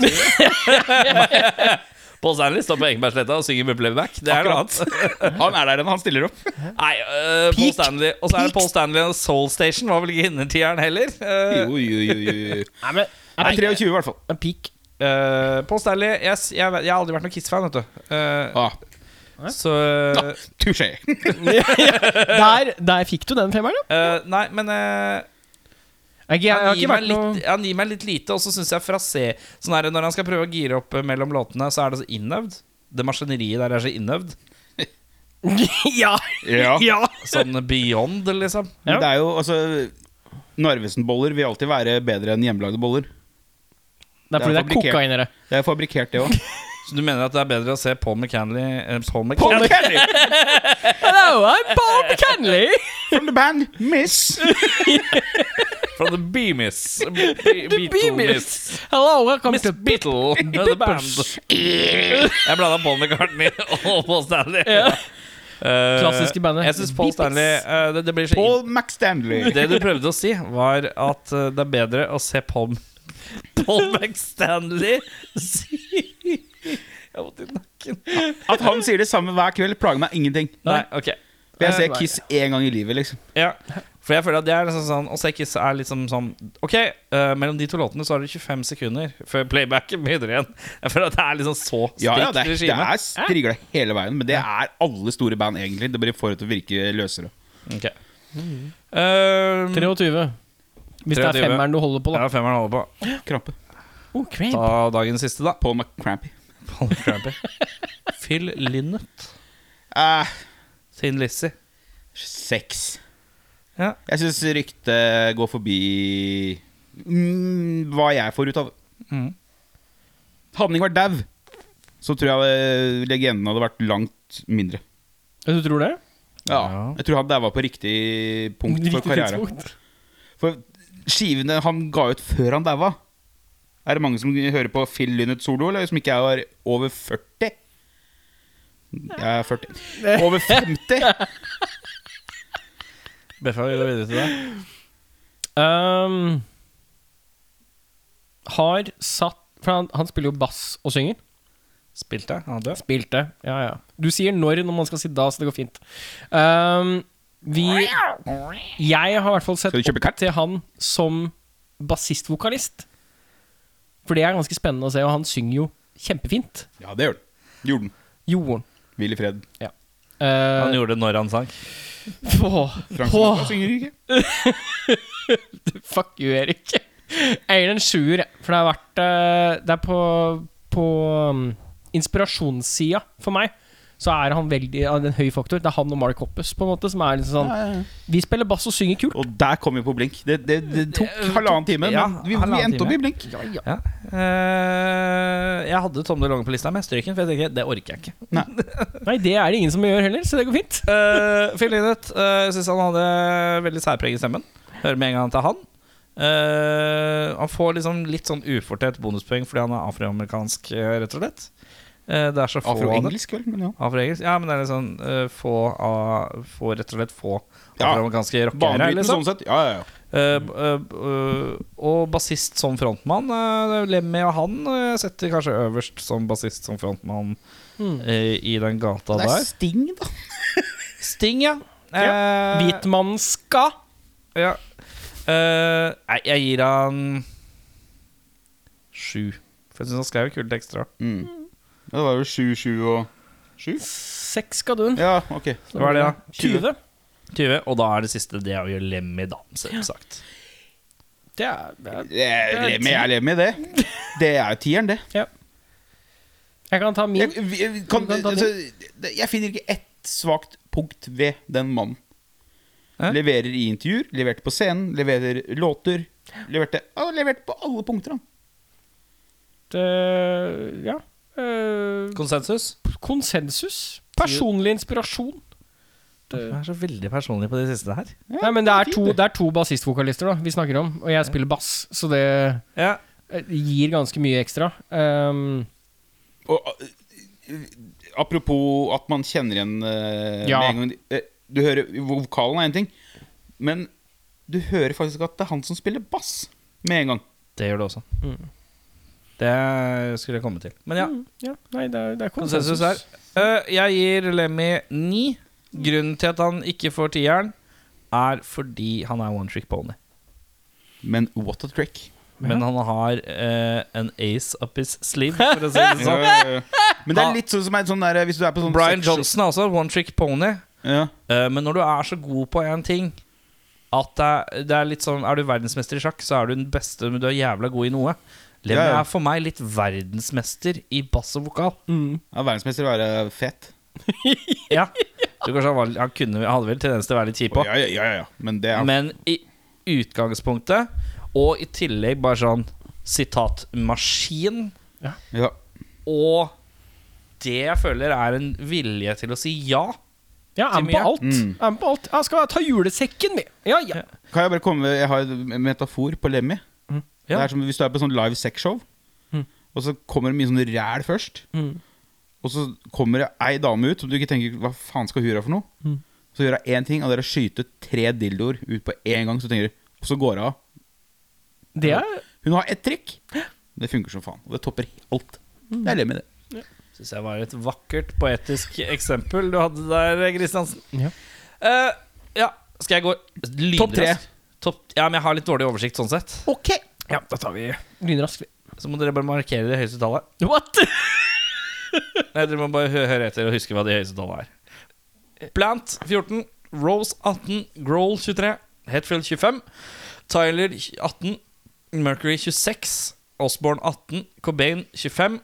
S2: men han- Paul Stanley står på Ekebergsletta og synger med playback. Det er noe annet.
S3: Han er der ennå, han stiller opp.
S2: Nei, eh, Paul Stanley Og så er det Paul Stanley og Soul Station. Var vel ikke innertieren heller. Eh,
S3: Jo, jo, jo, jo.
S1: Nei, men
S3: Nei, 23 i hvert fall.
S1: en pik.
S2: eh, Paul Stanley yes, jeg, vet- jeg har aldri vært noen Kiss-fan, vet du. Eh,
S3: Ah,
S2: så eh,
S3: Touché.
S1: Der, der fikk du den femmeren, da.
S2: eh, Nei, men eh,
S1: Jeg, jeg,
S2: han,
S1: har
S2: gir
S1: ikke
S2: meg
S1: vært noe
S2: litt, han gir meg litt lite, og så syns jeg frasé Sånn her, Når han skal prøve å gire opp eh, mellom låtene, så er det så innøvd. Det maskineriet der er så innøvd.
S1: Ja!
S3: Ja.
S1: ja.
S2: Sånn beyond, liksom.
S1: Ja.
S3: Men det er jo altså Narvesen-boller vil alltid være bedre enn hjemmelagde boller.
S1: Det er fordi det er
S3: fabrikkert.
S1: kokain i det.
S3: Det er fabrikkert, det òg.
S2: Så du mener at det er bedre å se Paul McCanley eh, Paul
S3: Paul
S2: McCanley?
S3: Kelly
S1: Hello, I'm Bob Kenley!
S3: from the band Miss.
S2: Fra The Beamies. Be- Beatles.
S1: Beamis. Hello, welcome
S2: Miss
S1: to
S2: Beatle. The Band. Jeg blanda Paul McCartney og Paul Stanley. Eh,
S1: Klassisk i bandet.
S2: Jeg synes Paul
S1: Beatles.
S2: Stanley eh, det, det blir så
S3: Paul McStanley.
S2: inn- Det du prøvde å si, var at eh, det er bedre å se Paul Paul McStanley si Jeg måtte i nakken.
S3: At han sier det samme hver kveld, plager meg ingenting.
S2: Nei, OK.
S3: For jeg
S1: Nei.
S3: ser Kiss én gang i livet, liksom.
S2: Ja, for jeg føler at det er liksom sånn Å se Kiss er liksom sånn Ok, eh, mellom de to låtene så har du 25 sekunder før playbacken begynner igjen. Jeg føler at det er liksom så strikt
S3: Ja, ja, det, er- det
S2: regime.
S3: er strigla hele veien, men det er alle store band, egentlig. Det blir for det til å virke løsere.
S2: Ok. Eh,
S1: 23. Hvis det er
S2: 23.
S1: femmeren du holder på, da.
S2: ja, femmeren holder på.
S3: Krampe.
S1: Oh, crap.
S2: Ta dagens siste, da.
S3: Paul McCrampy.
S2: Paul McCartney. Phil Linnet.
S3: Eh,
S2: Thin Lizzie.
S3: Seks.
S2: Ja.
S3: Jeg syns ryktet går forbi mm, hva jeg får ut av det.
S2: Mhm.
S3: Hadde han ikke vært dau, så tror jeg eh, legenden hadde vært langt mindre.
S1: Du tror det?
S3: Ja,
S2: Ja.
S3: Jeg tror han daua på riktig punkt for karriere. For skivene han ga ut før han daua Er det mange som hører på Phil Lynnet solo, eller som ikke er over 40? Jeg er 40. Over 50?
S2: Beffa, vi går videre til deg.
S1: Um, har satt For han, han spiller jo bass og synger.
S2: Spilte jeg? Han er død?
S1: Spilte. Ja, ja. Du sier når når man skal si da, så det går fint. Um, vi Jeg har i hvert fall sett
S3: Skal du kjøpe
S1: opp
S3: kart?
S1: til han som bassistvokalist. For det er ganske spennende å se, og han synger jo kjempefint.
S3: Ja, det gjør den. Gjorde den.
S1: Jorden.
S3: Hvil i fred.
S2: Han
S1: Uh,
S2: gjorde det når han sang.
S3: Frank Sinatra synger ikke.
S1: Fuck you, Erik. Jeg gir den sjuer, jeg. for det har vært eh, Det er på, på um, inspirasjonssida for meg. Så er han veldig han er en høy faktor. Det er han og Mark Hoppus på en måte som er liksom sånn Vi spiller bass og synger kult.
S3: Og der kom vi på blink. Det, det, det tok halvannen time, men
S2: ja,
S3: vi, vi
S2: halvannen
S3: endte opp
S2: time.
S3: i blink.
S2: Ja. Eh, jeg hadde Tom DeLonge på lista, men jeg strøk den, for jeg tenker det orker jeg ikke.
S1: Nei, det er det ingen som gjør heller, så det går fint.
S2: Uh, Phil Lynott uh, syns han hadde veldig særpreg i stemmen. Hører med en gang til han. Eh, han får liksom litt sånn ufortjent bonuspoeng fordi han er afroamerikansk, eh, rett og slett. Eh, det er så få av dem.
S3: Afro-engelsk, vel. Men ja.
S2: Afroengelsk? Ja, men det er liksom eh, få av Få rett og slett få
S3: Ja.
S2: afroamerikanske rockere.
S3: Banebrytende
S2: Liksom.
S3: sånn sett. Ja, ja, ja.
S2: Eh, eh, eh, og bassist som frontmann. Uh, Lemmy og han eh, setter kanskje øverst som bassist som frontmann eh, i den gata
S3: Det er
S2: der.
S3: Sting, da.
S2: Sting, ja. Eh,
S1: Hvitmannska.
S2: Ja. Eh, nei, jeg gir han sju. For jeg syns han skrev kule tekster.
S3: Mm.
S2: da.
S3: Ja, Det var jo 7-7 og 7.
S1: Seks skal du hun.
S3: Ja, ok.
S2: Hva er det, da?
S1: 20.
S2: 20, og da er det siste det å gjøre Lemmy Dan, selvsagt.
S1: Det er, det er
S3: Jeg
S1: er
S3: lever med, jeg lever med det. Det er jo tieren, det.
S1: Jeg kan ta min.
S3: Jeg, vi- vi- kan,
S1: Du kan ta
S3: altså, det- jeg finner ikke ett svakt punkt ved den mannen.
S2: Hæ?
S3: Leverer i intervjuer, leverte på scenen, leverer låter. Leverte, ja, leverte på alle punkter, han.
S1: eh, Ja. eh,
S2: Konsensus?
S1: konsensus. Personlig inspirasjon.
S2: Du er så veldig personlig på det siste her.
S1: Nei, men det er to, det er to bassistvokalister da, vi snakker om, og jeg spiller bass, så det
S2: Ja.
S1: eh, gir ganske mye ekstra. Ehm,
S3: Og, eh, apropos at man kjenner igjen eh,
S1: Ja.
S3: med en gang eh, Du hører Vokalen er én ting, men du hører faktisk at det er han som spiller bass med en gang.
S2: Det gjør det også. Mm. Det skulle jeg komme til. Men ja,
S1: ja, nei, det er, det er konsensus.
S2: konsensus her. Eh, jeg gir Lemmy ni. Grunnen til at han ikke får tieren, er fordi han er one trick pony.
S3: Men what a trick.
S2: Men han har eh, en ace up his sleeve, for å si det sånn.
S3: Eh, Men det er litt sånn som er sånn der, hvis du er på sånn
S2: Brian
S3: sex-
S2: Johnson er også one trick pony.
S3: Ja.
S2: Eh, men når du er så god på én ting at det er, det er litt sånn Er du verdensmester i sjakk, så er du den beste, men du er jævla god i noe. Lemmy
S3: Ja, ja.
S2: er for meg litt verdensmester i bass og vokal.
S3: ja verdensmester å være fet.
S2: Ja. Så kanskje han, var, han, kunne, han hadde vel tendens til å være litt kjip
S3: Ja,
S2: òg.
S3: ja, ja, ja. Men det er
S2: Men i utgangspunktet, og i tillegg bare sånn sitatmaskin,
S3: ja.
S2: og det jeg føler er en vilje til å si ja
S1: Ja, er med på
S2: Timmy, ja.
S1: alt.
S3: Mm.
S1: Er med på alt. Jeg skal ta julesekken min! Ja, ja.
S3: Kan jeg bare komme med- Jeg har en metafor på Lemmy.
S2: Ja.
S3: Det er som hvis du er på sånn live sexshow, og så kommer det mye sånn ræl først. Og så kommer det ei dame ut som du ikke tenker Hva faen skal hun gjøre for noe? Så gjør hun én ting, og det er å skyte tre dildoer ut på én gang. Så tenker du, og så går hun av.
S1: Det er
S3: Hun har ett trikk. Det funker som faen. Og det topper alt. Jeg er Lemmy, det.
S2: Syns jeg var et vakkert poetisk eksempel du hadde der, Kristiansen.
S1: Ja.
S2: Eh, ja. Skal jeg gå lynraskt?
S1: Topp tre.
S2: Topp- ja, men jeg har litt dårlig oversikt sånn sett.
S1: Ok! Ja, da tar vi lynraskt.
S2: Så må dere bare markere det høyeste tallet.
S1: What?!
S2: Nei, dere må bare hø- høre etter og huske hva de høyeste tallene er. Plant 14, Rose 18, Grohl 23, Hetfield 25, Tyler 18, Mercury 26, Osborne 18, Cobain 25,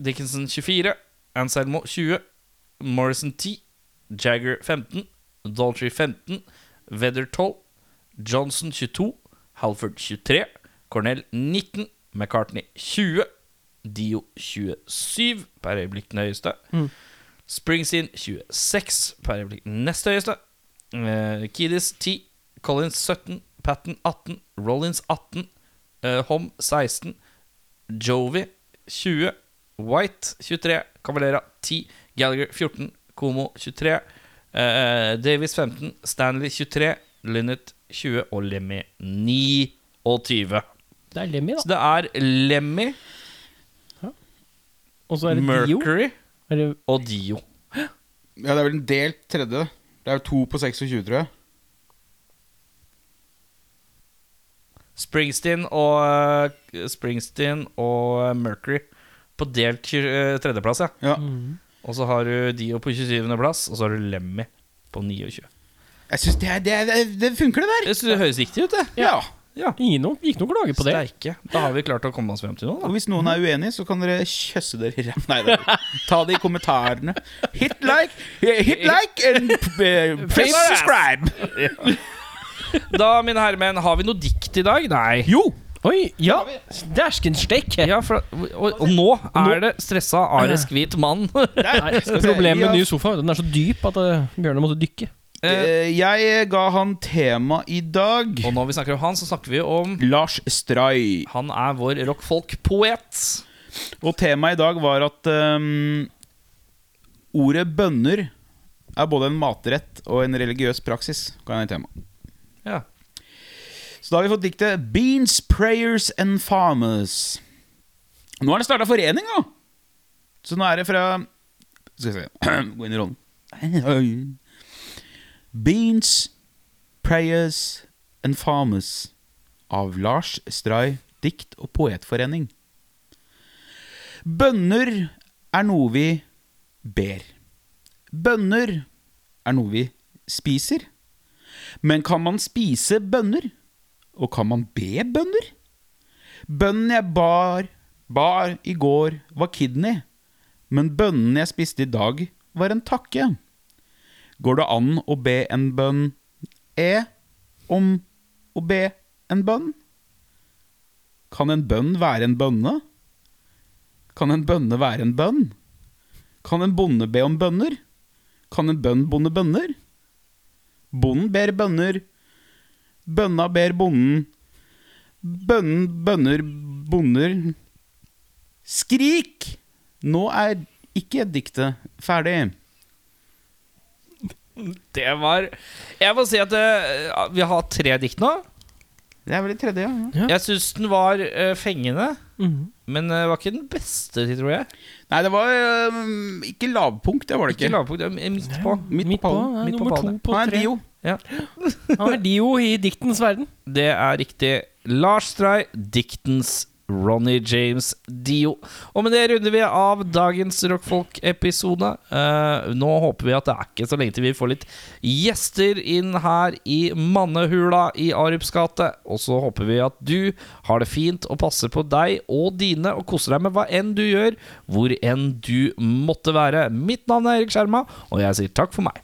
S2: Dickinson 24, Anselmo 20, Morrison 10, Jagger 15, Daltrey 15, Vedder 12, Johnson 22, Halford 23, Cornell 19, McCartney 20, Dio 27, per øyeblikk den høyeste. Springsteen 26, per øyeblikk den nest høyeste. Uh, Kiddis 10, Collins 17, Patten 18, Rollins 18, eh, Hom 16, Jovi 20, White 23, Cavalera 10, Gallagher 14, Komo 23, eh, Davis 15, Stanley 23, Lynnet 20 og Lemmy 9 og 20.
S1: Det er Lemmy,
S2: Så
S1: da.
S2: det er Lemmy,
S1: Og så er det Dio.
S2: Mercury
S1: Er det,
S2: og Dio.
S3: Ja, det er vel en delt tredje. Det er jo to på 26, tror jeg.
S2: Springsteen og, eh, Springsteen og eh, Mercury på delt tju- eh, tredjeplass, ja.
S3: Ja.
S2: Og så har du Dio på 27. plass, og så har du Lemmy på 29.
S3: Jeg syns det, er- det, er- det, er- det funker, det der.
S2: Jeg synes det høres riktig ut, det.
S3: Ja.
S1: ingen noe, gikk noen klager på det.
S2: Steike. Da har vi klart å komme oss frem til noe,
S3: Og
S2: da.
S3: hvis noen er uenig, så kan dere kjøsse dere i ræva. Nei, det er- ta det i kommentarene. Hit like, hit like and eh, press subscribe.
S2: Da, mine herremenn, har vi noe dikt i dag? Nei.
S1: Jo! Oi, ja. Dæskenstek.
S2: Ja, for, og, og nå er det stressa arisk hvit mann.
S1: Nei, Problemet med ny sofa den er så dyp at eh, Bjørnar måtte dykke.
S3: Eh, Jeg ga han tema i dag.
S2: Og når vi snakker om han, så snakker vi om
S3: Lars Stray.
S2: Han er vår rockfolk-poet.
S3: Og temaet i dag var at ehm, ordet bønner er både en matrett og en religiøs praksis. Kan jeg tema.
S2: Ja.
S3: Så da har vi fått diktet 'Beans, Prayers and Farmers'. Nå har det starta forening, da! Så nå er det fra Skal vi se Gå inn i rollen. Beans, Prayers and Farmers av Lars Stray dikt- og poetforening. Bønner er noe vi ber. Bønner er noe vi spiser. Men kan man spise bønner? Og kan man be bønner? Bønnen jeg bar, bar i går, var kidney. Men bønnen jeg spiste i dag, var en takke. Går det an å be en bønn e om å be en bønn? Kan en bønn være en bønne? Kan en bønne være en bønn? Kan en bonde be om bønner? Kan en bønn bonde bønner? Bonden ber bønner. Bønna ber bonden. Bønnen bønner bonder. Skrik! Nå er ikke diktet ferdig.
S2: Det var Jeg må si at eh, vi har hatt tre dikt nå.
S3: Det er vel det tredje, ja.
S2: Jeg syns den var eh, fengende, men eh, var ikke den beste, tror jeg.
S3: Nei, det var øhm, ikke lavpunkt, det var det
S2: Ikke
S3: ikke.
S2: lavpunkt, det er midt på.
S3: Midt på pallen.
S1: ja,
S2: Midt på
S1: nummer to
S2: pallen.
S1: på
S3: Han er
S1: tre.
S3: dio.
S1: Han er dio i diktens verden.
S2: Det er riktig. Lars Stray, diktens Ronny James Dio. Og med det runder vi av dagens Rockfolk-episode. Eh, nå håper vi at det er ikke så lenge til vi får litt gjester inn her i mannehula i Arups gate. Og så håper vi at du har det fint og passer på deg og dine og koser deg med hva enn du gjør, hvor enn du måtte være. Mitt navn er Erik Skjerma, og jeg sier takk for meg.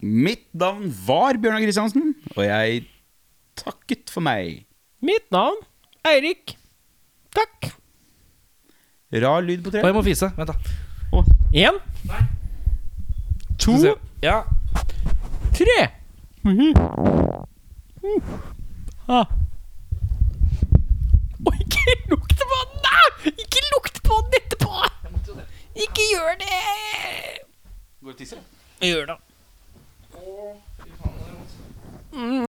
S3: Mitt navn var Bjørnar Kristiansen, og jeg takket for meg.
S1: Mitt navn Eirik. Takk.
S3: Rar lyd på tre.
S2: Og jeg må fise. Vent, da.
S1: Én,
S2: To. Ja.
S1: tre. Å, ikke lukt på den! Nei! Ikke lukt på den etterpå! Ikke gjør det! Går og tisser? Gjør det.